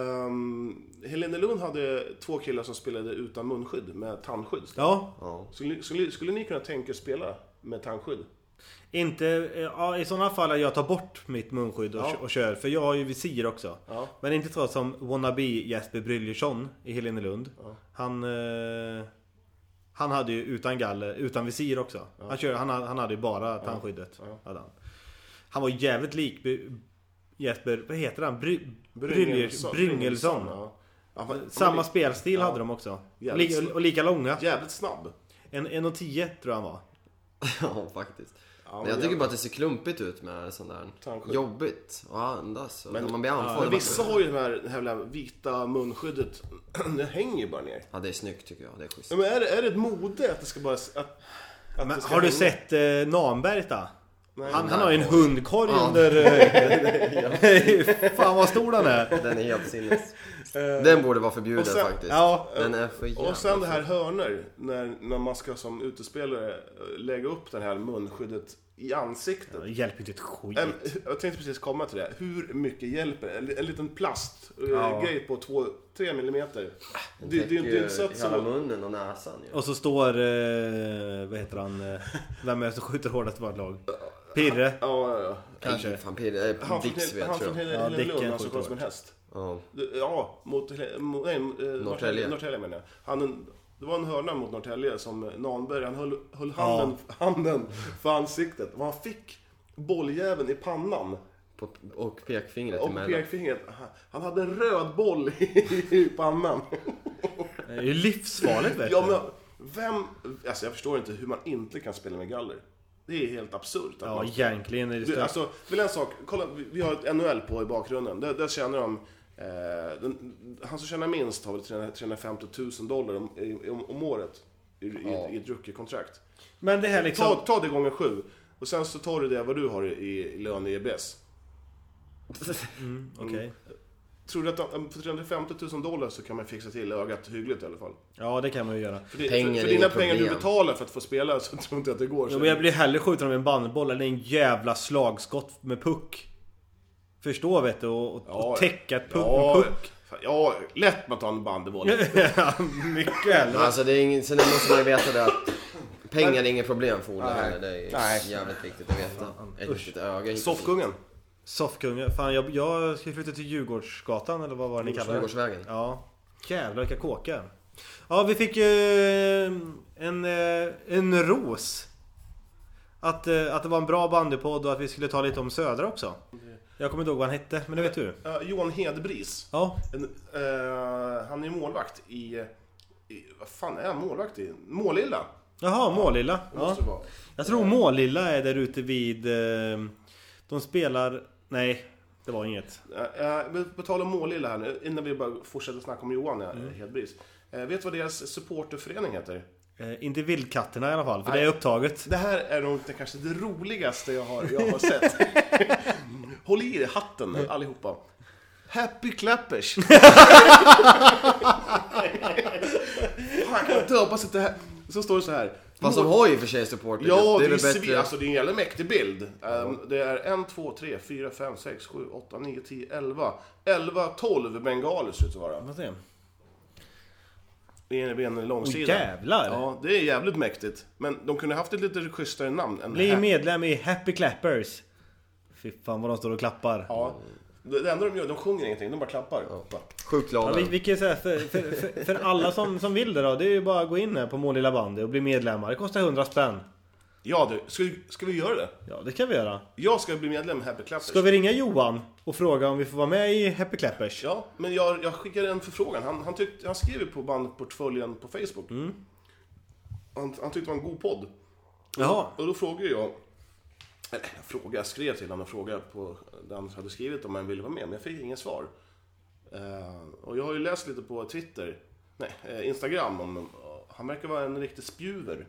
Speaker 4: Ehm, Helene Lund hade två killar som spelade utan munskydd, med tandskydd.
Speaker 2: Ja,
Speaker 3: Ja.
Speaker 4: Skulle, skulle, skulle ni kunna tänka er spela med tandskydd?
Speaker 2: inte... eh, Ja, I sådana fall att jag tar bort mitt munskydd och,
Speaker 4: Ja.
Speaker 2: och kör. För jag har ju visir också.
Speaker 4: Ja.
Speaker 2: Men inte så som wannabe Jesper Bryllersson i Helenelund. Han... Eh, han hade ju utan galler, utan visir också. Han, kör, han, han hade ju bara tandskyddet. Hade han. han var jävligt lik Be- Jesper, vad heter han? Bry, Bryngelson. Bryngelsson.
Speaker 4: Ja. Ja, han var-
Speaker 2: Samma
Speaker 4: han var
Speaker 2: spelstil hade de också.
Speaker 4: Jävligt
Speaker 2: Lika,
Speaker 4: snabb.
Speaker 2: och lika långa.
Speaker 4: li- Jävligt snabb.
Speaker 2: En, en och tio tror jag han var.
Speaker 3: ja, faktiskt.
Speaker 4: men
Speaker 3: men jag tycker
Speaker 4: jävlar.
Speaker 3: bara att det ser klumpigt ut med sån där.
Speaker 4: Tandskydd.
Speaker 3: Jobbigt att andas. Och
Speaker 4: Men-
Speaker 3: när man blir andfådd.
Speaker 4: Men
Speaker 3: man-
Speaker 4: vissa har ju det här, det här jävla vita munskyddet. Det hänger ju bara ner.
Speaker 3: Ja, det är snyggt tycker jag. Det är schysst.
Speaker 4: Ja, Men är, det- är det ett mode att det ska bara... s- Att, Att
Speaker 2: Men
Speaker 4: det ska
Speaker 2: har du
Speaker 4: hänga.
Speaker 2: sett eh, Namberg då?
Speaker 4: Nej,
Speaker 2: Han,
Speaker 4: nej.
Speaker 2: han har ju en hundkorg under... eh, Fan vad stor den är!
Speaker 3: Den är helt sinnes. Den borde vara förbjuden
Speaker 4: och sen-
Speaker 3: faktiskt.
Speaker 2: ja,
Speaker 3: den är för jävla...
Speaker 4: Och sen det här hörner när, när man ska som utespelare eh, lägga upp det här munskyddet i ansiktet.
Speaker 2: Det hjälper inte ett skit.
Speaker 4: En, jag tänkte precis komma till det. Hur mycket hjälper en, en liten plastgrej på 2-3 millimeter. Det, det, är ju inte så att...
Speaker 3: så... Hela
Speaker 4: Så,
Speaker 3: munnen och näsan ju.
Speaker 2: Och så står... Eh, vad heter han? eh, Vem är det som skjuter hårdast i vårt lag? Pirre.
Speaker 4: ja, ja, ja.
Speaker 2: Kanske.
Speaker 3: Fan, Pirre. eh,
Speaker 4: Han från
Speaker 3: Dix
Speaker 4: Hel-
Speaker 3: vet
Speaker 4: han
Speaker 3: jag.
Speaker 4: från
Speaker 3: tror jag.
Speaker 2: Ja,
Speaker 4: Hel- Helenlund,
Speaker 2: Dicken
Speaker 4: han som
Speaker 2: skjuter
Speaker 4: sköt som en häst.
Speaker 3: Ja.
Speaker 4: Ja, mot, Hel- mot nej, eh, Norrtälje. Norrtälje menar jag. Han, det var en hörna mot Norrtälje som Nahnberg, han höll, höll handen, handen för ansiktet. Och han fick bolljäveln i pannan
Speaker 3: På, och pekfingret
Speaker 4: och
Speaker 3: emellan.
Speaker 4: pekfingret. Han- Han hade en röd boll i pannan.
Speaker 2: Det är ju livsfarligt vet
Speaker 4: Ja,
Speaker 2: du.
Speaker 4: men vem... Alltså jag förstår inte hur man inte kan spela med galler. Det är helt absurt. att
Speaker 2: Ja,
Speaker 4: man-
Speaker 2: egentligen är det
Speaker 4: Du,
Speaker 2: stört.
Speaker 4: alltså, vill en sak. Kolla, vi- vi har ett NHL på i bakgrunden. Där, där tjänar de... Eh, den, han som tjänar minst har väl 300 350 000 dollar om, i- om, om året i, i, i ett rookie-kontrakt.
Speaker 2: Men det här
Speaker 4: Ta,
Speaker 2: liksom...
Speaker 4: ta det gånger sju. Och sen så tar du det vad du har i, i lön i E EBS.
Speaker 2: Okej.
Speaker 4: Tror du att de- för 350 000 dollar så kan man fixa till ögat hyggligt i alla fall?
Speaker 2: Ja, det kan man ju göra.
Speaker 4: För, det,
Speaker 3: Pengar är
Speaker 4: för, för dina
Speaker 3: inget
Speaker 4: pengar du
Speaker 3: problem.
Speaker 4: betalar för att få spela så tror inte jag att det går.
Speaker 2: Ja, men jag blir hellre skjuten av en bandboll än en jävla slagskott med puck. Förstå vet du, och, och, och täcka ett puck
Speaker 4: ja,
Speaker 2: med puck.
Speaker 4: fan, Ja, lätt man tar en bandyboll.
Speaker 2: Ja, mycket
Speaker 3: Men
Speaker 2: hellre.
Speaker 3: Alltså det är ingen, sen måste man ju veta det att pengar är inget problem för Ola heller. Det är
Speaker 4: Nej.
Speaker 3: jävligt viktigt att veta. Ett litet öga hit och dit.
Speaker 4: Soffkungen.
Speaker 2: Soffkungar. Fan, jag, jag ska flytta till Djurgårdsgatan eller vad var det ni kallade det?
Speaker 3: Djurgårdsvägen.
Speaker 2: Ja. Jävlar vilka kåkar. Ja, vi fick eh, en, eh, en ros. Att, eh, att det var en bra bandypodd och att vi skulle ta lite om Södra också. Jag kommer inte ihåg vad han hette, men det vet du.
Speaker 4: Eh, Johan Hedbris.
Speaker 2: Ja,
Speaker 4: En, eh, han är målvakt i, i... Vad fan är han målvakt i? Målilla.
Speaker 2: jaha, Målilla. Ja.
Speaker 4: Måste det vara.
Speaker 2: Jag tror Målilla är där ute vid... eh, De spelar... Nej, det var inget.
Speaker 4: Eh, eh, på tal om Målilla här nu, innan vi bara fortsätter snacka om Johan eh, Hedbris. Eh, vet du vad deras supporterförening heter?
Speaker 2: Eh, Inte Vildkatterna i alla fall, för det är upptaget.
Speaker 4: Det här är nog det, kanske det roligaste jag har, jag har sett. Håll i er hatten nu, allihopa. Happy Clappers! Fan, kan jag döpa sig till här? Så står det så här.
Speaker 3: Fast de har ju i och för sig support.
Speaker 4: Ja, det är,
Speaker 3: väl
Speaker 4: svin, alltså det är en jävla mäktig bild. Ehm, Det är 1, 2, 3, 4, 5, 6, 7, 8, 9, 10, 11. 11, 12 bengaler ser det ut att vara.
Speaker 2: Vad säger jag?
Speaker 4: Det är en långsida.
Speaker 2: Åh, jävlar!
Speaker 4: Ja, det är jävligt mäktigt. Men de kunde haft ett lite schysstare namn. än
Speaker 2: Bli
Speaker 4: här.
Speaker 2: medlem i Happy Clappers. Fy fan vad de står och klappar.
Speaker 4: Ja. Det det enda de gör, de sjunger ingenting, de bara klappar. Bara.
Speaker 3: Sjukt
Speaker 2: Ja,
Speaker 3: glada.
Speaker 2: vi, vi kan ju säga för, för, för, för alla som, som vill det då, det är ju bara att gå in här på Målilla bandy och bli medlemmar. Det kostar 100 spänn.
Speaker 4: Ja du, ska, vi- ska vi göra det?
Speaker 2: Ja, det kan vi göra.
Speaker 4: Jag ska bli medlem i Happy Clappers.
Speaker 2: Ska vi ringa Johan och fråga om vi får vara med i Happy Clappers?
Speaker 4: Ja, men jag, jag skickade en förfrågan. Han, han, tyckte, han skrev ju på bandportföljen på Facebook. Han, han tyckte det var en god podd.
Speaker 2: Jaha.
Speaker 4: Och då frågade jag... Eller jag frågade, jag skrev till honom och frågade på den som hade skrivit om han ville vara med, men jag fick inget svar. Eh, och jag har ju läst lite på Twitter, nej, eh, Instagram om... Han verkar vara en riktig spjuver.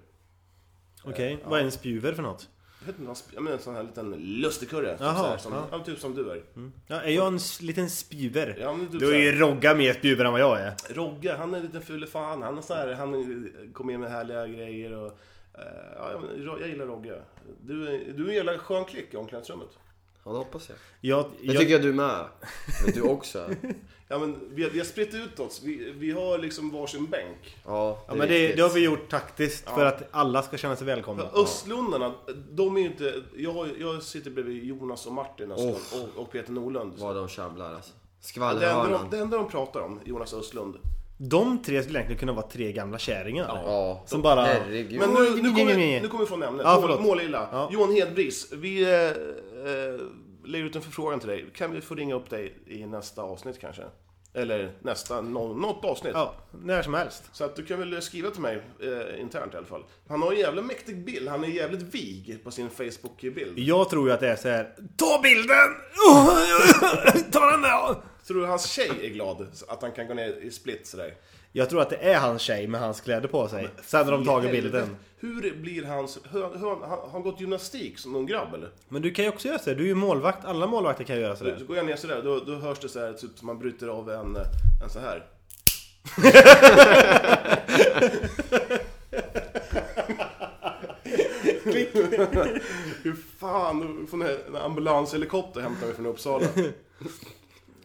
Speaker 2: Okej, vad är en spjuver för något?
Speaker 4: Jag vet inte, vad han sp- ja, men en sån här liten lustigkurre. Typ, så
Speaker 2: Jaha,
Speaker 4: här, som,
Speaker 2: ja. Mm.
Speaker 4: ja, typ som du är.
Speaker 2: Ja, är jag en s- liten spjuver?
Speaker 4: Ja, men typ
Speaker 2: du är
Speaker 4: så här.
Speaker 2: ju Rogga mer spjuver än vad jag är.
Speaker 4: Rogge, han är en liten ful fan. Han, är så här, han kommer in med härliga grejer och... eh, ja, men jag gillar Rogge. Du, är- du är en jävla skön klick i omklädningsrummet.
Speaker 3: Ja, det hoppas jag.
Speaker 2: Jag,
Speaker 3: Det
Speaker 2: jag,
Speaker 3: tycker jag du med. Men du också.
Speaker 4: Ja, men vi, har- vi har spritt ut oss. Vi, vi har liksom varsin bänk.
Speaker 3: Ja,
Speaker 2: ja, men det,
Speaker 3: viktigt.
Speaker 2: det har vi gjort taktiskt för att alla ska känna sig välkomna.
Speaker 4: Östlundarna, de är ju inte... Jag, jag sitter bredvid Jonas och Martin Östlund och, och Peter Norlund.
Speaker 3: Vad de tjabblar alltså.
Speaker 4: Det enda, de,
Speaker 3: Skvallerhörnan.
Speaker 4: det enda de pratar om, Jonas Östlund.
Speaker 2: De tre skulle egentligen kunna vara tre gamla kärringar.
Speaker 3: Ja.
Speaker 2: Som bara...
Speaker 3: Herregud.
Speaker 4: Men nu, nu kommer vi- nu kommer vi från ämnet.
Speaker 2: Ja,
Speaker 4: Mål-
Speaker 2: förlåt.
Speaker 4: Målilla.
Speaker 2: Ja.
Speaker 4: Johan Hedbris, vi eh, eh, lägger ut en förfrågan till dig. Kan vi få ringa upp dig i nästa avsnitt kanske? Eller nästa, nå- något avsnitt.
Speaker 2: Ja, när som helst.
Speaker 4: Så att du kan väl skriva till mig eh, internt i alla fall. Han har en jävla mäktig bild. Han är jävligt vig på sin Facebook-bild.
Speaker 2: Jag tror ju att det är så här. Ta bilden! Ta den där!
Speaker 4: Tror du hans tjej är glad att han kan gå ner i split sådär?
Speaker 2: Jag tror att det är hans tjej med hans kläder på sig. Sen har de tagit bilden.
Speaker 4: Hur blir hans... Hur, hur, han- han- har han gått gymnastik som någon grabb eller?
Speaker 2: Men du kan ju också göra sådär. Du är ju målvakt. Alla målvakter kan ju göra
Speaker 4: Så,
Speaker 2: sådär.
Speaker 4: så går jag ner sådär, då, då hörs det såhär, typ som man bryter av en, eh, en så här. Klick. Hur fan, då får ni en ambulanshelikopter hämtar mig från Uppsala.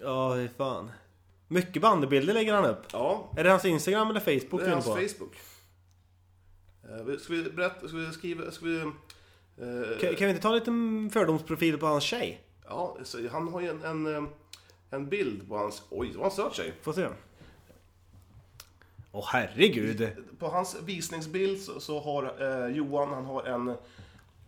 Speaker 2: Ja, fy fan. Mycket bandybilder lägger han upp.
Speaker 4: Ja,
Speaker 2: Är det hans Instagram eller Facebook
Speaker 4: det
Speaker 2: du
Speaker 4: är
Speaker 2: är
Speaker 4: hans
Speaker 2: inne på?
Speaker 4: Facebook. Eh, vi- Ska vi berätta, ska vi skriva, ska vi... eh,
Speaker 2: Kan, kan vi inte ta lite fördomsprofil på hans tjej?
Speaker 4: Ja, så han har ju en, en, eh, en bild på hans... Oj, vad han söt tjej.
Speaker 2: Får se. Åh herregud!
Speaker 4: På hans visningsbild så, så har eh, Johan, han har en,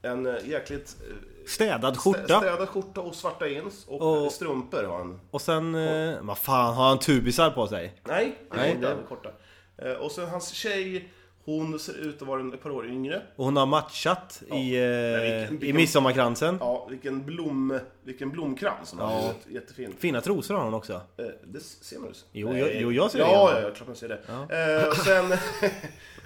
Speaker 4: en eh, jäkligt eh,
Speaker 2: Städad
Speaker 4: stä-
Speaker 2: skjorta.
Speaker 4: städad skjorta och svarta jeans och eh,
Speaker 2: Och-
Speaker 4: strumpor har han.
Speaker 2: Och sen... Eh, vad fan, har han tubisar på sig?
Speaker 4: Nej,
Speaker 2: Nej,
Speaker 4: Nej det är
Speaker 2: det-
Speaker 4: korta. Eh, och sen hans tjej, hon ser ut att vara ett par år yngre.
Speaker 2: Och hon har matchat i, eh,
Speaker 4: vilken-
Speaker 2: i
Speaker 4: vilken-
Speaker 2: midsommarkransen.
Speaker 4: Ja, vilken, blom, vilken blomkrans hon har. Jätte- Jättefin.
Speaker 2: Fina trosor har hon också.
Speaker 4: Eh, det ser man ju.
Speaker 2: Jo,
Speaker 4: Nej.
Speaker 2: jag- jo, jag ser det
Speaker 4: ja,
Speaker 2: igenom.
Speaker 4: Ja, ja, klart man ser det. Eh, och sen...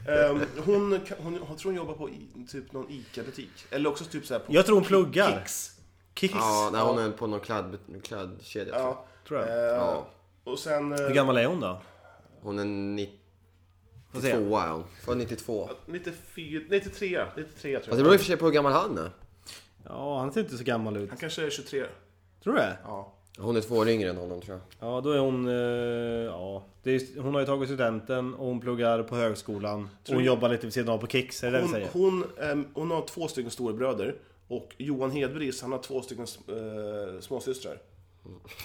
Speaker 4: ehm, hon, kan- hon, hon tror hon jobbar på i, typ någon ICA-butik. Eller också typ så här på...
Speaker 2: Jag tror hon pluggar.
Speaker 4: Kicks.
Speaker 2: Kicks.
Speaker 3: Ja, nej, hon är på någon kladd, kladdkedja tror jag.
Speaker 4: Ja.
Speaker 2: Tror jag.
Speaker 4: Eh,
Speaker 3: Ja.
Speaker 4: Och sen... eh,
Speaker 2: Hur gammal är hon då?
Speaker 3: Hon är 92
Speaker 2: Får se.
Speaker 3: är hon. Född 92.
Speaker 4: 94, 93, 93
Speaker 3: Fast Alltså, det
Speaker 4: tror jag.
Speaker 3: beror i och för sig på hur gammal han är.
Speaker 2: Ja, han ser inte så gammal ut.
Speaker 4: Han kanske är 23.
Speaker 2: Tror du det?
Speaker 4: Ja.
Speaker 3: Hon är två år yngre än honom tror jag.
Speaker 2: Ja, då är hon... Eh, ja. Det är, hon har ju tagit studenten och hon pluggar på högskolan. Och hon
Speaker 4: du-
Speaker 2: jobbar lite vid sidan av på Kicks, är det det vi
Speaker 4: Hon,
Speaker 2: säger?
Speaker 4: hon, ehm, hon har två stycken storbröder. Och Johan Hedbris, han har två stycken eh, småsystrar.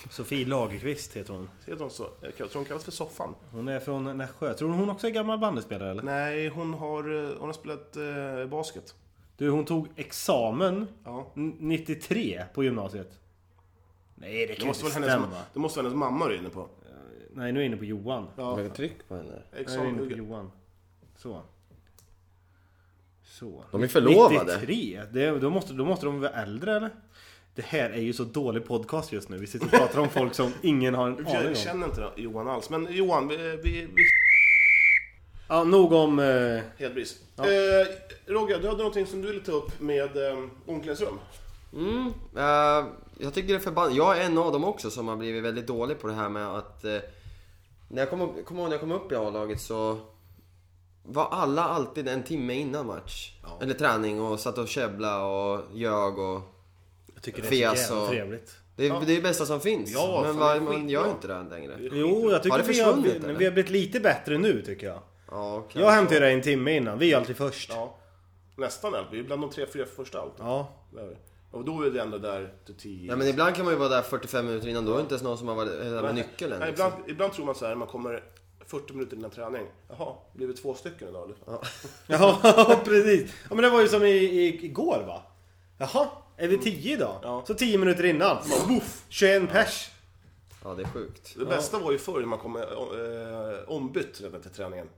Speaker 2: Sofie Lagerqvist heter hon.
Speaker 4: Heter hon så? Jag tror hon kallas för Soffan.
Speaker 2: Hon är från Nässjö. Tror du hon också är gammal bandyspelare eller?
Speaker 4: Nej, hon har, eh, hon har spelat eh, basket.
Speaker 2: Du, hon tog examen
Speaker 4: Ja.
Speaker 2: n- 93 på gymnasiet. Nej, det
Speaker 4: Det
Speaker 2: kan
Speaker 4: måste,
Speaker 2: inte
Speaker 4: väl hennes,
Speaker 2: stämma.
Speaker 4: det måste vara hennes mamma du är inne på.
Speaker 2: Nej, nu är jag inne på Johan.
Speaker 4: Ja.
Speaker 3: Lägg tryck på henne.
Speaker 2: Nu är jag inne på
Speaker 4: Examen,
Speaker 2: Johan. Så. Så.
Speaker 3: De är förlovade.
Speaker 2: 93? Det, då, måste, då måste de vara äldre eller? Det här är ju så dålig podcast just nu. Vi sitter och pratar om folk som ingen har en aning
Speaker 4: jag
Speaker 2: om.
Speaker 4: känner inte Johan alls. Men Johan, vi... vi, vi
Speaker 2: Ja, nog om... Eh,
Speaker 4: Hedbris. Eh, Rogge, du hade någonting som du ville ta upp med eh, omklädningsrum.
Speaker 3: Mm, eh, jag tycker det är förbannat. Jag är en av dem också som har blivit väldigt dålig på det här med att... eh, när jag kom, upp- kom ihåg när jag kom upp i A-laget så var alla alltid en timme innan match. Eller träning och satt och käbblade och ljög och...
Speaker 2: jag tycker
Speaker 3: det är så Fes jävla och-
Speaker 2: trevligt.
Speaker 3: Det är det är det bästa som finns.
Speaker 4: Ja, fan,
Speaker 3: men
Speaker 4: det
Speaker 3: va,
Speaker 4: är
Speaker 3: man
Speaker 4: skitbra.
Speaker 3: gör inte det längre.
Speaker 2: Jo, jag tycker
Speaker 3: Har det
Speaker 2: vi, har,
Speaker 3: försvunnit,
Speaker 2: vi,
Speaker 3: eller?
Speaker 2: vi har blivit lite bättre nu tycker jag.
Speaker 3: Ja, kanske.
Speaker 2: Jag hämtar ju dig en timme innan. Vi är alltid först. Ja.
Speaker 4: Ja. Nästan allt. Vi är bland de tre, fyra första allt. Det är vi. Och då är det ändå där till tio.
Speaker 3: Ja, men ibland kan man ju vara där 45 minuter innan. Då är det inte ens någon som har varit där med
Speaker 4: Nej,
Speaker 3: nyckeln
Speaker 4: nej,
Speaker 3: än.
Speaker 4: ibland,
Speaker 3: Liksom.
Speaker 4: ibland tror man så här, man kommer 40 minuter innan träning. Jaha, blir vi två stycken idag liksom. eller?
Speaker 2: Ja, precis. Ja, men det var ju som i, i, igår va? Jaha, är vi tio idag?
Speaker 4: Ja.
Speaker 2: Så tio minuter innan. Bara, Woof, 21 pers.
Speaker 3: Ja, det är sjukt.
Speaker 4: Det bästa var ju förr när man kom eh, ombytt redan till träningen.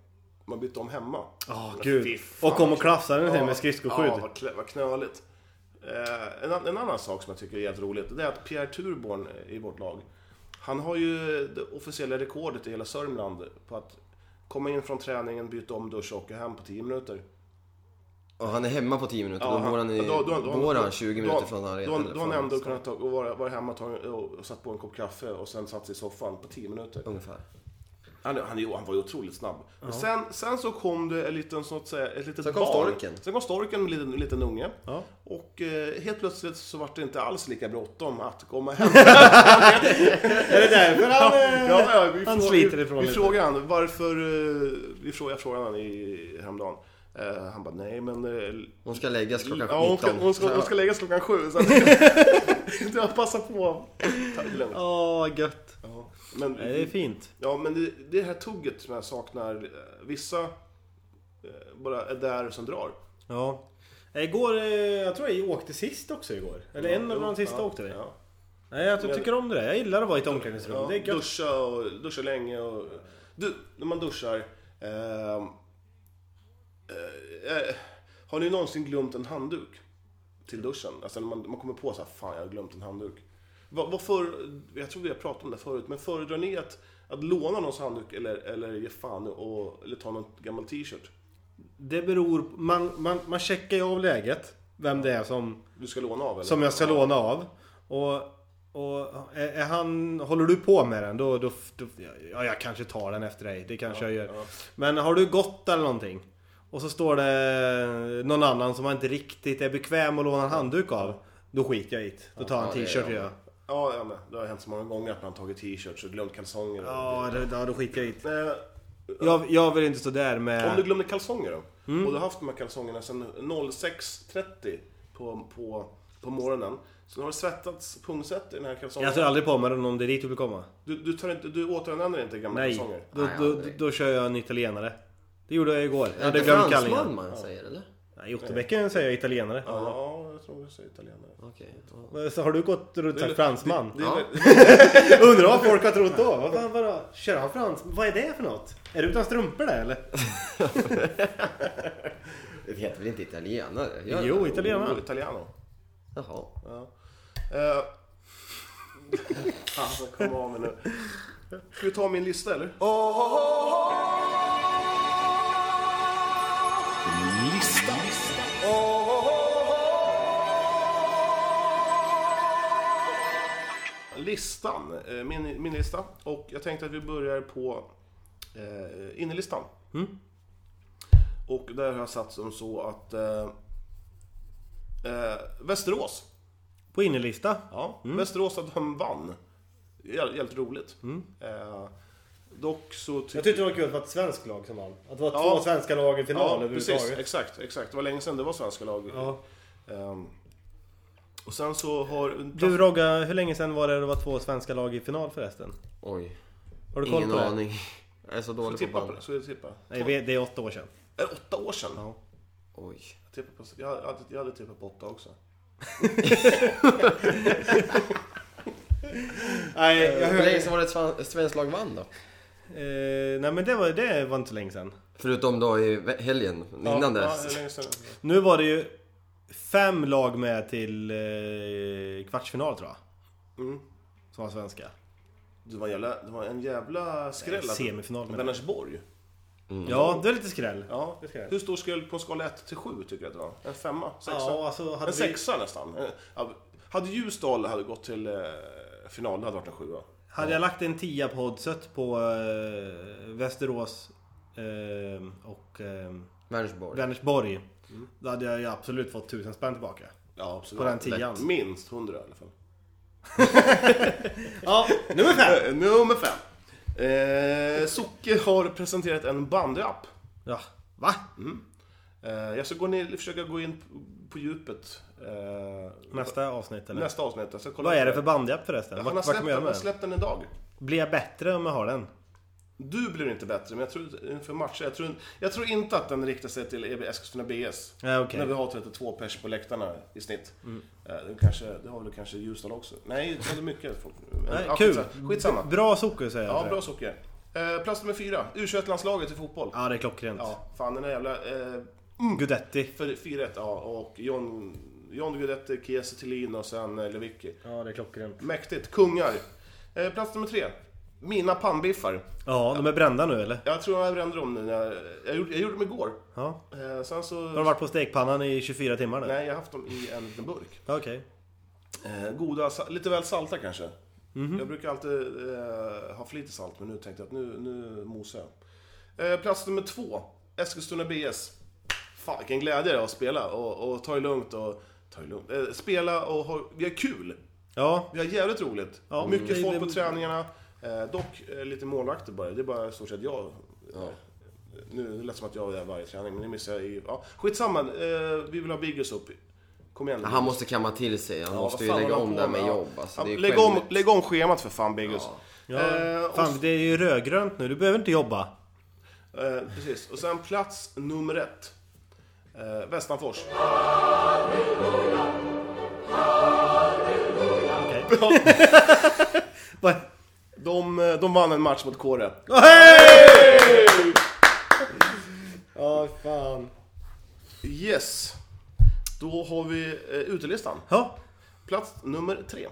Speaker 4: Man bytte om hemma.
Speaker 2: Ja,
Speaker 4: Men fy
Speaker 2: gud.
Speaker 4: fan,
Speaker 2: Och kom och klafsade den
Speaker 4: Ja,
Speaker 2: här med skridskoskydd.
Speaker 4: Ja, vad, klä- vad knöligt. Eh, en, an- en annan sak som jag tycker är jävligt roligt, det är att Pierre Turborn i vårt lag, han har ju det officiella rekordet i hela Sörmland på att komma in från träningen, byta om, duscha och åka hem på 10 minuter.
Speaker 3: Och han är hemma på 10 minuter. då bor han, i,
Speaker 4: då- då- då-
Speaker 3: bor
Speaker 4: då-
Speaker 3: han 20
Speaker 4: då-
Speaker 3: minuter från när han
Speaker 4: Då
Speaker 3: redan
Speaker 4: då har han ändå kunnat ta, och vara, vara hemma och, ta, och, och satt på en kopp kaffe och sen satt sig i soffan på 10 minuter.
Speaker 3: Ungefär.
Speaker 4: Han, han, jo, han var ju otroligt snabb. Men sen, sen så kom det en liten, så att säga, ett litet
Speaker 3: Sen kom
Speaker 4: barn.
Speaker 3: storken.
Speaker 4: Sen kom storken med en liten, liten unge. Och eh, helt plötsligt så var det inte alls lika bråttom att komma hem.
Speaker 2: Är det därför han... eh,
Speaker 4: ja, vi
Speaker 2: han
Speaker 4: frå-
Speaker 2: sliter
Speaker 4: vi-
Speaker 2: ifrån
Speaker 4: Vi
Speaker 2: lite.
Speaker 4: frågade han varför... eh, Vi frågade, jag frågade han i, häromdagen. Eh, han bara, nej men... eh,
Speaker 3: Hon ska läggas klockan
Speaker 4: Ja, hon, ska,
Speaker 3: 19.
Speaker 4: hon, ska, hon ska läggas klockan sju. Så att, jag passar på. Tack, det är lugnt.
Speaker 2: Åh, gött.
Speaker 4: Ja, men,
Speaker 2: Nej, det är fint.
Speaker 4: Ja, men det, det här tugget som jag saknar. eh, Vissa eh, bara är där och sen drar.
Speaker 2: Ja. Igår, eh, jag tror jag åkte sist också igår. Eller en av de sista åkte vi.
Speaker 4: Ja.
Speaker 2: Nej, jag tycker om det där. Jag gillar att vara i ett omklädningsrum.
Speaker 4: Ja,
Speaker 2: det är gött.
Speaker 4: duscha, och, duscha länge och... Du, när man duschar... ehm, eh, eh, har ni någonsin glömt en handduk? Till duschen? Alltså när man, man kommer på så här, fan jag har glömt en handduk. Vad, vad för, jag tror vi har pratat om det förut, men föredrar ni att Att låna någons handduk eller, eller ge fan och, eller ta någon gammal t-shirt.
Speaker 2: Det beror... Man, man, man checkar ju av läget. Vem det är som,
Speaker 4: Du ska låna av eller?
Speaker 2: som jag ska låna av. Och, och är, är han, håller du på med den då, då, då... Ja, jag kanske tar den efter dig. Det kanske jag gör. Men har du gått eller någonting. Och så står det någon annan som man inte riktigt är bekväm att låna en handduk av. Då skiter jag i det. Då tar han
Speaker 3: Ja, det
Speaker 2: t-shirt
Speaker 3: gör
Speaker 2: jag.
Speaker 4: Ja, ja men, det har hänt så många gånger att man har tagit t-shirts och glömt kalsonger. och-
Speaker 2: Ja, det- ja, då skiter jag i det.
Speaker 4: Eh,
Speaker 2: Jag, jag vill inte stå där
Speaker 4: Om du
Speaker 2: med...
Speaker 4: glömde kalsonger då?
Speaker 2: Mm.
Speaker 4: Och du har haft de här kalsongerna sedan 06.30 på, på, på morgonen. Så nu har det svettats pungsvett i den här kalsongen.
Speaker 2: Jag tar aldrig på mig den om det är dit du vill komma.
Speaker 4: Du, du, tar inte, du återanvänder inte gamla
Speaker 2: Nej,
Speaker 4: kalsonger?
Speaker 2: då,
Speaker 3: Nej,
Speaker 2: då, då,
Speaker 3: aldrig.
Speaker 2: kör jag en italienare. Det gjorde jag igår. Jag
Speaker 3: Är
Speaker 2: hade
Speaker 3: det
Speaker 2: glömt
Speaker 3: fransman
Speaker 2: kallingen.
Speaker 3: man säger eller?
Speaker 2: Nej, I Otterbäcken säger jag italienare.
Speaker 4: Ja, jag tror jag säger italienare.
Speaker 3: Okej. ja.
Speaker 2: Så har du gått runt och sagt fransman?
Speaker 4: Det är
Speaker 3: Ja.
Speaker 4: väl-
Speaker 2: Undrar vad folk har trott då? Vad fan vadå? Kör han frans? Vad är det för något? Är du utan strumpor där eller?
Speaker 3: Det heter väl inte italienare? Gör det?
Speaker 2: Jo, italienare.
Speaker 4: Oh, Italiano.
Speaker 3: Jaha.
Speaker 4: Uh, alltså, kom av mig nu. Ska vi ta min lista eller? Listan, eh, min, min lista. Och jag tänkte att vi börjar på eh, innerlistan. Och där har jag satt som så att eh, eh, Västerås
Speaker 2: På innerlista?
Speaker 4: Ja,
Speaker 2: Mm.
Speaker 4: Västerås att de vann. Jä- Jävligt roligt. Eh, dock så tycker
Speaker 2: Mm. Jag tyckte det var kul att det var ett svenskt lag som vann. Att det var
Speaker 4: Ja.
Speaker 2: två svenska lag i final
Speaker 4: Ja, precis.
Speaker 2: överhuvudtaget.
Speaker 4: Exakt, exakt. Det var länge sedan det var svenska lag.
Speaker 2: Ja.
Speaker 4: Ehm, och sen så har...
Speaker 2: Du Rogga, hur länge sedan var det det var två svenska lag i final förresten?
Speaker 3: Oj.
Speaker 2: Har du koll
Speaker 3: Ingen
Speaker 2: på det?
Speaker 3: aning. Jag är så
Speaker 4: Jag
Speaker 3: dålig på
Speaker 4: tippar på
Speaker 3: band.
Speaker 4: det. Så jag tippar.
Speaker 2: Nej, vi- det är åtta år sedan.
Speaker 4: Eh, åtta år sedan?
Speaker 3: Oj.
Speaker 4: Jag, tippar på, jag, hade, jag hade tippat på åtta också.
Speaker 2: Nej, jag
Speaker 3: Hur länge sedan var det ett svan- ett svenskt lag vann då?
Speaker 2: Eh, nej men det var, det var inte så länge sedan.
Speaker 3: Förutom då i ve- helgen, innan
Speaker 4: ja, Ja, det
Speaker 3: dess.
Speaker 4: är länge sedan.
Speaker 2: Nu var det ju fem lag med till eh, kvartsfinal tror jag.
Speaker 4: Mm.
Speaker 2: Som var svenska.
Speaker 4: Det var en jävla, det var en jävla skräll. att-
Speaker 2: Semifinal menar jag.
Speaker 4: Vänersborg.
Speaker 3: Mm.
Speaker 2: Ja, det är lite skräll.
Speaker 4: Ja.
Speaker 2: Det ska jag.
Speaker 4: Hur stor skräll på en skala 1 till 7 tycker jag att det var? En femma? Sexa?
Speaker 2: Ja, alltså, hade
Speaker 4: en
Speaker 2: vi-
Speaker 4: sexa nästan. Eh, ja, Hade Ljusdal hade gått till eh, final, det hade varit en sjua.
Speaker 2: Hade jag lagt en tia på oddset på eh, Västerås eh, och eh,
Speaker 3: Vänersborg.
Speaker 2: Vänersborg. Då hade jag ju absolut fått tusen spänn tillbaka.
Speaker 4: Ja, absolut.
Speaker 2: På den tian.
Speaker 4: Minst 100 i alla fall.
Speaker 2: Ja, nummer fem!
Speaker 4: Eh, Nummer fem. Eh, Socke har presenterat en bandyapp.
Speaker 2: Ja, va?
Speaker 4: Eh, jag ska gå ner, försöka gå in på djupet eh,
Speaker 2: Nästa avsnitt eller?
Speaker 4: nästa avsnitt. Jag ska kolla
Speaker 2: Vad är det för
Speaker 4: Han
Speaker 2: bandjapp förresten?
Speaker 4: har
Speaker 2: Vad, vad
Speaker 4: släppt,
Speaker 2: kan man göra
Speaker 4: han har
Speaker 2: med den?
Speaker 4: släppt den idag.
Speaker 2: Blir jag bättre om jag har den?
Speaker 4: Du blir inte bättre, men jag tror inför matcher. Jag tror, jag tror inte att den riktar sig till EB Eskilstuna BS.
Speaker 2: Nej, okej. Mm.
Speaker 4: När vi har 32 pers på läktarna i snitt. Eh, Det, kanske, det har väl kanske Ljusdal också. Nej, det är mycket folk.
Speaker 2: Nej,
Speaker 4: Ja,
Speaker 2: kul!
Speaker 4: skitsa- Skitsamma.
Speaker 2: Bra socker säger jag.
Speaker 4: Ja,
Speaker 2: till
Speaker 4: bra
Speaker 2: dig.
Speaker 4: socker. Eh, plats nummer fyra. U21-landslaget i fotboll.
Speaker 2: Ja, det är klockrent. Mm.
Speaker 4: Ja, fan den där jävla... Eh,
Speaker 2: Gudetti.
Speaker 4: för 4-1, ja. Och John, John Guidetti, Kiese Thelin och sen eh, Lewicki.
Speaker 2: Ja, det är klockrent.
Speaker 4: Mäktigt. Kungar. Eh, plats nummer tre. Mina pannbiffar.
Speaker 2: Ja, de är brända nu eller?
Speaker 4: Jag tror jag brände dem nu. När jag, jag, gjorde, jag gjorde dem igår.
Speaker 2: Ja.
Speaker 4: Eh, sen så...
Speaker 2: Har de varit på stekpannan i 24 timmar nu?
Speaker 4: Nej, jag har haft dem i en liten burk.
Speaker 2: Ja, Okej.
Speaker 4: Eh, goda, sa- lite väl salta kanske.
Speaker 2: Mhm.
Speaker 4: Jag brukar alltid eh, ha för lite salt, men nu tänkte jag att nu, nu mosar jag. Eh, plats nummer två, Eskilstuna BS. Fan vilken glädje det är att spela och, och ta det lugnt och... Ta det lugnt. Eh, spela och ha, vi har kul!
Speaker 2: Ja,
Speaker 4: Vi har jävligt roligt.
Speaker 2: Ja,
Speaker 4: Mycket
Speaker 2: det-
Speaker 4: folk
Speaker 2: det-
Speaker 4: på träningarna. Eh, dock eh, lite målvakter bara. Det är bara i stort sett jag. eh,
Speaker 3: Ja.
Speaker 4: Nu det lät som att jag är där varje träning, men det missar jag i... Ja, skitsamma, eh, vi vill ha Biggus upp. Kom igen.
Speaker 3: Han måste kamma till sig. Han
Speaker 4: Ja,
Speaker 3: måste
Speaker 4: vad
Speaker 3: ju
Speaker 4: fan
Speaker 3: lägga
Speaker 4: håller
Speaker 3: om
Speaker 4: han
Speaker 3: det
Speaker 4: på
Speaker 3: här med
Speaker 4: ja.
Speaker 3: jobb. Alltså, det är
Speaker 4: Ja,
Speaker 3: ju
Speaker 4: lägg, om,
Speaker 3: skämmigt.
Speaker 4: lägg om schemat för fan Biggus.
Speaker 2: ja.
Speaker 4: Eh, och,
Speaker 2: Fan, det är ju rödgrönt nu. Du behöver inte jobba.
Speaker 4: eh, precis. Och sen plats nummer ett. Eh, Västanfors.
Speaker 2: Va?
Speaker 4: De, eh, de vann en match mot Kåre.
Speaker 2: Ja, fan.
Speaker 4: Yes. Då har vi eh, utelistan.
Speaker 2: Ja,
Speaker 4: Mm. Plats nummer tre.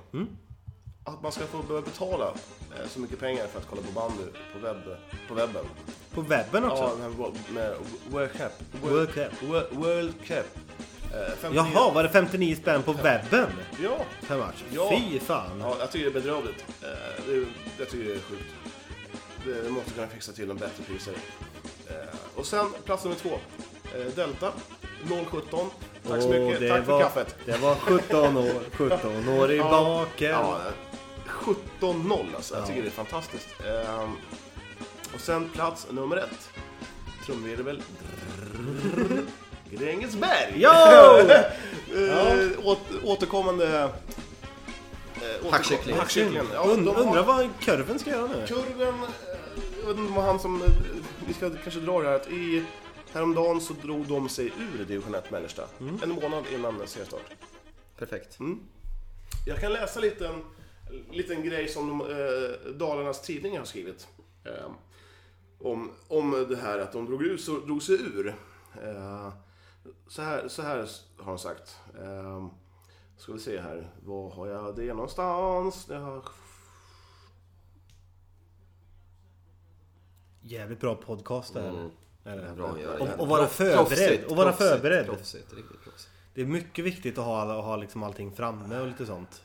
Speaker 4: att man ska få börja betala eh, så mycket pengar för att kolla på bandy på, webb, på webben.
Speaker 2: På webben också?
Speaker 4: Ja, den här wo- med World Cup.
Speaker 2: World Cup.
Speaker 4: Wo- World Cup. Eh, 59.
Speaker 2: Jaha, var det 59 spänn på webben
Speaker 4: Ja.
Speaker 2: per match?
Speaker 4: Ja.
Speaker 2: Fy fan.
Speaker 4: ja, jag tycker det är bedrövligt. Eh, det, är- jag tycker det är sjukt. Det, det måste kunna fixa till en bättre priser. Eh, och sen plats nummer två. Eh, Delta 017. Tack så
Speaker 2: Åh,
Speaker 4: mycket.
Speaker 2: det
Speaker 4: Tack
Speaker 2: var-
Speaker 4: för kaffet.
Speaker 2: Det var 17 år, 17 år i baken.
Speaker 4: Ja, 17-0 alltså. Jag tycker det är fantastiskt. Ehm, och sen plats nummer ett. Trumvirvel. Grängesberg.
Speaker 2: Yo!
Speaker 4: Eh, åt- återkommande... Äh,
Speaker 3: Hackkyckling.
Speaker 4: Hackkycklingen. Ja,
Speaker 2: Und,
Speaker 4: de har-
Speaker 2: undrar vad kurven ska göra nu?
Speaker 4: Kurven, eh, jag vet inte vad han som, eh, vi ska kanske dra det här, att i, häromdagen så drog de sig ur division 1 mellersta.
Speaker 2: Mm.
Speaker 4: En månad innan seriestart.
Speaker 3: Perfekt.
Speaker 4: Jag kan läsa en liten, liten grej som de, eh, Dalarnas tidning har skrivit. Eh, om, om det här att de drog, ut, så, drog sig ur. Eh, så, här, så här har de sagt. Eh, ska vi se här. Var har jag det någonstans? Jag har...
Speaker 2: Jävligt bra podcast det här. Är Mm. det?
Speaker 3: Bra att göra
Speaker 2: Och-
Speaker 3: igen.
Speaker 2: och vara förberedd,
Speaker 3: Proffsigt,
Speaker 2: och vara
Speaker 3: proffsigt,
Speaker 2: förberedd.
Speaker 3: Proffsigt, riktigt proffsigt.
Speaker 2: Det är mycket viktigt att ha, att ha liksom allting framme och lite sånt.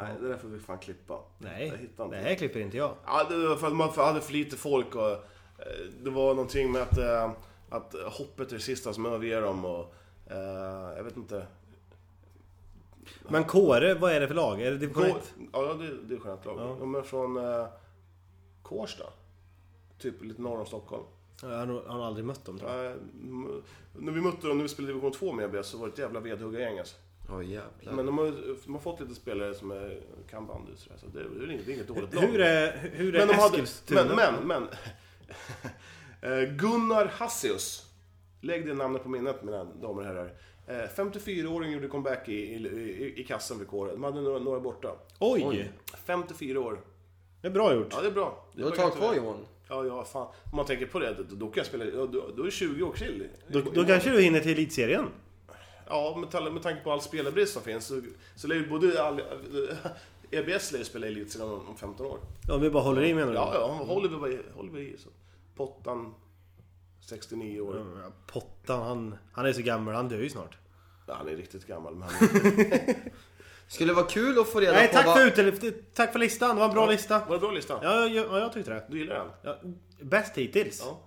Speaker 4: Nej, det där får vi fan klippa. Jag
Speaker 2: Nej,
Speaker 4: hittar
Speaker 2: det
Speaker 4: inte.
Speaker 2: här klipper inte jag.
Speaker 4: Ja, det var för att man hade för lite folk och eh, det var någonting med att, eh, att hoppet är det sista som överger dem och eh, jag vet inte.
Speaker 2: Men Kåre, vad är det för lag? Är det division 1?
Speaker 4: Ja, det, det är skönt lag. De är från eh, Kårsta. Typ lite norr om Stockholm.
Speaker 2: Jag har nog- har nog aldrig mött dem tror jag.
Speaker 4: Eh, m- när vi mötte dem, när vi spelade division 2 med ABS, så var det ett jävla vedhuggargäng alltså.
Speaker 3: Oj jävlar.
Speaker 4: Men de har, ju- de har fått lite spelare som är, kan bandy och sådär, så det är, det är inget, det är inget dåligt lag.
Speaker 2: Hur är, hur är
Speaker 4: Men de hade,
Speaker 2: Eskilstuna?
Speaker 4: men, men, men. Eh, Gunnar Hassius. Lägg det namnet på minnet mina damer och herrar. Eh, 54-åring gjorde comeback i, i, i, i kassen för kåren. De hade några, några borta.
Speaker 2: Oj!
Speaker 4: 54 år.
Speaker 2: Det är bra gjort.
Speaker 4: Ja, det är bra.
Speaker 3: Du har ett tag kvar Johan.
Speaker 4: Ja, ja, fan. Om man tänker på det, då, då kan jag spela... ja, Då, då är det 20 år till.
Speaker 2: Då, då kanske du hinner till Elitserien?
Speaker 4: Ja, med, tal- med tanke på all spelarbrist som finns så, så lär ju både... All, EBS lär ju spela i elitserien om, om 15 år.
Speaker 2: Om vi bara håller i menar du?
Speaker 4: Ja, ja, håller vi, bara i- håller vi i så. Pottan, 69 år.
Speaker 2: Ja, Pottan, han, han är så gammal, han dör ju snart.
Speaker 4: Ja, han är riktigt gammal. Men han...
Speaker 3: Skulle vara kul att få reda
Speaker 2: Nej,
Speaker 3: på
Speaker 2: tack
Speaker 3: vad...
Speaker 2: för, utel- tack för listan, det var en bra lista.
Speaker 4: Var det bra lista?
Speaker 2: Ja, jag, ja, jag tyckte det.
Speaker 4: Du gillar den?
Speaker 2: Ja, bäst hittills.
Speaker 4: Ja.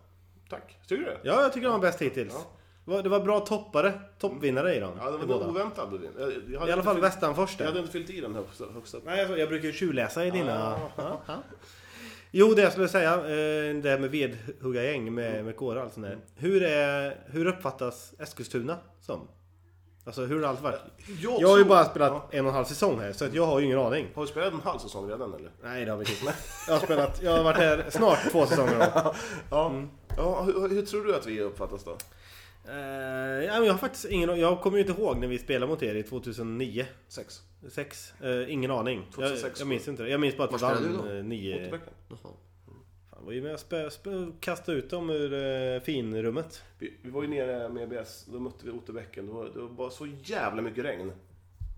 Speaker 4: Tack. Tycker du det?
Speaker 2: Ja, jag tycker de var bäst hittills.
Speaker 4: Ja.
Speaker 2: Det var- Det var bra toppare, toppvinnare i dem.
Speaker 4: Ja, det var
Speaker 2: i
Speaker 4: nog
Speaker 2: båda.
Speaker 4: oväntat. Ludvig. Jag, jag hade
Speaker 2: I alla
Speaker 4: inte
Speaker 2: fall
Speaker 4: fyllt-
Speaker 2: Västanfors
Speaker 4: Jag hade
Speaker 2: där.
Speaker 4: inte fyllt i den högst, högst upp.
Speaker 2: Nej, jag brukar ju tjuvläsa i dina... Ja. Ja. Jo, det jag skulle säga, eh, det här med vedhuggargäng med, med kårar och allt sånt där. Hur, är, hur uppfattas Eskilstuna som? Alltså hur har det alltid varit? Jag har ju
Speaker 4: tror-
Speaker 2: bara spelat
Speaker 4: Ja.
Speaker 2: en och en halv säsong här, så att jag har ju ingen aning.
Speaker 4: Har du spelat en halv säsong redan eller?
Speaker 2: Nej, det har vi inte. Jag har spelat, jag har varit här snart två säsonger då.
Speaker 4: Ja. ja hur, hur tror du att vi uppfattas då?
Speaker 2: Eh, ja, men jag har faktiskt ingen Jag kommer ju inte ihåg när vi spelade mot er i 2009.
Speaker 4: Sex.
Speaker 2: Sex? Eh, ingen aning.
Speaker 4: 2006.
Speaker 2: jag, jag minns inte det. Jag minns bara att vi
Speaker 3: Var spelade
Speaker 2: vann
Speaker 3: du då?
Speaker 2: eh, nio...
Speaker 4: Återbäcken.
Speaker 3: Jaha.
Speaker 2: Fan, var ju med och spö, spö, kastade ut dem ur eh, finrummet.
Speaker 4: Vi, vi var ju nere med EBS, då mötte vi Otterbäcken. Det var, det var bara så jävla mycket regn.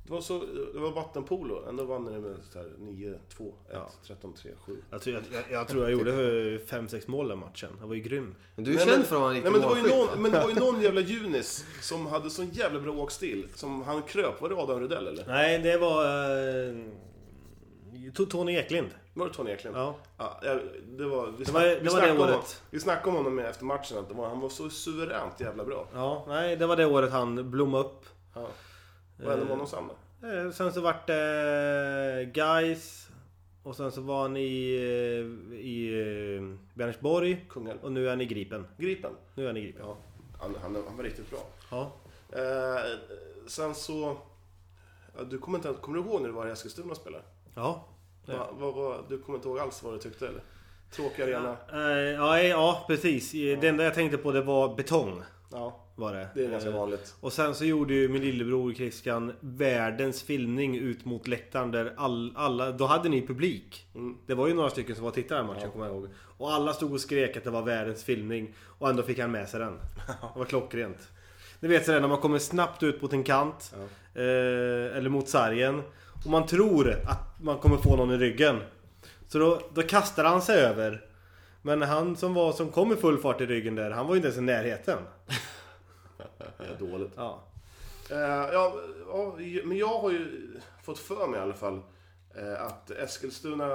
Speaker 4: Det var, så, det var vattenpolo, ändå vann ni med så här 9, 2, 1, 13, 3, 7.
Speaker 2: Jag tror jag, jag, jag, tror jag gjorde 5-6 mål den matchen. Jag var ju grym.
Speaker 3: Men du är känd för att vara en riktig
Speaker 4: nej, men, det var ju
Speaker 3: målskytt. va?
Speaker 4: någon, men det var ju någon jävla Junis som hade sån jävla bra åkstil. Som han kröp. Var det Adam Rydell eller?
Speaker 2: Nej, det var... Eh, To- Tony Eklind.
Speaker 4: Var det Tony Eklind?
Speaker 2: Ja.
Speaker 4: Ja, jag- det var, vi
Speaker 2: var- det
Speaker 4: vi
Speaker 2: var
Speaker 4: snackade
Speaker 2: det
Speaker 4: om-
Speaker 2: året.
Speaker 4: Vi snackade om honom efter matchen, att det var, han var så suveränt jävla bra.
Speaker 2: Ja, nej, det var det året han blommade upp.
Speaker 4: Ja. Vad hände med honom sen då?
Speaker 2: Eh, Sen så vart det Guys Och sen så var han i, eh, i eh, Vänersborg
Speaker 4: Kungälv.
Speaker 2: Och nu är han i Gripen
Speaker 4: Gripen?
Speaker 2: Nu är han i Gripen Ja,
Speaker 4: Han, han, han var riktigt bra. Eh, sen så... Ja, du kommer, inte, ens- kommer du ihåg när du var i Eskilstuna och spelade?
Speaker 2: ja. Ja.
Speaker 4: Va, va, va, du kommer inte ihåg alls vad du tyckte eller? Tråkig arena?
Speaker 2: Eh, ja, eh, ja precis Det enda jag tänkte på det var betong
Speaker 4: Ja,
Speaker 2: var det.
Speaker 4: det är ganska
Speaker 2: Eh,
Speaker 4: vanligt.
Speaker 2: Och sen så gjorde ju min lillebror Christian världens filmning ut mot läktaren där all, alla, då hade ni publik. Det var ju några stycken som var och tittade den matchen kommer jag ihåg. Och alla stod och skrek att det var världens filmning och ändå fick han med sig den. Det var klockrent. Ni vet sådär när man kommer snabbt ut mot en kant. Eh, eller mot sargen. Och man tror att man kommer få någon i ryggen. Så då, då kastar han sig över. Men han som, var, som kom i full fart i ryggen där, han var ju inte ens i närheten.
Speaker 4: Ja, dåligt.
Speaker 2: Ja.
Speaker 4: Eh, ja, ja, men jag har ju fått för mig i alla fall eh, att Eskilstuna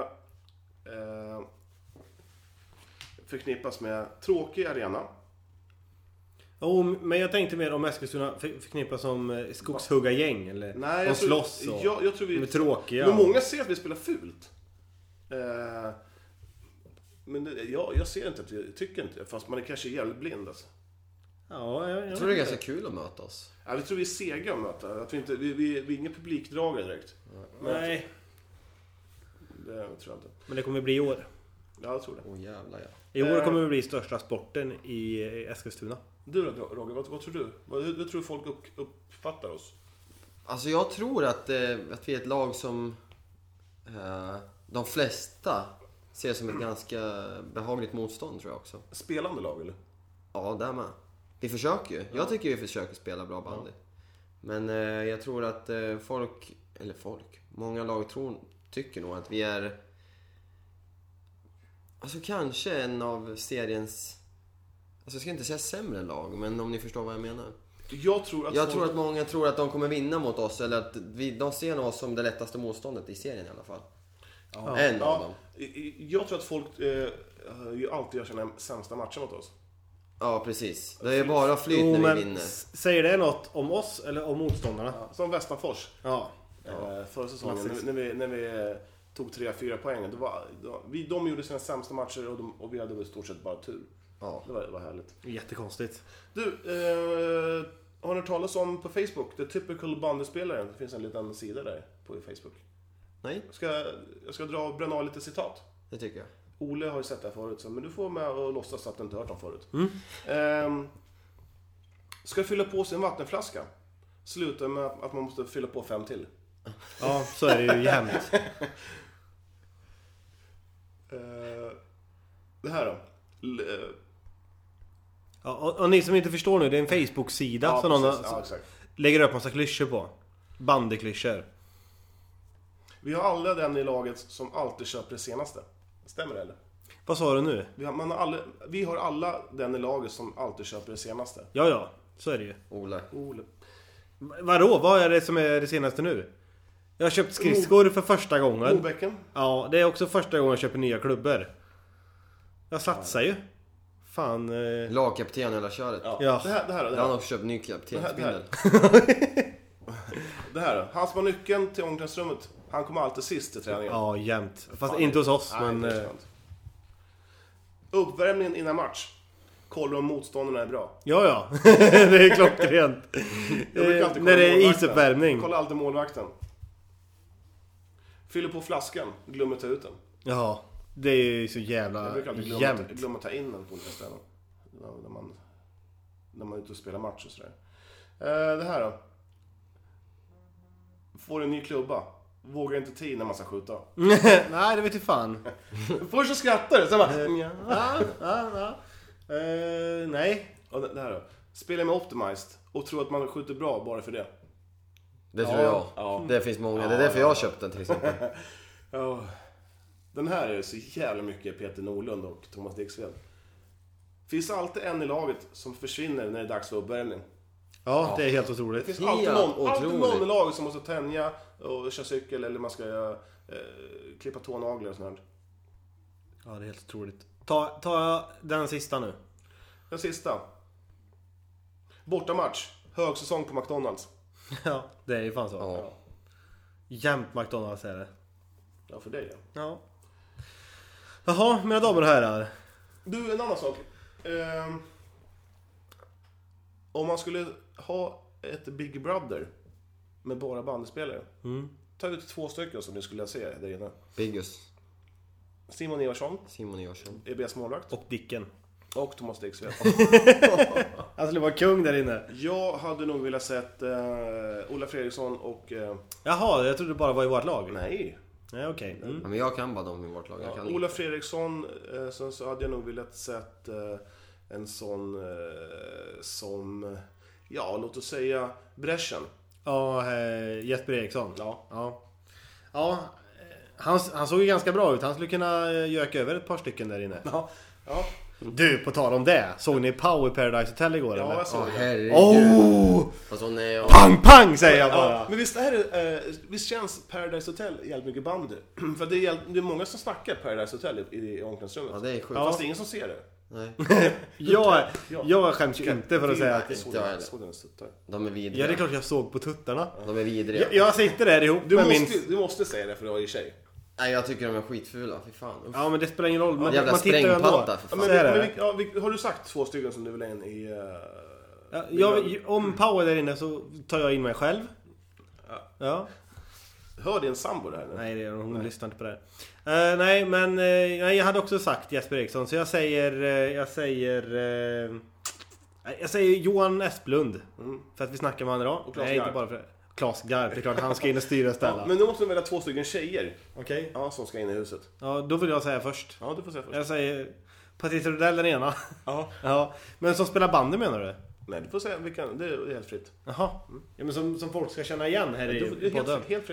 Speaker 4: eh, förknippas med tråkig arena.
Speaker 2: Jo, men jag tänkte mer om Eskilstuna för- förknippas som eh, skogshuggargäng eller de
Speaker 4: jag tror-
Speaker 2: slåss och...
Speaker 4: jag, jag tror vi,
Speaker 2: de är tråkiga.
Speaker 4: Men många ser att vi spelar fult. Eh, men det, jag, jag ser inte att vi, tycker inte Fast man är kanske jävligt blind alltså.
Speaker 2: Ja, jag, jag,
Speaker 3: Jag tror det är ganska kul att möta oss.
Speaker 4: Ja, vi tror vi är sega att möta. Att vi, inte, vi, vi, vi är inga publikdragare direkt.
Speaker 2: Nej,
Speaker 4: Det tror jag inte.
Speaker 2: men det kommer bli i år.
Speaker 4: Ja, jag tror det.
Speaker 3: Åh jävlar ja.
Speaker 2: I år
Speaker 4: Eh.
Speaker 2: kommer det bli största sporten i eh, Eskilstuna.
Speaker 4: Du då Roger, vad, vad tror du? Vad, hur, hur tror du folk upp, uppfattar oss?
Speaker 3: Alltså jag tror att, eh, att vi är ett lag som eh, de flesta ser som ett ganska behagligt motstånd tror jag också.
Speaker 4: Spelande lag eller?
Speaker 3: Ja, där med. Vi försöker ju. Jag tycker vi försöker spela bra bandy. Men eh, jag tror att eh, folk, eller folk, många lag tror, tycker nog att vi är Alltså kanske en av seriens, alltså jag ska inte säga sämre lag, men om ni förstår vad jag menar.
Speaker 4: Jag tror att
Speaker 3: Jag
Speaker 4: folk-
Speaker 3: tror att många tror att de kommer vinna mot oss, eller att vi, de ser nog oss som det lättaste motståndet i serien i alla fall. En av dem.
Speaker 4: ja, i- i- jag tror att folk eh, ju alltid gör sina sämsta matcher mot oss.
Speaker 3: Ja, precis. Det är bara flyt
Speaker 2: Jo,
Speaker 3: när vi
Speaker 2: men
Speaker 3: vinner.
Speaker 2: s- säger det något om oss eller om motståndarna?
Speaker 4: Som Västanfors.
Speaker 2: Ja.
Speaker 4: Eh, förra säsongen
Speaker 2: Klassiskt.
Speaker 4: när, när, vi, när vi eh, tog 3-4 poäng. Det var, då, vi, de gjorde sina sämsta matcher och, de, och vi hade väl i stort sett bara tur.
Speaker 3: Ja.
Speaker 4: Det var, det var härligt.
Speaker 2: Jättekonstigt.
Speaker 4: Du, eh, har ni hört talas om på Facebook? The Typical Bandyspelaren. Det finns en liten sida där på Facebook.
Speaker 3: Nej,
Speaker 4: Jag ska, jag ska dra bränna av lite citat.
Speaker 3: det tycker jag.
Speaker 4: Ole har ju sett det här förut, så, men du får vara med och låtsas att du inte hört dem förut.
Speaker 2: Mm.
Speaker 4: Ehm, ska fylla på sin vattenflaska. Slutar med att man måste fylla på fem till.
Speaker 2: Ja, så är det ju jämt.
Speaker 4: Eh, det här då. L- eh,
Speaker 2: Ja, och, och ni som inte förstår nu, det är en Facebook-sida som någon
Speaker 4: precis.
Speaker 2: har-
Speaker 4: ja, exakt.
Speaker 2: lägger upp massa klyschor på. Bandyklyschor.
Speaker 4: Vi har alla den i laget som alltid köper det senaste. Stämmer det eller?
Speaker 2: Vad sa du nu?
Speaker 4: Vi har, man har alla, vi har alla den i laget som alltid köper det senaste.
Speaker 2: Ja, ja. Så är det ju.
Speaker 3: Ola.
Speaker 4: Ole.
Speaker 2: V- Vadå? Vad är det som är det senaste nu? Jag har köpt
Speaker 4: Oh.
Speaker 2: skridskor för första gången.
Speaker 4: Mobäcken.
Speaker 2: Ja, det är också första gången jag köper nya klubbor. Jag satsar ju. Fan... Eh...
Speaker 3: Lagkapten i hela köret.
Speaker 4: Ja.
Speaker 2: Ja.
Speaker 4: Det här, det här då. Det
Speaker 3: Jag har
Speaker 4: här,
Speaker 3: nog köpt ny kaptensbindel.
Speaker 4: det här då. Han som har nyckeln till omklädningsrummet, han kommer alltid sist till träningen.
Speaker 2: Ja, jämt. Fast inte hos oss,
Speaker 4: Nej,
Speaker 2: men...
Speaker 4: det är
Speaker 2: eh,
Speaker 4: sant. Uppvärmningen innan match. Kolla om motståndarna är bra.
Speaker 2: Ja, ja. det är klockrent.
Speaker 4: Jag brukar
Speaker 2: Eh,
Speaker 4: alltid kolla
Speaker 2: När det är
Speaker 4: målvakten.
Speaker 2: isuppvärmning.
Speaker 4: Kolla alltid målvakten. Fyller på flaskan, glömmer ta ut den.
Speaker 2: Ja. Det är ju så
Speaker 4: Jag
Speaker 2: jävla
Speaker 4: brukar alltid glömma,
Speaker 2: jämt.
Speaker 4: glömma ta in den på olika ställen. Ja, När man, när man är ute och spelar match och sådär. Eh, det här då. Får en ny klubba. Vågar inte ta i när man ska skjuta.
Speaker 2: Nej, det vet du fan.
Speaker 4: Först så skrattar du, sen bara... mm, ja.
Speaker 2: Eh, Ja, ja, ja. Eh, nej.
Speaker 4: Och det det här då. Spelar med Optimized och tror att man skjuter bra bara för det.
Speaker 3: Det tror jag. Det finns många. det är därför jag har köpt den till exempel.
Speaker 4: Ja. Den här är så jävla mycket Peter Norlund och Thomas Dixved. Finns alltid en i laget som försvinner när det är dags för uppvärmning.
Speaker 2: Ja, det är helt
Speaker 4: Det
Speaker 2: otroligt.
Speaker 4: finns
Speaker 3: Helt
Speaker 4: alltid någon, alltid
Speaker 3: otroligt.
Speaker 4: någon i laget som måste tänja och köra cykel eller man ska göra, eh, klippa tånaglar och sånt. där.
Speaker 2: Ja, det är helt otroligt. Ta, ta den sista nu.
Speaker 4: Den sista. Bortamatch. Högsäsong på McDonalds.
Speaker 2: Ja, det är ju fan så.
Speaker 3: Ja.
Speaker 2: Jämt McDonalds är det.
Speaker 4: Ja, för dig ja.
Speaker 2: Ja. Jaha, mina damer och herrar.
Speaker 4: Du, en annan sak. Ehm, om man skulle ha ett Big Brother med bara bandspelare.
Speaker 3: Mm.
Speaker 4: Ta ut två stycken som ni skulle se där inne.
Speaker 3: Biggus.
Speaker 4: Simon Ivarsson,
Speaker 3: Simon Ivarsson.
Speaker 4: EBS målvakt.
Speaker 2: Och Dicken.
Speaker 4: Och Thomas Dixved.
Speaker 2: Han skulle vara Alltså, kung där inne.
Speaker 4: jag hade nog velat sett eh, Ola Fredriksson och... Eh,
Speaker 2: Jaha, jag trodde det bara var i vårt lag.
Speaker 4: nej.
Speaker 2: Nej, okej. Mm.
Speaker 3: Ja, men jag kan bara dem i vårt lag. Jag kan
Speaker 4: Ola Fredriksson, eh, sen så hade jag nog velat sett eh, en sån eh, som... Ja, låt oss säga Breschen.
Speaker 2: Ja, eh, Jesper Eriksson. Ja. ja. Ja, eh, han, han såg ju ganska bra ut. Han skulle kunna eh, göka över ett par stycken där inne.
Speaker 4: Ja, ja.
Speaker 2: Du, på tal om det. Såg ni Power Paradise Hotel igår
Speaker 4: ja
Speaker 2: eller?
Speaker 4: jag såg det.
Speaker 3: Herregud.
Speaker 2: Oh!
Speaker 3: Fast hon är...
Speaker 2: Pang, pang säger jag bara!
Speaker 4: Ja, men visst, är det, eh, visst känns Paradise Hotel jävligt mycket bandy? För det är, jävligt- det är många som snackar Paradise Hotel i, i omklädningsrummet.
Speaker 3: Ja, det är sjukt.
Speaker 4: Fast det är ingen som ser det.
Speaker 3: Nej.
Speaker 2: Jag, jag skäms ju inte för att säga att...
Speaker 4: Såg
Speaker 3: inte jag
Speaker 4: den-
Speaker 3: heller.
Speaker 4: såg den suttar.
Speaker 3: De är vidriga.
Speaker 2: Ja, det är klart jag såg på tuttarna.
Speaker 3: De är vidriga.
Speaker 2: Jag, jag sitter där ihop
Speaker 4: Du,
Speaker 2: med
Speaker 4: måste,
Speaker 2: min...
Speaker 4: du måste säga det för du var ju tjej.
Speaker 3: Nej, jag tycker de är skitfula. Fy fan. Uff.
Speaker 2: Ja, men det spelar ingen roll. Man,
Speaker 3: jävla
Speaker 2: man tittar ju ändå.
Speaker 3: sprängpadda, för
Speaker 2: Ja,
Speaker 3: fan.
Speaker 4: Men,
Speaker 2: men,
Speaker 4: men,
Speaker 2: men,
Speaker 4: vilk- ja, vilk- har du sagt två stycken som du vill ha in i... eh,
Speaker 2: jag, om Power där inne så tar jag in mig själv. Ja.
Speaker 4: hör din sambo det här nu?
Speaker 2: Nej, det gör hon. Hon lyssnar inte på det här. Eh, nej, men eh, nej, jag hade också sagt Jesper Eriksson, så jag säger... eh, jag säger... eh, nej, jag säger Johan Esplund. Mm. För att vi snackar med honom idag.
Speaker 4: Och Claes
Speaker 2: nej, inte
Speaker 4: Garp.
Speaker 2: bara för det. Klas Garp, det är klart han ska in och styra och ställa.
Speaker 4: Ja, men nu måste du välja två stycken tjejer
Speaker 2: Okej.
Speaker 4: ja, som ska in i huset.
Speaker 2: Ja, då vill jag säga först.
Speaker 4: Ja, du får säga först.
Speaker 2: Jag säger Patricia Rodell den ena.
Speaker 4: Ja.
Speaker 2: ja. Men som spelar bandy menar du?
Speaker 4: Nej, du får säga vilken. Det är helt fritt.
Speaker 2: Jaha. Ja, men som, som folk ska känna igen här
Speaker 4: Du får,
Speaker 2: i
Speaker 4: det är
Speaker 2: podden.
Speaker 4: helt, helt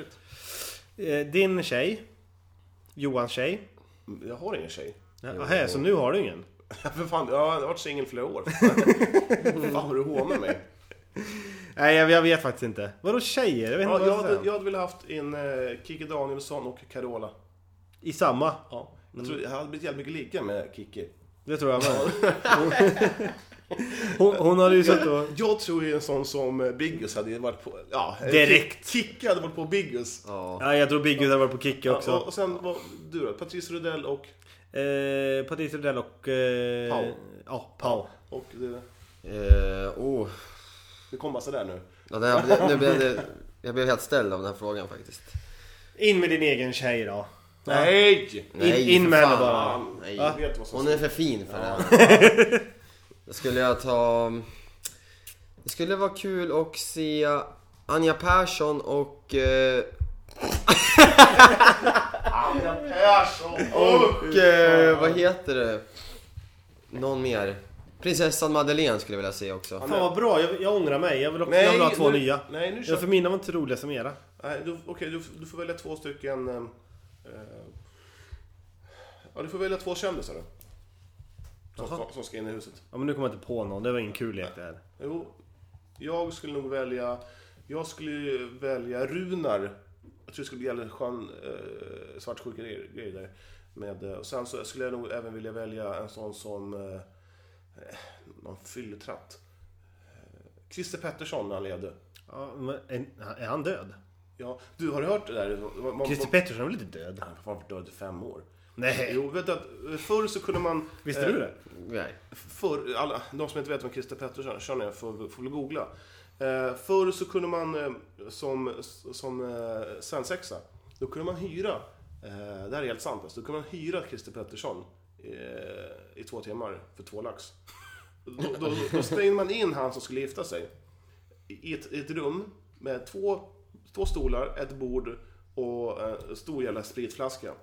Speaker 4: fritt.
Speaker 2: Eh, Din tjej. Johans tjej.
Speaker 4: Jag har ingen tjej.
Speaker 2: Jaha, så nu har du ingen?
Speaker 4: För fan, jag har varit singel flera år. fan vad du hånar mig.
Speaker 2: Nej, jag, jag vet faktiskt inte. Vadå tjejer? Jag vet inte
Speaker 4: Ja,
Speaker 2: vad
Speaker 4: jag,
Speaker 2: jag, ska
Speaker 4: hade,
Speaker 2: säga.
Speaker 4: jag hade velat haft in eh, Kiki Danielsson och Carola.
Speaker 2: I samma.
Speaker 4: Ja.
Speaker 2: mm.
Speaker 4: Jag tror jag hade blivit jävligt mycket lika med Kiki.
Speaker 2: Det tror jag med. Hon, hon hade ju suttit och...
Speaker 4: Jag tror ju en sån som eh, Biggus hade ju varit på... Ja, eh,
Speaker 2: Direkt.
Speaker 4: Kiki hade varit på Biggus.
Speaker 3: Ja.
Speaker 2: Ja, jag tror Biggie hade varit på Kicki
Speaker 4: Ja, och,
Speaker 2: också.
Speaker 4: och sen var du då? Patrice Rudell och...
Speaker 2: Eh, Patricia Rodell och... Eh,
Speaker 4: Pau.
Speaker 2: Ja, Pau.
Speaker 4: och det,
Speaker 3: Eh, oh.
Speaker 4: det kom bara sådär nu.
Speaker 3: Ja, det här, blev- nu blev det, jag blev helt ställd av den här frågan faktiskt.
Speaker 2: In med din egen tjej då.
Speaker 4: Nej!
Speaker 3: Nej,
Speaker 2: in
Speaker 3: för
Speaker 2: med
Speaker 3: fan.
Speaker 2: henne bara.
Speaker 3: Nej.
Speaker 4: Jag vet vad som
Speaker 3: Hon är för fin för det här. Då skulle jag ta... Det skulle vara kul att se Anja Persson och... eh,
Speaker 4: Persson!
Speaker 3: Och eh, vad heter det? Någon mer? Prinsessan Madeleine skulle jag vilja se också.
Speaker 2: Fan vad bra, jag, jag ångrar mig. Jag vill, också, jag vill ha två
Speaker 4: nu,
Speaker 2: nya.
Speaker 4: Nej, nu
Speaker 2: Ja,
Speaker 4: kör
Speaker 2: för mina var inte roliga som era.
Speaker 4: Nej, du, okej, du, du får välja två stycken... eh, eh, ja, du får välja två kändisar då. Som,
Speaker 2: Jaha.
Speaker 4: ska- som ska in i huset.
Speaker 2: Ja men nu kommer jag inte på någon, det var ingen kul lek det här.
Speaker 4: Jo, jag skulle nog välja... Jag skulle ju välja Runar. Jag tror det skulle bli jävligt skön eh, svartsjuka grej grej där. Med, eh, och sen så skulle jag nog även vilja välja en sån som... Eh, eh, någon fylletratt. Eh, Christer Pettersson när han levde.
Speaker 2: Ja, men är, är han död?
Speaker 4: Ja, du har du hört det där? Man- man-
Speaker 2: Christer Pettersson är väl inte död?
Speaker 4: Han har varit död i fem år.
Speaker 2: Nej.
Speaker 4: Jo, vet du att eh, förr så kunde man... eh,
Speaker 2: Visste du det?
Speaker 3: Nej.
Speaker 4: Förr, alla, de som inte vet vem Christer Pettersson är får, får väl googla. Eh, förr så kunde man eh, som, som eh, svensexa, då kunde man hyra, eh, det här är helt sant alltså, då kunde man hyra Christer Pettersson eh, i två timmar för två lax. Då, då, då stängde man in han som skulle gifta sig i ett, i ett rum med två, två stolar, ett bord och eh, en stor jävla spritflaska.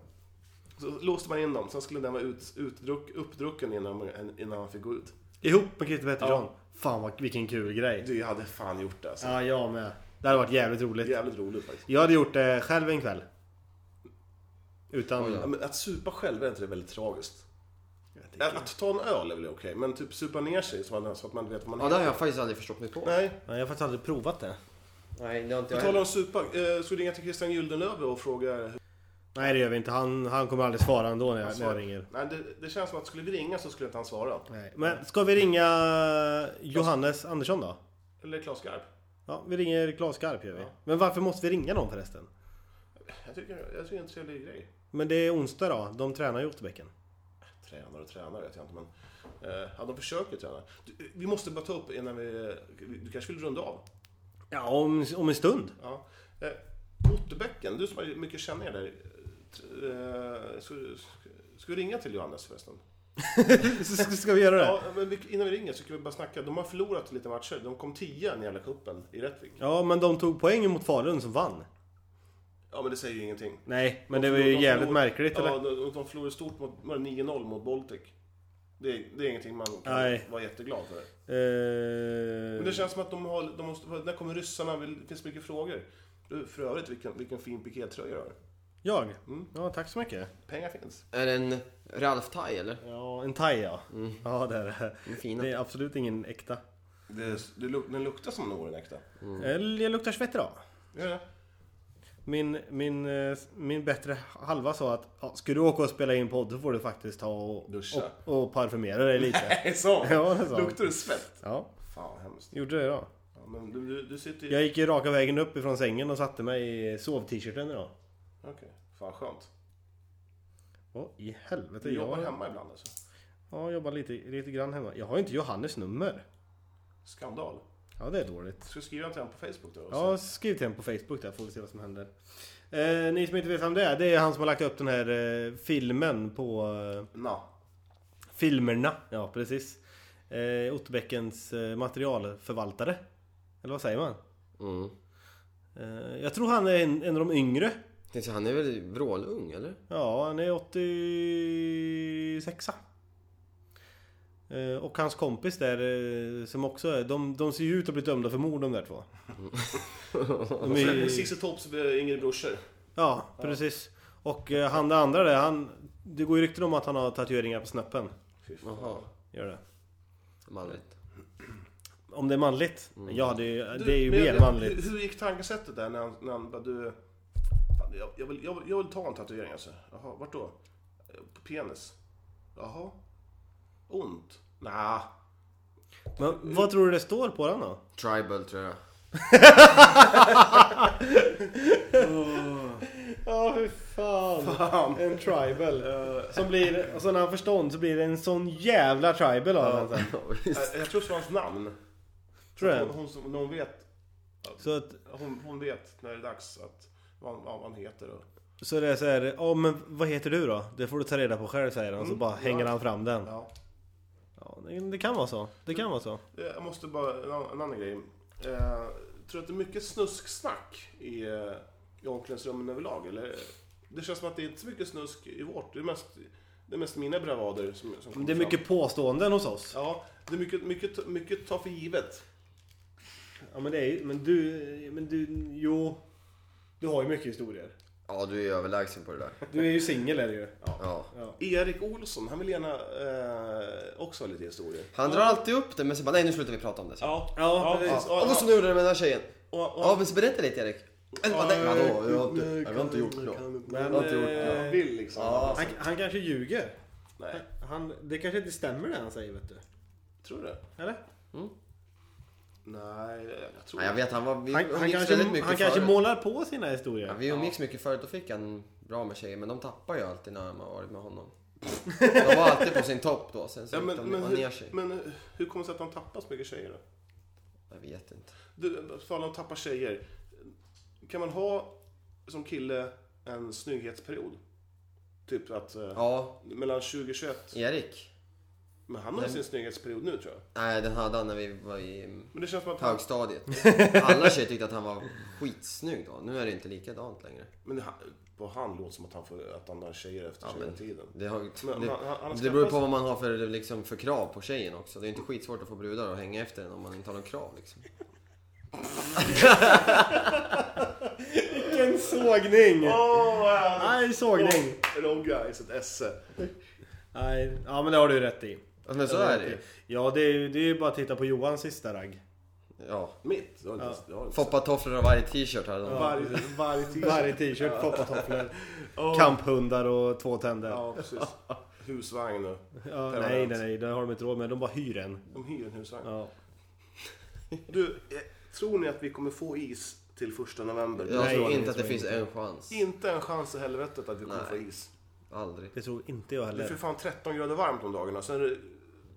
Speaker 4: Så låste man in dem, sen skulle den vara ut, utdruck, uppdrucken innan, man- innan han fick gå ut.
Speaker 2: Ihop med Christer Pettersson? Fan vad, vilken kul grej.
Speaker 4: Du, jag hade fan gjort det alltså.
Speaker 2: Ja, jag med. Det hade varit jävligt roligt.
Speaker 4: Jävligt roligt faktiskt.
Speaker 2: Jag hade gjort det själv en kväll. Utan...
Speaker 4: Ja, men att supa själv, är inte det väldigt tragiskt? Att, att ta en öl är väl okej, men typ supa ner sig så att, så att man vet vad man
Speaker 3: Ja, det har jag faktiskt aldrig förstått mig på.
Speaker 4: Nej,
Speaker 2: Ja, jag har faktiskt aldrig provat det.
Speaker 3: Nej, det har inte
Speaker 4: på
Speaker 3: jag
Speaker 4: tal
Speaker 3: heller.
Speaker 4: om supa. Eh, ska du ringa till Christian Gyldenlöve och fråga...
Speaker 2: Nej det gör vi inte. Han, han kommer aldrig svara ändå när jag, när jag ringer.
Speaker 4: Nej, det, det känns som att skulle vi ringa så skulle inte han svara.
Speaker 2: Nej. Men ska vi ringa Johannes Andersson då?
Speaker 4: Eller Claes Garp.
Speaker 2: Ja, vi ringer Claes Garp gör vi. Men varför måste vi ringa dem förresten?
Speaker 4: Jag tycker, jag tycker det är en trevlig grej.
Speaker 2: Men det är onsdag då. De tränar i Otterbäcken.
Speaker 4: Tränare och tränare vet jag inte, men... Eh, ja, de försöker träna. Du, eh, vi måste bara ta upp innan vi... Du kanske vill runda av?
Speaker 2: Ja, om, om en stund.
Speaker 4: Ja. Eh, Otterbäcken, du som har mycket känningar där. Eh, ska, ska vi ringa till Johannes förresten?
Speaker 2: Ska, ska vi göra det?
Speaker 4: Ja, men vi- innan vi ringer så kan vi bara snacka. De har förlorat lite matcher. De kom tia i den jävla cupen i Rättvik.
Speaker 2: Ja, men de tog poäng mot Falun som vann.
Speaker 4: Ja, men det säger ju ingenting.
Speaker 2: Nej, men
Speaker 4: De
Speaker 2: det var
Speaker 4: förlor-
Speaker 2: ju
Speaker 4: de
Speaker 2: jävligt
Speaker 4: förlor-
Speaker 2: märkligt
Speaker 4: Ja,
Speaker 2: eller?
Speaker 4: de, de förlorade stort mot var det 9-0 mot Baltic. Det är, det är ingenting man kan
Speaker 2: Nej.
Speaker 4: vara jätteglad för. Men det
Speaker 2: Eh,
Speaker 4: känns som att de har... De måste, när kommer ryssarna? Det finns mycket frågor. Du, För övrigt, vilken, vilken fin pikétröja du har.
Speaker 2: Jag? Ja, tack så mycket.
Speaker 4: Pengar finns.
Speaker 3: Är det en Ralf Thai eller?
Speaker 2: Ja, en thai ja. Mm. Ja, det är det.
Speaker 3: fina.
Speaker 2: Det är absolut ingen äkta.
Speaker 4: Det, det, luk- den luktar som någon äkta.
Speaker 2: Eller Eh, jag luktar svett idag.
Speaker 4: Gör det?
Speaker 2: Min, min, eh, min bättre halva sa att ja, ska du åka och spela in podd så får du faktiskt ta och,
Speaker 4: Duscha.
Speaker 2: och, och parfymera dig lite.
Speaker 4: Är det så?
Speaker 2: Ja, det är så.
Speaker 4: Luktar det svett?
Speaker 2: Ja,
Speaker 4: Fan vad hemskt.
Speaker 2: gjorde det idag.
Speaker 4: Ja, men du, du, du sitter ju...
Speaker 2: Jag gick ju raka vägen upp ifrån sängen och satte mig i sov-t-shirten idag.
Speaker 4: Okej. Fan skönt.
Speaker 2: Åh, i helvete.
Speaker 4: Du jobbar
Speaker 2: jag,
Speaker 4: hemma ibland alltså.
Speaker 2: Ja, jobbar lite, lite grann hemma. Jag har ju inte Johannes nummer.
Speaker 4: Skandal.
Speaker 2: Ja, det är dåligt.
Speaker 4: Ska du skriva till honom på Facebook då?
Speaker 2: Ja, skriv till honom på Facebook där får vi se vad som händer. Eh, ni som inte vet vem det är, det är han som har lagt upp den här eh, filmen på... Eh,
Speaker 4: Na.
Speaker 2: filmerna, ja precis. Eh, Otterbäckens eh, materialförvaltare. Eller vad säger man?
Speaker 3: Mm.
Speaker 2: Eh, jag tror han är en, en av de yngre.
Speaker 3: Tänkte, säga, han är väl vrålung eller?
Speaker 2: Ja, han är 86 eh, Och hans kompis där eh, som också är, de, de ser ju ut att bli dömda för mord de där två. De är, ju-
Speaker 4: Cissi Tops eh, yngre brorsor.
Speaker 2: ja, precis. Och eh, han det andra där, han, det går ju rykten om att han har tatueringar på snöppen.
Speaker 4: Fy fan.
Speaker 3: Jaha,
Speaker 2: Gör det.
Speaker 3: manligt.
Speaker 2: Om det är manligt? Ja, det är, ju-
Speaker 4: Du,
Speaker 2: det är ju
Speaker 4: men jag-
Speaker 2: mer manligt.
Speaker 4: Hur, hur gick tankesättet där när han, när han bara du... Fan, jag, jag, vill, jag, vill, jag vill ta en tatuering alltså. Jaha, vart då? Eh, På penis. Jaha. Ont? Nja.
Speaker 2: Men vad tror du det står på den då?
Speaker 3: Tribal tror jag.
Speaker 2: Ja, hur fan. En tribal.
Speaker 4: Eh,
Speaker 2: Som blir, och så när han förstånd så blir det en sån jävla tribal av honom sen.
Speaker 3: Ja, visst.
Speaker 4: Eh, Jag tror det var hans namn.
Speaker 2: Tror du det?
Speaker 4: Hon, hon, som- när hon vet,
Speaker 2: Så, att,
Speaker 4: hon, hon vet när det är dags att... Vad, han- vad han heter och...
Speaker 2: så det är så här, ja men vad heter du då? Det får du ta reda på själv säger han. Så bara hänger han fram den.
Speaker 4: Ja.
Speaker 2: Ja, det, det kan vara så. Det kan vara så.
Speaker 4: Eh, Jag måste bara... En, annan- en annan grej. Eh, tror du att det är mycket snusk-snack i, eh, i omklädningsrummen överlag? Eller? Det känns som att det är inte så mycket snusk i vårt. Det är mest, det är mest mina bravader som, som kommer
Speaker 2: Det är mycket
Speaker 4: fram.
Speaker 2: påståenden hos oss.
Speaker 4: Ja, det är mycket, mycket, mycket ta för givet.
Speaker 2: Ja men det är ju, men du, men du, jo. Du har ju mycket historier.
Speaker 3: Ja, du är överlägsen på det där.
Speaker 2: Du är ju singel är det ju.
Speaker 3: Ja.
Speaker 4: Erik Olsson, han vill gärna eh, också ha lite historier.
Speaker 3: Han drar alltid upp det men sen bara nej nu slutar vi prata om det.
Speaker 4: Ja,
Speaker 2: Ja, Alltså- precis.
Speaker 4: Och,
Speaker 3: Ja, vad så nu gjorde du med den här tjejen? Ja men så berätta lite Erik. Eller bara nej, vadå? Jag har inte, jag har inte gjort något.
Speaker 2: Men,
Speaker 3: Jag har inte gjort
Speaker 2: eh,
Speaker 3: något.
Speaker 4: han vill liksom.
Speaker 3: Ja.
Speaker 2: Han, han kanske ljuger.
Speaker 4: Nej,
Speaker 2: Han, det kanske inte stämmer det han säger vet du.
Speaker 4: tror du det?
Speaker 2: Eller?
Speaker 4: Nej, jag tror
Speaker 3: Ja, jag vet han var, vi
Speaker 2: Han, han,
Speaker 3: umgicks
Speaker 2: kanske,
Speaker 3: väldigt mycket
Speaker 2: han kanske
Speaker 3: förut.
Speaker 2: målar på sina
Speaker 3: Ja,
Speaker 2: historier.
Speaker 3: vi umgicks mycket förut, då fick han bra med tjejer men de tappar ju alltid när man har varit med honom. De var alltid på sin topp då, sen så
Speaker 4: Ja,
Speaker 3: gick
Speaker 4: men,
Speaker 3: de
Speaker 4: men,
Speaker 3: var ner
Speaker 4: hur,
Speaker 3: sig.
Speaker 4: men hur kommer det sig att han tappar så mycket tjejer då?
Speaker 3: Jag vet inte.
Speaker 4: Du, på tal om att tappa tjejer. Kan man ha som kille en snygghetsperiod? Typ att eh,
Speaker 3: Ja,
Speaker 4: mellan 20 och 21.
Speaker 3: Erik.
Speaker 4: Men han har ju sin snygghetsperiod nu tror jag.
Speaker 3: Nej, den hade han när vi var i
Speaker 4: Men det känns som att han,
Speaker 3: högstadiet. Alla tjejer tyckte att han var skitsnygg då. Nu är det inte likadant längre.
Speaker 4: men det, på han låter som att han, får, att han har tjejer efter
Speaker 3: Ja,
Speaker 4: tjejen
Speaker 3: men
Speaker 4: tiden.
Speaker 3: det, har,
Speaker 4: Men han- han- han
Speaker 3: det,
Speaker 4: ska
Speaker 3: det beror på
Speaker 4: passa.
Speaker 3: vad man har för, liksom, för krav på tjejen också. Det är inte skitsvårt att få brudar att hänga efter en om man inte har någon krav liksom.
Speaker 2: Vilken sågning!
Speaker 4: Åh, oh,
Speaker 2: Nej, sågning!
Speaker 4: Wrong guys, ett esse.
Speaker 2: Nej, ja men det har du rätt i.
Speaker 3: Ja, Men så är det ju.
Speaker 2: Ja, det är ju det är ju bara att titta på Johans sista ragg.
Speaker 3: Ja.
Speaker 4: Mitt? Jag har inte, jag har inte.
Speaker 3: Foppatofflor och varje t-shirt hade de.
Speaker 4: Varje, varje tid.
Speaker 2: Varje t-shirt, foppatofflor, kamphundar och två tänder. Ja,
Speaker 4: Ja, precis. Husvagn och
Speaker 2: nej,
Speaker 4: permanent.
Speaker 2: nej, nej, det har de inte råd med. De bara hyr en.
Speaker 4: De hyr en husvagn.
Speaker 2: Ja.
Speaker 4: Du, eh, tror ni att vi kommer få is till första november?
Speaker 3: Jag
Speaker 2: Nej,
Speaker 3: tror
Speaker 2: det
Speaker 3: inte att det
Speaker 2: tror jag
Speaker 3: finns en chans.
Speaker 4: Inte en chans i helvetet att vi kommer få is.
Speaker 3: Aldrig.
Speaker 2: Det tror inte jag
Speaker 4: Det är för
Speaker 2: heller.
Speaker 4: fan 13 grader varmt om dagarna. Sen är det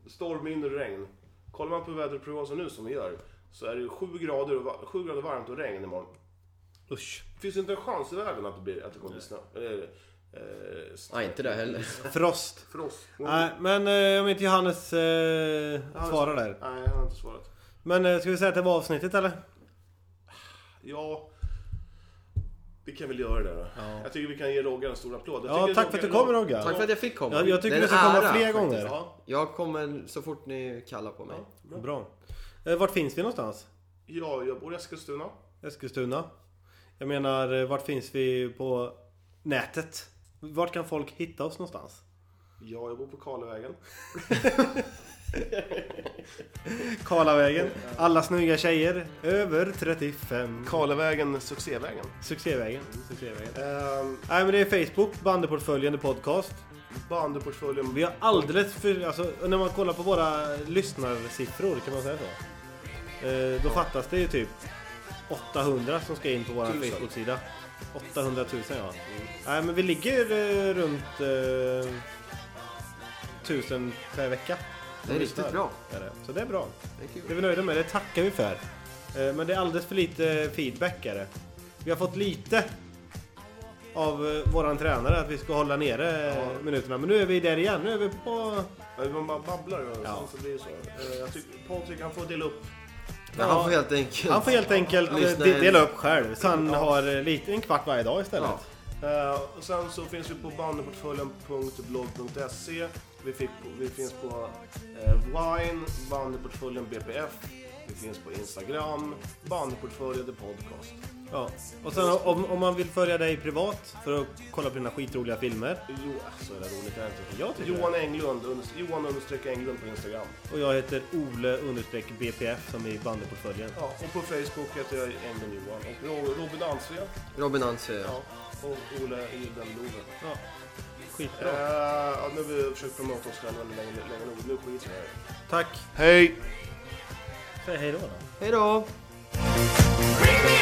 Speaker 4: storm, mindre regn. Kollar man på väderprognosen nu som vi gör så är det 7 grader, och va- 7 grader varmt och regn imorgon.
Speaker 2: Usch.
Speaker 4: Finns det inte en chans i världen att det, blir, att det kommer bli snö? Eller, eh, snö.
Speaker 3: Nej, inte det heller.
Speaker 2: Frost.
Speaker 4: Frost?
Speaker 2: Nej, men eh, om inte Johannes eh, svarar där.
Speaker 4: Nej, han har inte svarat.
Speaker 2: Men eh, ska vi säga att det var avsnittet eller?
Speaker 4: Ja, vi kan väl göra det då. Jag tycker vi kan ge Rogge en stor applåd. Jag
Speaker 2: Ja,
Speaker 4: tycker
Speaker 2: tack för att du
Speaker 4: Rogge-
Speaker 2: kommer Rogga.
Speaker 3: Tack för att jag fick komma.
Speaker 2: Jag, jag tycker
Speaker 3: Det är
Speaker 2: du
Speaker 3: en
Speaker 2: ska komma
Speaker 3: ära,
Speaker 2: fler
Speaker 3: faktiskt.
Speaker 2: gånger.
Speaker 4: Ja,
Speaker 3: Jag kommer så fort ni kallar på mig.
Speaker 2: Bra. Eh, Vart finns vi någonstans?
Speaker 4: ja, jag bor i Eskilstuna.
Speaker 2: Eskilstuna? Jag menar, eh, vart finns vi på nätet. Vart kan folk hitta oss någonstans?
Speaker 4: Ja, jag bor på Karlavägen.
Speaker 2: Karlavägen. Alla snygga tjejer. Över 35.
Speaker 4: Karlavägen, succévägen.
Speaker 2: Succévägen. Succévägen.
Speaker 4: Ehm,
Speaker 2: Nej men det är Facebook, bandyportföljande podcast.
Speaker 4: Bandyportföljen.
Speaker 2: Vi har alldeles för... Alltså när man kollar på våra lyssnarsiffror kan man säga så. Eh, då fattas det ju typ 800 som ska in på vår
Speaker 4: Tusen.
Speaker 2: Facebook-sida. 800 000 ja. Nej men vi ligger eh, runt eh, 1000 per vecka.
Speaker 3: Det är riktigt bra.
Speaker 2: Är det. Så det är bra.
Speaker 3: Det är kul.
Speaker 2: Det är vi nöjda med, det tackar vi för. Eh, Men det är alldeles för lite feedback är det. Vi har fått lite av eh, våran tränare att vi ska hålla nere eh, minuterna. Men nu är vi där igen. Nu är vi på...
Speaker 4: Nej, Man bara babblar och
Speaker 2: Ja.
Speaker 4: sen så blir det så. Ehm, Jag tycker Patrik han får dela upp.
Speaker 3: Men han får helt enkelt...
Speaker 2: Han får helt enkelt eh,
Speaker 3: Lyssna
Speaker 2: de-
Speaker 3: in.
Speaker 2: dela upp själv. Så han har eh, lite, en kvart varje dag istället.
Speaker 3: Ja.
Speaker 4: Ehm, Och sen så finns vi på bandyportföljen.blogg.se. Vi, fick på, vi finns på eh, Wine, Bandyportföljen BPF. Vi finns på Instagram, Bandyportföljen The Podcast.
Speaker 2: Ja. Och sen om, om man vill följa dig privat för att kolla på dina skitroliga filmer.
Speaker 4: Jo, så är det roligt. Jag inte.
Speaker 2: Jag tycker
Speaker 4: Johan Englund, under- Johan understreck Englund på Instagram.
Speaker 2: Och jag heter Ole understreck BPF som i bandyportföljen.
Speaker 4: Ja, och på Facebook heter jag Englund Johan. Och Ro- Robin Ansve.
Speaker 3: Robin Anser, ja.
Speaker 4: Ja. Och Ole Ildenloven.
Speaker 2: Skitbra.
Speaker 4: Eh, Ja, nu har vi försökt promota oss själva länge, länge nog. Nu skiter vi i det.
Speaker 2: Tack.
Speaker 4: Hej!
Speaker 2: Säg hej då. då.
Speaker 3: Hej då!
Speaker 1: Bring me